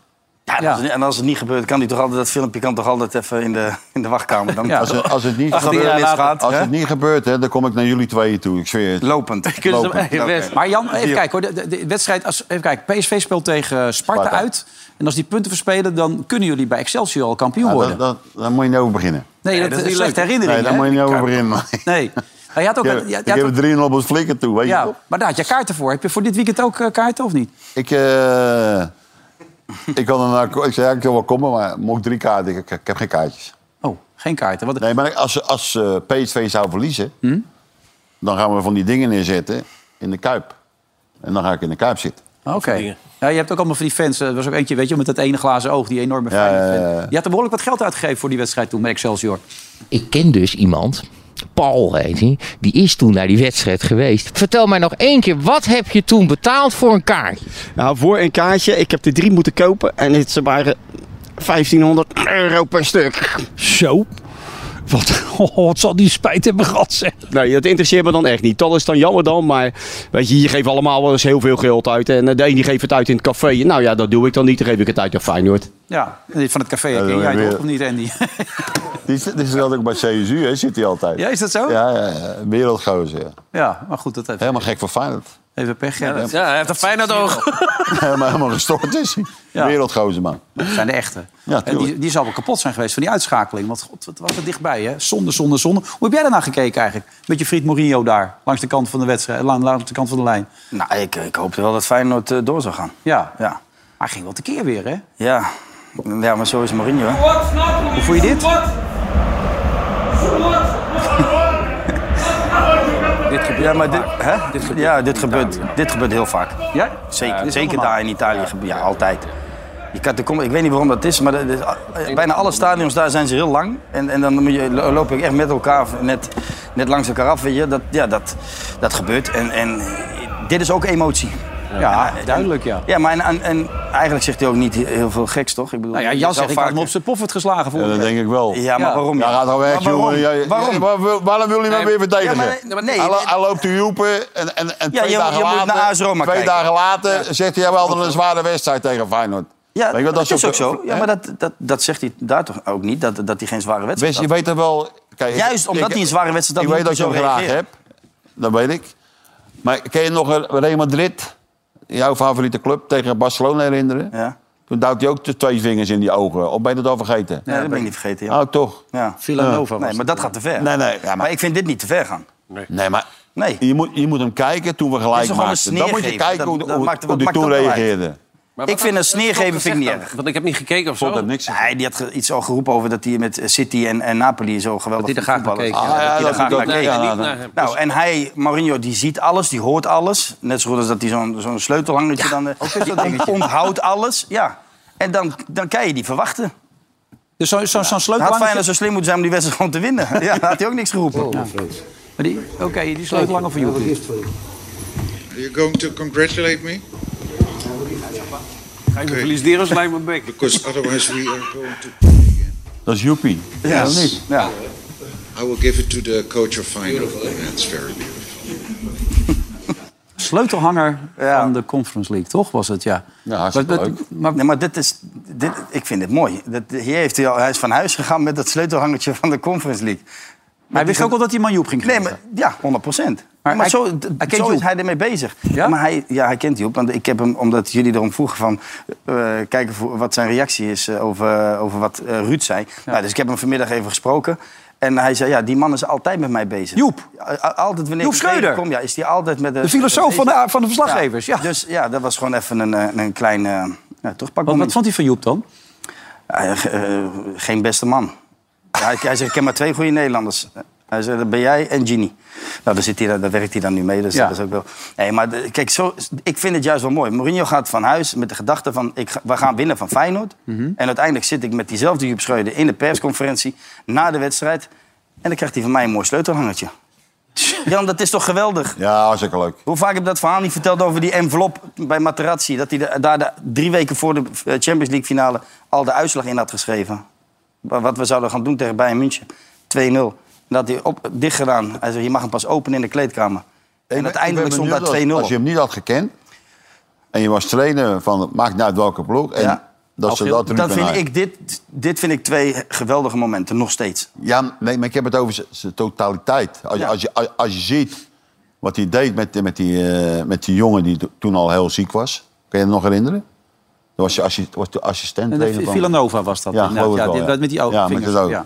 [SPEAKER 5] Ja, en als het- en als het niet gebeurt, kan hij toch altijd dat filmpje kan toch altijd even in de, in de wachtkamer. Dan,
[SPEAKER 4] Als, het, als het niet
[SPEAKER 5] Als het weer misgaat,
[SPEAKER 4] als
[SPEAKER 5] hè?
[SPEAKER 4] het niet gebeurt, hè, dan kom ik naar jullie tweeën toe. Ik zweer het.
[SPEAKER 5] Lopend.
[SPEAKER 2] Kunnen ze
[SPEAKER 4] Lopend.
[SPEAKER 2] hem- Maar Jan, even kijken hoor. De, de- de wedstrijd, als, even kijken. PSV speelt tegen Sparta,
[SPEAKER 4] Sparta.
[SPEAKER 2] uit. En als die punten verspelen, dan kunnen jullie bij Excelsior al kampioen
[SPEAKER 4] Ja,
[SPEAKER 2] worden.
[SPEAKER 4] dat, dat, daar moet je niet over beginnen.
[SPEAKER 2] nee, dat, is slechte herinnering.
[SPEAKER 4] Nee, daar
[SPEAKER 2] hè?
[SPEAKER 4] moet je niet over beginnen.
[SPEAKER 2] Nee. Maar je had ook...
[SPEAKER 4] Ik
[SPEAKER 2] Ja,
[SPEAKER 4] heb- ik heb er drie op ons flikker toe, weet je
[SPEAKER 2] ja,
[SPEAKER 4] wel.
[SPEAKER 2] maar daar had je kaarten voor. Heb je voor dit weekend ook eh, kaarten of niet?
[SPEAKER 4] Ik, eh, ik, had een, ik zei, ja, ik wil wel komen, maar mocht drie kaarten. Ik, ik heb geen kaartjes.
[SPEAKER 2] Oh, geen kaarten. Wat...
[SPEAKER 4] Nee, maar als, als eh, PSV zou verliezen,
[SPEAKER 5] Hmm?
[SPEAKER 4] dan gaan we van die dingen neerzetten in de Kuip. En dan ga ik in de Kuip zitten.
[SPEAKER 2] Oké. Ja, je hebt ook allemaal van die fans. eh, Er was ook eentje, weet je, met dat ene glazen oog, die enorme fan. Je had er behoorlijk wat geld uitgegeven voor die wedstrijd toen met Excelsior.
[SPEAKER 12] Ik ken dus iemand, Paul heet hij, die is toen naar die wedstrijd geweest. Vertel mij nog één keer, wat heb je toen betaald voor een kaartje?
[SPEAKER 1] Nou, voor een kaartje, ik heb er drie moeten kopen en het, ze waren 1500 euro per stuk. Zo? Wat, wat zal die spijt hebben gehad, zeg. Nee, Nou, dat interesseert me dan echt niet. Dat is dan jammer dan, maar weet je, hier geven allemaal wel eens heel veel geld uit. En eh, de ene die geeft het uit in het café. Nou ja, dat doe ik dan niet, dan geef ik het uit aan Feyenoord.
[SPEAKER 2] Ja, die van het café.
[SPEAKER 4] Ja,
[SPEAKER 2] ken
[SPEAKER 4] dan
[SPEAKER 2] jij
[SPEAKER 4] weer-
[SPEAKER 2] toch of niet, Andy?
[SPEAKER 4] Die, is- die zat ook bij CSU, hè, zit hij altijd.
[SPEAKER 2] Ja, is dat zo?
[SPEAKER 4] Ja, ja, ja. wereldgozer. ja.
[SPEAKER 2] ja, maar goed, dat heeft
[SPEAKER 4] Helemaal gek voor Feyenoord.
[SPEAKER 2] even pech. hè.
[SPEAKER 4] dat-
[SPEAKER 2] Dat
[SPEAKER 3] Ja, hij heeft een Feyenoord oog.
[SPEAKER 4] helemaal, helemaal gestort is hij.
[SPEAKER 2] Ja.
[SPEAKER 4] Wereldgozer, man.
[SPEAKER 2] zijn de echte.
[SPEAKER 4] Ja,
[SPEAKER 2] en die,
[SPEAKER 4] tuurlijk.
[SPEAKER 2] die zal wel kapot zijn geweest van die uitschakeling. Want god, wat was er dichtbij, hè? Zonde, zonde, zonde. Hoe heb jij daarna gekeken eigenlijk? Met je vriend Mourinho daar, langs de kant van de wedstrijd, la- langs de kant van de lijn.
[SPEAKER 5] Nou, ik, ik hoopte wel dat Feyenoord eh, door zou gaan.
[SPEAKER 2] Ja.
[SPEAKER 5] Ja.
[SPEAKER 2] Hij ging wel tekeer weer, hè?
[SPEAKER 5] Ja. ja, maar zo is Mourinho. hè.
[SPEAKER 2] Hoe voel je dit?
[SPEAKER 5] Dit gebeurt ja, maar dit, hè? Dit gebeurt ja, dit gebeurt, dit gebeurt heel vaak.
[SPEAKER 2] Ja?
[SPEAKER 5] Zeker,
[SPEAKER 2] dit is
[SPEAKER 5] zeker
[SPEAKER 2] allemaal.
[SPEAKER 5] daar in Italië. gebe- Ja, altijd. Je kan, er komen- ik weet niet waarom dat is, maar dat is- bijna alle stadions daar zijn ze heel lang. En, en dan moet je, lo- loop ik echt met elkaar net, net langs elkaar af. Weet je? Dat, ja, dat, dat gebeurt. En, en dit is ook emotie.
[SPEAKER 2] Ja, duidelijk, ja.
[SPEAKER 5] Ja, maar en, en, en eigenlijk zegt hij ook niet heel veel geks, toch? Ik bedoel,
[SPEAKER 2] Nou ja,
[SPEAKER 5] je
[SPEAKER 2] Jan
[SPEAKER 5] zou
[SPEAKER 2] zegt, ik had hem
[SPEAKER 5] vaak-
[SPEAKER 2] op zijn poffert geslagen voor.
[SPEAKER 4] Ja, dat denk ik wel.
[SPEAKER 5] Ja, maar waarom?
[SPEAKER 4] Ja, gaat al weg,
[SPEAKER 5] Maar waarom?
[SPEAKER 4] jongen. Jij-
[SPEAKER 5] Waarom?
[SPEAKER 4] Ja, waar- waar- waarom wil je maar
[SPEAKER 5] Nee,
[SPEAKER 4] weer verdedigen?
[SPEAKER 5] ja, maar nee, maar nee,
[SPEAKER 4] hij, lo-
[SPEAKER 5] dit-
[SPEAKER 4] hij loopt te joepen en, en, en
[SPEAKER 5] Ja,
[SPEAKER 4] twee
[SPEAKER 5] je-
[SPEAKER 4] dagen
[SPEAKER 5] je moet
[SPEAKER 4] later,
[SPEAKER 5] naar AS Roma
[SPEAKER 4] twee
[SPEAKER 5] kijken.
[SPEAKER 4] dagen later zegt hij, ja, we hadden een zware wedstrijd tegen Feyenoord.
[SPEAKER 5] Ja,
[SPEAKER 4] Weet je wat,
[SPEAKER 5] dat is ook
[SPEAKER 4] ook-
[SPEAKER 5] zo. Ja,
[SPEAKER 4] hè?
[SPEAKER 5] maar dat, dat, dat zegt hij daar toch ook niet, dat, dat hij geen zware wedstrijd
[SPEAKER 4] Wes,
[SPEAKER 5] had.
[SPEAKER 4] je weet dat wel... Kijk, ik-
[SPEAKER 5] Juist omdat
[SPEAKER 4] ik-
[SPEAKER 5] hij een zware wedstrijd
[SPEAKER 4] Ik
[SPEAKER 5] had,
[SPEAKER 4] weet dat
[SPEAKER 5] moet
[SPEAKER 4] je hem
[SPEAKER 5] hij zo
[SPEAKER 4] graag
[SPEAKER 5] reageren.
[SPEAKER 4] hebt. Dat weet ik. Maar ken je nog een Real Madrid, jouw favoriete club, tegen Barcelona herinneren?
[SPEAKER 5] Ja.
[SPEAKER 4] Toen duwt hij ook de twee vingers in die ogen. Of ben je dat al vergeten?
[SPEAKER 5] Nee, dat ben ik niet vergeten. Ja.
[SPEAKER 4] Oh, toch?
[SPEAKER 5] Ja.
[SPEAKER 2] Villanova was
[SPEAKER 5] Nee, maar dat gaat te ver.
[SPEAKER 4] Nee, nee, ja,
[SPEAKER 5] Maar ik vind dit niet te ver gaan.
[SPEAKER 4] Nee, maar
[SPEAKER 5] Nee.
[SPEAKER 4] Je, moet, je moet hem kijken toen we
[SPEAKER 5] Dit
[SPEAKER 4] gelijk
[SPEAKER 5] is gewoon een
[SPEAKER 4] maakten.
[SPEAKER 5] sneer
[SPEAKER 4] Dan moet je
[SPEAKER 5] geven.
[SPEAKER 4] kijken hoe,
[SPEAKER 5] Dat-
[SPEAKER 4] de-
[SPEAKER 5] dat
[SPEAKER 4] hoe,
[SPEAKER 5] maakt-
[SPEAKER 4] hoe
[SPEAKER 5] wat
[SPEAKER 4] die
[SPEAKER 5] maakt dat
[SPEAKER 4] toen
[SPEAKER 5] nou uit?
[SPEAKER 4] reageerde.
[SPEAKER 3] Maar
[SPEAKER 5] Ik
[SPEAKER 3] wat
[SPEAKER 5] vind
[SPEAKER 3] had-
[SPEAKER 5] een sneer geven vind ik niet
[SPEAKER 3] Zeg dan,
[SPEAKER 5] erg.
[SPEAKER 3] Want ik heb niet gekeken of zo.
[SPEAKER 4] Oh.
[SPEAKER 5] Hij die had ge- iets al geroepen over dat hij met eh, City en, en Napoli zo geweldig
[SPEAKER 2] Dat hij er graag naar
[SPEAKER 5] voetballen.
[SPEAKER 2] keek,
[SPEAKER 5] dat hij
[SPEAKER 4] ja.
[SPEAKER 5] er
[SPEAKER 4] Ah, ja,
[SPEAKER 5] graag
[SPEAKER 4] dat-
[SPEAKER 5] naar
[SPEAKER 4] dat-
[SPEAKER 5] keek.
[SPEAKER 4] ja,
[SPEAKER 5] En die-
[SPEAKER 4] nou,
[SPEAKER 5] Nou, en hij, Mourinho, die ziet alles, die hoort alles. Net zo goed als dat hij zo'n zo'n sleutelhangertje dan... eh, die on- onthoudt alles, ja. En dan, dan kan je die verwachten.
[SPEAKER 2] Dus zo'n
[SPEAKER 4] Nou,
[SPEAKER 2] zo, zo'n
[SPEAKER 5] Dan had
[SPEAKER 2] sleutelhanger...
[SPEAKER 5] Feyenoord zo slim moeten zijn om die wedstrijd gewoon te winnen. Ja, dan had hij ook niks geroepen.
[SPEAKER 2] Maar die- Oké, die sleutelhanger voor jou.
[SPEAKER 6] Are you going to congratulate me?
[SPEAKER 3] Ga je me feliciteren, slijm mijn bek.
[SPEAKER 6] Because otherwise we are going to.
[SPEAKER 4] Dat is Joepie.
[SPEAKER 5] Ja,
[SPEAKER 4] Dat niet.
[SPEAKER 5] Ja.
[SPEAKER 6] I will give it to the coach of Feyenoord. That's very beautiful.
[SPEAKER 2] Sleutelhanger van de Conference League, toch? Was het, ja.
[SPEAKER 4] Ja, hartstikke
[SPEAKER 2] Maar- maar-
[SPEAKER 4] leuk.
[SPEAKER 2] Maar,
[SPEAKER 5] Nee, maar dit is, dit, ik vind dit mooi. Dat, hier heeft hij, al, hij is van huis gegaan met dat sleutelhangertje van de Conference League.
[SPEAKER 2] hij wist ook al dat hij Manjoep ging
[SPEAKER 5] Nee,
[SPEAKER 2] krijgen.
[SPEAKER 5] maar ja, 100 procent. Maar,
[SPEAKER 2] hij-
[SPEAKER 5] zo, d-
[SPEAKER 2] hij kent
[SPEAKER 5] zo
[SPEAKER 2] Joep.
[SPEAKER 5] is hij ermee bezig.
[SPEAKER 2] Ja?
[SPEAKER 5] Maar hij, ja, hij kent Joep. Want ik heb hem, omdat jullie erom vroegen van... eh, kijken voor, wat zijn reactie is eh, over, over wat eh, Ruud zei. Nou, dus ik heb hem vanmiddag even gesproken. En hij zei, ja, die man is altijd met mij bezig.
[SPEAKER 2] Joep.
[SPEAKER 5] Al- al- Altijd wanneer
[SPEAKER 2] Joep
[SPEAKER 5] ik tegen
[SPEAKER 2] Schreuder.
[SPEAKER 5] kom, ja, is hij altijd met...
[SPEAKER 2] De filosoof van de, van de verslaggevers,
[SPEAKER 5] verslaggevers.
[SPEAKER 2] ja.
[SPEAKER 5] Dus ja, dat was gewoon even een, eh, een klein eh nou,
[SPEAKER 2] Wat,
[SPEAKER 5] terugpakmoment.
[SPEAKER 2] wat vond hij van Joep dan?
[SPEAKER 5] Ja, eh, ge- eh, geen beste man. Ja, hij, hij zegt, ik ken maar twee goede Nederlanders. Hij zei, dat ben jij en Genie. Nou, daar, zit hij, dan- daar werkt hij dan nu mee, dus
[SPEAKER 2] Ja.
[SPEAKER 5] dat is ook wel... Nee, maar de- kijk, zo, ik vind het juist wel mooi. Mourinho gaat van huis met de gedachte van... Ik ga- we gaan winnen van Feyenoord. En uiteindelijk zit ik met diezelfde Joep Schreuder in de persconferentie... na de wedstrijd. En dan krijgt hij van mij een mooi sleutelhangertje. Jan, dat is toch geweldig?
[SPEAKER 4] Ja, hartstikke leuk.
[SPEAKER 5] Hoe vaak heb ik dat verhaal niet verteld over die envelop bij Materazzi? Dat hij de- daar de- drie weken voor de eh, Champions League finale al de uitslag in had geschreven. Wa- Wat we zouden gaan doen tegen Bayern München. 2-0. En Dat had hij op, dicht gedaan. Hij zei, je mag hem pas openen in de kleedkamer. En uiteindelijk stond daar 2-0.
[SPEAKER 4] Als, als je
[SPEAKER 5] op.
[SPEAKER 4] hem niet had gekend en je was trainer van het maakt niet uit welke ploeg. En
[SPEAKER 5] Ja.
[SPEAKER 4] dat ze
[SPEAKER 5] Algeel.
[SPEAKER 4] dat er niet
[SPEAKER 5] Dat
[SPEAKER 4] van
[SPEAKER 5] vind
[SPEAKER 4] uit-
[SPEAKER 5] ik, dit, dit vind ik twee geweldige momenten, nog steeds.
[SPEAKER 4] Ja, nee, maar ik heb het over z- zijn totaliteit. Als, je- als, je, als, als je ziet wat hij deed met, met, die, eh, met die jongen die to- toen al heel ziek was. Kun je je nog herinneren? Dan was je, assi- was de assistent
[SPEAKER 2] En de
[SPEAKER 4] trainer
[SPEAKER 2] Vi-
[SPEAKER 4] van...
[SPEAKER 2] Villanova was dat.
[SPEAKER 4] Ja,
[SPEAKER 2] inderdaad.
[SPEAKER 4] geloof ik
[SPEAKER 2] Ja,
[SPEAKER 4] wel,
[SPEAKER 2] die- dat met die oude
[SPEAKER 4] ja,
[SPEAKER 2] vingers,
[SPEAKER 4] Met het ook.
[SPEAKER 2] ja.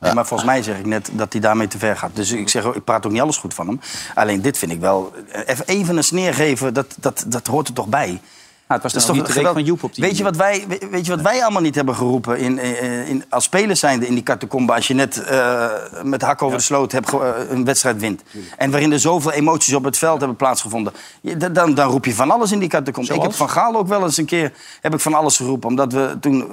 [SPEAKER 5] Nee, maar volgens mij zeg ik net dat hij daarmee te ver gaat. Dus ik, zeg, ook- ik praat ook niet alles goed van hem. Alleen dit vind ik wel... Even- Even een sneer geven, dat, dat, dat hoort er toch bij.
[SPEAKER 2] Nou, het was
[SPEAKER 5] Dat is
[SPEAKER 2] dan
[SPEAKER 5] toch
[SPEAKER 2] ook niet de
[SPEAKER 5] geweld-
[SPEAKER 2] week van Joep op die
[SPEAKER 5] weet je wat wij, we- weet je wat wij allemaal niet hebben geroepen in, in, in- als spelers zijnde in die catacombe... als je net eh, met hak over de sloot hebt ge- eh, een wedstrijd wint... en waarin er zoveel emoties op het veld hebben plaatsgevonden... Je- da- dan, dan roep je van alles in die catacombe. Ik heb Van Gaal ook wel eens een keer heb ik van alles geroepen... omdat we toen eh,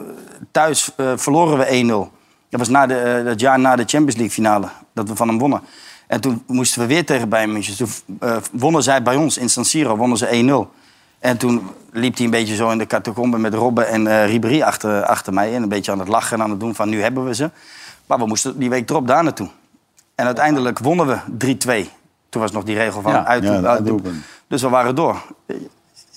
[SPEAKER 5] thuis eh, verloren we 1-0... Dat was na de, eh, dat jaar na de Champions League finale, dat we van hem wonnen. En toen moesten we weer tegen Bayern München. Toen eh, wonnen zij bij ons in San Siro, wonnen ze 1-0. En toen liep hij een beetje zo in de catacombe met Robben en eh Ribéry achter, achter mij. En een beetje aan het lachen en aan het doen van nu hebben we ze. Maar we moesten die week erop daar naartoe. En uiteindelijk wonnen we 3-2. Toen was nog die regel van
[SPEAKER 4] Ja,
[SPEAKER 5] uit.
[SPEAKER 4] ja, dat
[SPEAKER 5] uit- dus we waren door.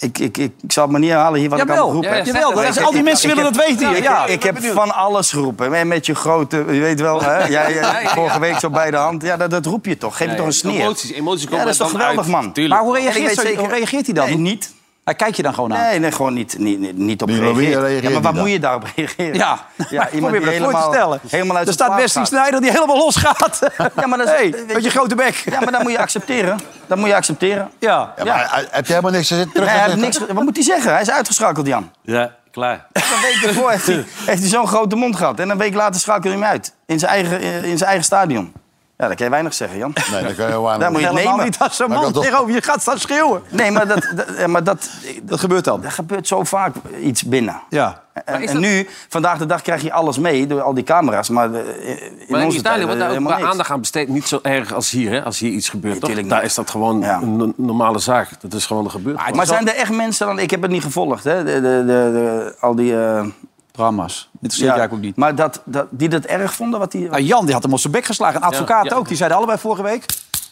[SPEAKER 5] Ik, ik, ik, ik zal het maar niet herhalen hier wat ik
[SPEAKER 2] Jawel,
[SPEAKER 5] allemaal geroepen
[SPEAKER 2] ja,
[SPEAKER 5] heb.
[SPEAKER 2] ja, jawel, dat
[SPEAKER 5] Ik-
[SPEAKER 2] is- al die
[SPEAKER 5] ik-
[SPEAKER 2] mensen
[SPEAKER 5] ik
[SPEAKER 2] willen
[SPEAKER 5] heb-
[SPEAKER 2] dat weten hier,
[SPEAKER 5] Ik,
[SPEAKER 2] ja.
[SPEAKER 5] ik heb van alles geroepen. En Met je grote, je weet wel, hè? Jij, jij-
[SPEAKER 2] Ja, ja.
[SPEAKER 5] vorige week zo bij de hand. Ja, dat, dat roep je toch. Geef je
[SPEAKER 3] Ja,
[SPEAKER 5] toch een
[SPEAKER 3] ja.
[SPEAKER 5] sneer.
[SPEAKER 3] Emoties- emoties
[SPEAKER 5] ja,
[SPEAKER 3] komen
[SPEAKER 5] dat is toch
[SPEAKER 3] dan
[SPEAKER 5] geweldig,
[SPEAKER 3] uit.
[SPEAKER 5] man.
[SPEAKER 3] Tuurlijk. Maar hoe reageert
[SPEAKER 5] En ik weet
[SPEAKER 3] zo-
[SPEAKER 5] zeker-
[SPEAKER 3] hoe reageert hij dan?
[SPEAKER 5] Nee, niet.
[SPEAKER 2] Hij kijkt je dan gewoon aan.
[SPEAKER 5] Nee, nee, gewoon niet, niet, niet, niet op
[SPEAKER 4] Die
[SPEAKER 5] reageren.
[SPEAKER 4] Louis reageert
[SPEAKER 5] Ja, maar
[SPEAKER 4] niet
[SPEAKER 5] waar
[SPEAKER 4] dan.
[SPEAKER 5] moet je daarop reageren?
[SPEAKER 2] Ja,
[SPEAKER 5] ja
[SPEAKER 2] ik probeer me
[SPEAKER 5] iemand die
[SPEAKER 2] dat voor te
[SPEAKER 5] helemaal,
[SPEAKER 2] stellen.
[SPEAKER 5] helemaal uit
[SPEAKER 2] er
[SPEAKER 5] zijn
[SPEAKER 2] staat
[SPEAKER 5] plaat
[SPEAKER 2] Wesley
[SPEAKER 5] gaat.
[SPEAKER 2] Sneijder die helemaal losgaat.
[SPEAKER 5] Ja, maar dat is,
[SPEAKER 2] hey,
[SPEAKER 5] weet
[SPEAKER 2] met je grote bek.
[SPEAKER 5] Ja, maar dat moet je accepteren. Dat moet je accepteren.
[SPEAKER 2] Ja.
[SPEAKER 4] Ja, maar hij- Heb je helemaal niks te zitten
[SPEAKER 5] Nee,
[SPEAKER 4] terug?
[SPEAKER 5] hij heeft niks, ge- wat moet hij zeggen? Hij is uitgeschakeld, Jan.
[SPEAKER 3] Ja, klaar.
[SPEAKER 5] Een week ervoor heeft hij, heeft hij zo'n grote mond gehad. En een week later schakelde hij hem uit. In zijn eigen, in zijn eigen stadion. Ja, daar kan je weinig zeggen, Jan.
[SPEAKER 4] Nee, dat kan je helemaal
[SPEAKER 5] Daar moet je het
[SPEAKER 2] Helemaal
[SPEAKER 5] nemen.
[SPEAKER 2] niet als zo'n
[SPEAKER 4] Maar
[SPEAKER 2] man
[SPEAKER 4] dat-
[SPEAKER 2] tegenover je gaat staan schreeuwen.
[SPEAKER 5] Nee, maar dat, dat, eh, maar dat,
[SPEAKER 2] Dat gebeurt dan.
[SPEAKER 5] er gebeurt zo vaak iets binnen.
[SPEAKER 2] Ja.
[SPEAKER 5] En, en nu, vandaag de dag, krijg je alles mee door al die camera's. Maar eh, in
[SPEAKER 3] Maar
[SPEAKER 5] onze
[SPEAKER 3] in
[SPEAKER 5] tijd
[SPEAKER 3] Italië
[SPEAKER 5] eh,
[SPEAKER 3] wordt daar ook
[SPEAKER 5] helemaal
[SPEAKER 3] wel
[SPEAKER 5] niks.
[SPEAKER 3] aandacht aan besteed. Niet zo erg als hier, hè? Als hier iets gebeurt, toch?
[SPEAKER 5] tuurlijk
[SPEAKER 3] Daar
[SPEAKER 5] niet.
[SPEAKER 3] is dat gewoon
[SPEAKER 5] Ja.
[SPEAKER 3] een no- normale zaak. Dat is gewoon er gebeurd.
[SPEAKER 5] Maar zijn er echt mensen dan... Ik heb het niet gevolgd, hè. De, de, de, de- al die... eh,
[SPEAKER 2] Programma's. Interesseert jij ook niet.
[SPEAKER 5] Maar dat, dat, die dat erg vonden, wat
[SPEAKER 4] Eh,
[SPEAKER 5] die...
[SPEAKER 2] Nou, Jan die had hem op zijn bek geslagen. Een advocaat
[SPEAKER 3] Ja, ja.
[SPEAKER 2] ook. Die zeiden allebei vorige week.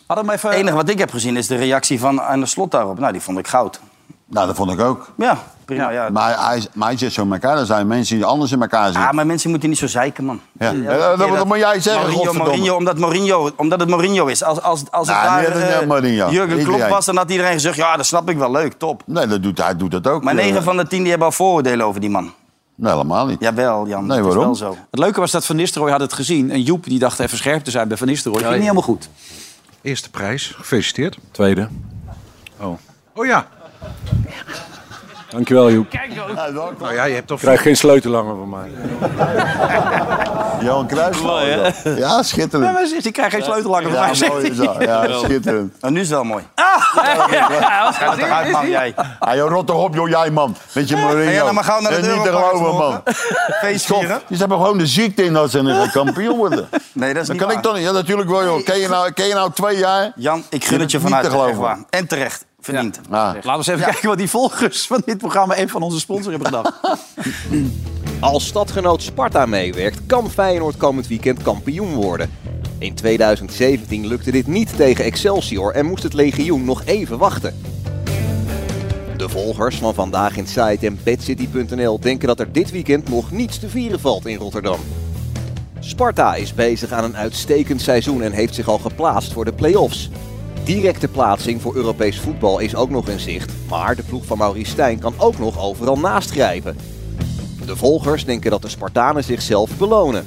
[SPEAKER 2] Had hem even...
[SPEAKER 5] Het enige wat ik heb gezien is de reactie van aan de slot daarop. Nou, die vond ik goud.
[SPEAKER 4] Nou, dat vond ik ook.
[SPEAKER 5] Ja, prima. Ja.
[SPEAKER 4] Maar hij, maar hij zit zo in elkaar. Er zijn mensen die anders in elkaar zitten.
[SPEAKER 5] Ah, maar mensen moeten niet zo zeiken, man.
[SPEAKER 4] Ja.
[SPEAKER 5] Elke
[SPEAKER 4] Ja, dat-
[SPEAKER 5] keer
[SPEAKER 4] dat moet jij zeggen,
[SPEAKER 5] Mourinho,
[SPEAKER 4] godverdomme.
[SPEAKER 5] Mourinho, omdat, Mourinho, omdat het Mourinho is. Als, als, als het
[SPEAKER 4] Nou,
[SPEAKER 5] daar
[SPEAKER 4] nu is het
[SPEAKER 5] eh,
[SPEAKER 4] net Mourinho.
[SPEAKER 5] Jurgen Klopp
[SPEAKER 4] Iedereen.
[SPEAKER 5] was, dan had iedereen gezegd... ja, dat snap ik wel, leuk, top.
[SPEAKER 4] Nee, dat doet, hij doet dat ook.
[SPEAKER 5] Maar
[SPEAKER 4] Eh,
[SPEAKER 5] 9 van de 10 die hebben al vooroordelen over die man.
[SPEAKER 4] Nee, helemaal niet.
[SPEAKER 5] Jawel, Jan.
[SPEAKER 4] Nee,
[SPEAKER 5] dat
[SPEAKER 4] waarom?
[SPEAKER 5] Is wel zo.
[SPEAKER 2] Het leuke was dat Van Nistelrooy had het gezien. En Joep die dacht even scherp te zijn bij Van Nistelrooy. Ging
[SPEAKER 3] ja.
[SPEAKER 2] niet helemaal goed.
[SPEAKER 7] Eerste prijs, gefeliciteerd.
[SPEAKER 9] Tweede.
[SPEAKER 7] Oh ja.
[SPEAKER 9] Dankjewel, Joep.
[SPEAKER 7] Nou ja, je hebt toch...
[SPEAKER 9] Krijg geen sleutelhanger van mij.
[SPEAKER 4] Johan Cruijff. Ja, schitterend.
[SPEAKER 2] Ja, maar zegt, ik krijg geen sleutelhanger van
[SPEAKER 4] Ja,
[SPEAKER 2] mij. zegt
[SPEAKER 4] mooi is
[SPEAKER 2] hij.
[SPEAKER 4] dat. Ja, schitterend.
[SPEAKER 5] Nou, nu is het wel mooi.
[SPEAKER 2] Ah,
[SPEAKER 5] Gaat eruit, man, jij.
[SPEAKER 4] Ah, joh, rot toch op, joh, jij, man. Met je Mourinho.
[SPEAKER 5] Ga jij nou maar gauw naar de
[SPEAKER 4] Dat is niet te
[SPEAKER 5] Europark
[SPEAKER 4] geloven, man.
[SPEAKER 5] Feest
[SPEAKER 4] Tof.
[SPEAKER 5] vieren.
[SPEAKER 4] Die hebben gewoon de ziekte in dat ze een kampioen worden.
[SPEAKER 5] Nee, dat is
[SPEAKER 4] Dat
[SPEAKER 5] niet
[SPEAKER 4] kan ik
[SPEAKER 5] waar.
[SPEAKER 4] toch niet? Ja, natuurlijk wel, joh. Ken je nou, ken je nou twee jaar?
[SPEAKER 5] Jan, ik gun het je
[SPEAKER 4] Dit is niet
[SPEAKER 5] vanuit.
[SPEAKER 4] te
[SPEAKER 5] echt
[SPEAKER 4] geloven.
[SPEAKER 5] waar. En terecht. Verdiend.
[SPEAKER 4] Ah.
[SPEAKER 2] Laten we eens even kijken wat die volgers van dit programma... een van onze sponsors hebben gedaan.
[SPEAKER 8] Als stadgenoot Sparta meewerkt, kan Feyenoord komend weekend kampioen worden. In 2017 lukte dit niet tegen Excelsior en moest het legioen nog even wachten. De volgers van Vandaag in Site en BadCity.nl denken dat er dit weekend nog niets te vieren valt in Rotterdam. Sparta is bezig aan een uitstekend seizoen en heeft zich al geplaatst voor de play-offs. Directe plaatsing voor Europees voetbal is ook nog in zicht, maar de ploeg van Maurice Stijn kan ook nog overal naast grijpen. De volgers denken dat de Spartanen zichzelf belonen.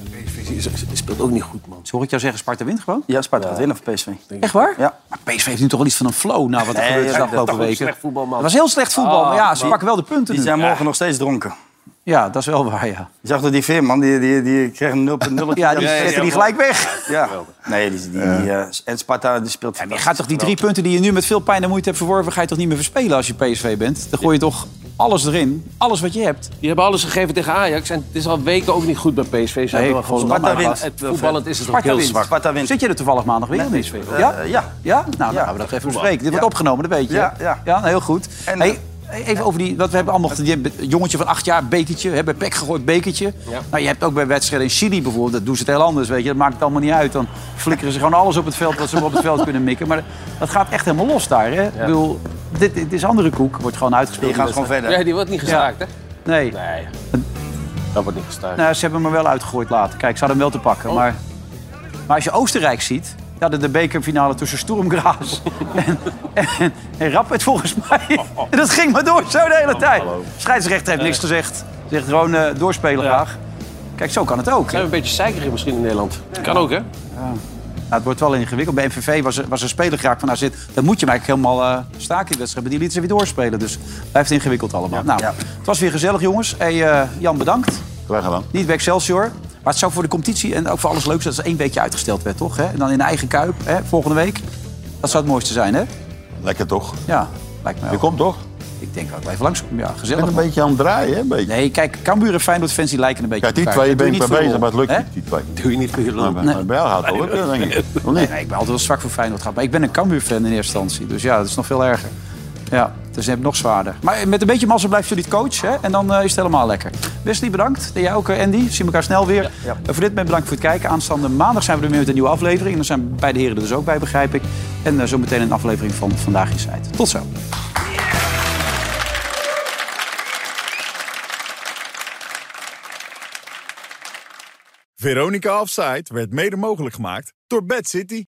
[SPEAKER 3] speelt ook niet goed, man.
[SPEAKER 2] Hoor ik jou zeggen, Sparta wint gewoon?
[SPEAKER 5] Ja, Sparta gaat winnen voor PSV.
[SPEAKER 2] Echt waar?
[SPEAKER 5] Ja.
[SPEAKER 2] Maar PSV heeft nu toch wel iets van een flow na wat er
[SPEAKER 5] Nee,
[SPEAKER 2] gebeurd is de
[SPEAKER 5] ja,
[SPEAKER 2] afgelopen
[SPEAKER 5] dat-
[SPEAKER 2] weken.
[SPEAKER 3] slecht voetbal, man.
[SPEAKER 2] Ah, Het was heel slecht voetbal, maar ja, ze pakken wel de punten
[SPEAKER 5] Die
[SPEAKER 2] nu.
[SPEAKER 5] zijn morgen nog steeds dronken.
[SPEAKER 2] Ja, dat is wel waar, ja.
[SPEAKER 5] Je zag toch die Veerman, die, die, die kreeg een 0,0.
[SPEAKER 2] Ja, die zette die gelijk weg.
[SPEAKER 5] Ja. Nee, die, die, die, eh, en Sparta die speelt... Ja,
[SPEAKER 2] Je gaat toch die drie punten die je nu met veel pijn en moeite hebt verworven... ga je toch niet meer verspelen als je PSV bent? Dan gooi je toch alles erin. Alles wat je hebt.
[SPEAKER 3] Die hebben alles gegeven tegen Ajax. En het is al weken ook niet goed bij PSV. Ze hebben wel gewoon
[SPEAKER 2] Sparta
[SPEAKER 3] maar
[SPEAKER 2] wint.
[SPEAKER 3] Het voetballend is het ook
[SPEAKER 2] Sparta
[SPEAKER 3] heel
[SPEAKER 2] wint.
[SPEAKER 3] zwak.
[SPEAKER 5] Sparta wint.
[SPEAKER 2] Zit je er toevallig maandag weer?
[SPEAKER 5] Nee,
[SPEAKER 2] in?
[SPEAKER 5] eh,
[SPEAKER 2] ja?
[SPEAKER 5] ja.
[SPEAKER 2] Ja? Nou, dan
[SPEAKER 5] Ja.
[SPEAKER 2] gaan we dat even
[SPEAKER 5] Voetbal.
[SPEAKER 2] bespreken. Dit wordt
[SPEAKER 5] Ja.
[SPEAKER 2] opgenomen, dat weet je.
[SPEAKER 5] Ja, ja.
[SPEAKER 2] ja nou, heel goed.
[SPEAKER 5] En, eh,
[SPEAKER 2] hey, even over die... Wat we hebben allemaal... Die hebben- jongetje van acht jaar, bekertje. Hebben pek gegooid, bekertje.
[SPEAKER 5] Ja.
[SPEAKER 2] Nou, je hebt ook bij wedstrijden in Chili bijvoorbeeld... dat doen ze het heel anders, weet je. Dat maakt het allemaal niet uit. Dan flikkeren ze gewoon alles op het veld... wat ze maar op het veld kunnen mikken. Maar dat gaat echt helemaal los daar, hè? Ik bedoel, dit, dit is andere koek. Wordt gewoon uitgespeeld.
[SPEAKER 5] Die gaat gewoon verder.
[SPEAKER 3] Ja, die wordt niet gestaakt, hè?
[SPEAKER 2] Nee.
[SPEAKER 3] Dat wordt niet Oh. gestaakt.
[SPEAKER 2] Nou, ze hebben hem er wel uitgegooid later. Kijk, ze hadden hem wel te pakken. Maar, maar als je Oostenrijk ziet... Ja, de, de bekerfinale tussen Sturmgras en, en, en Rapid volgens mij.
[SPEAKER 3] Oh,
[SPEAKER 2] En dat ging maar door zo de hele tijd. Scheidsrechter heeft niks gezegd. Zegt gewoon eh, doorspelen graag. Kijk, zo kan het ook.
[SPEAKER 3] Zijn we een beetje zeikerig misschien in Nederland? Kan ook, hè?
[SPEAKER 2] Nou, het wordt wel ingewikkeld. Bij MVV was, er- was een speler graag van... Nou, zit, dat moet je hem eigenlijk helemaal eh staken in de wedstrijd. Maar die liet ze weer doorspelen. Dus blijft ingewikkeld allemaal. nou, het was weer gezellig, jongens. Hey, eh, Jan, bedankt.
[SPEAKER 4] Graag gedaan.
[SPEAKER 2] Niet bij Excelsior. Maar het zou voor de competitie en ook voor alles leuks... dat het één weekje uitgesteld werd, toch? Hè? En dan in eigen kuip, hè? volgende week. Dat zou het mooiste zijn, hè?
[SPEAKER 4] Lekker toch?
[SPEAKER 2] Ja, lijkt me wel.
[SPEAKER 4] Je komt toch?
[SPEAKER 2] Ik denk dat ik wel even langskomen. Ja, gezellig.
[SPEAKER 4] Ik ben een beetje aan het draaien, hè? een Beetje.
[SPEAKER 2] Nee, kijk, Cambuur en Feyenoord fans die lijken een beetje
[SPEAKER 4] Kijk, die
[SPEAKER 2] op
[SPEAKER 4] twee
[SPEAKER 2] elkaar.
[SPEAKER 4] ben
[SPEAKER 2] Dat
[SPEAKER 4] ik
[SPEAKER 2] doe
[SPEAKER 4] mee
[SPEAKER 2] je niet
[SPEAKER 4] bezig,
[SPEAKER 2] voor
[SPEAKER 4] maar het lukt
[SPEAKER 2] lol, hè?
[SPEAKER 4] niet, die twee.
[SPEAKER 3] Doe je niet voor je lol.
[SPEAKER 4] Maar bij- bij jou gaat het wel lukken, denk ik. Of niet?
[SPEAKER 2] Nee, ik ben altijd wel zwak voor Feyenoord gehad. Maar ik ben een Cambuur-fan in eerste instantie. Dus ja, dat is nog veel erger. Ja, dus heb ik nog zwaarder. Maar met een beetje massa blijft jullie het coach. Hè? En dan eh, is het helemaal lekker. Wesley, bedankt. En jij ook, eh, Andy. We zien elkaar snel weer. En voor dit moment bedankt voor het kijken. Aanstaande maandag zijn we er weer met een nieuwe aflevering. En dan zijn beide heren er dus ook bij, begrijp ik. En eh, zometeen een aflevering van Vandaag in Zuid. Tot zo.
[SPEAKER 11] Veronica Offside werd mede mogelijk gemaakt door Bad City.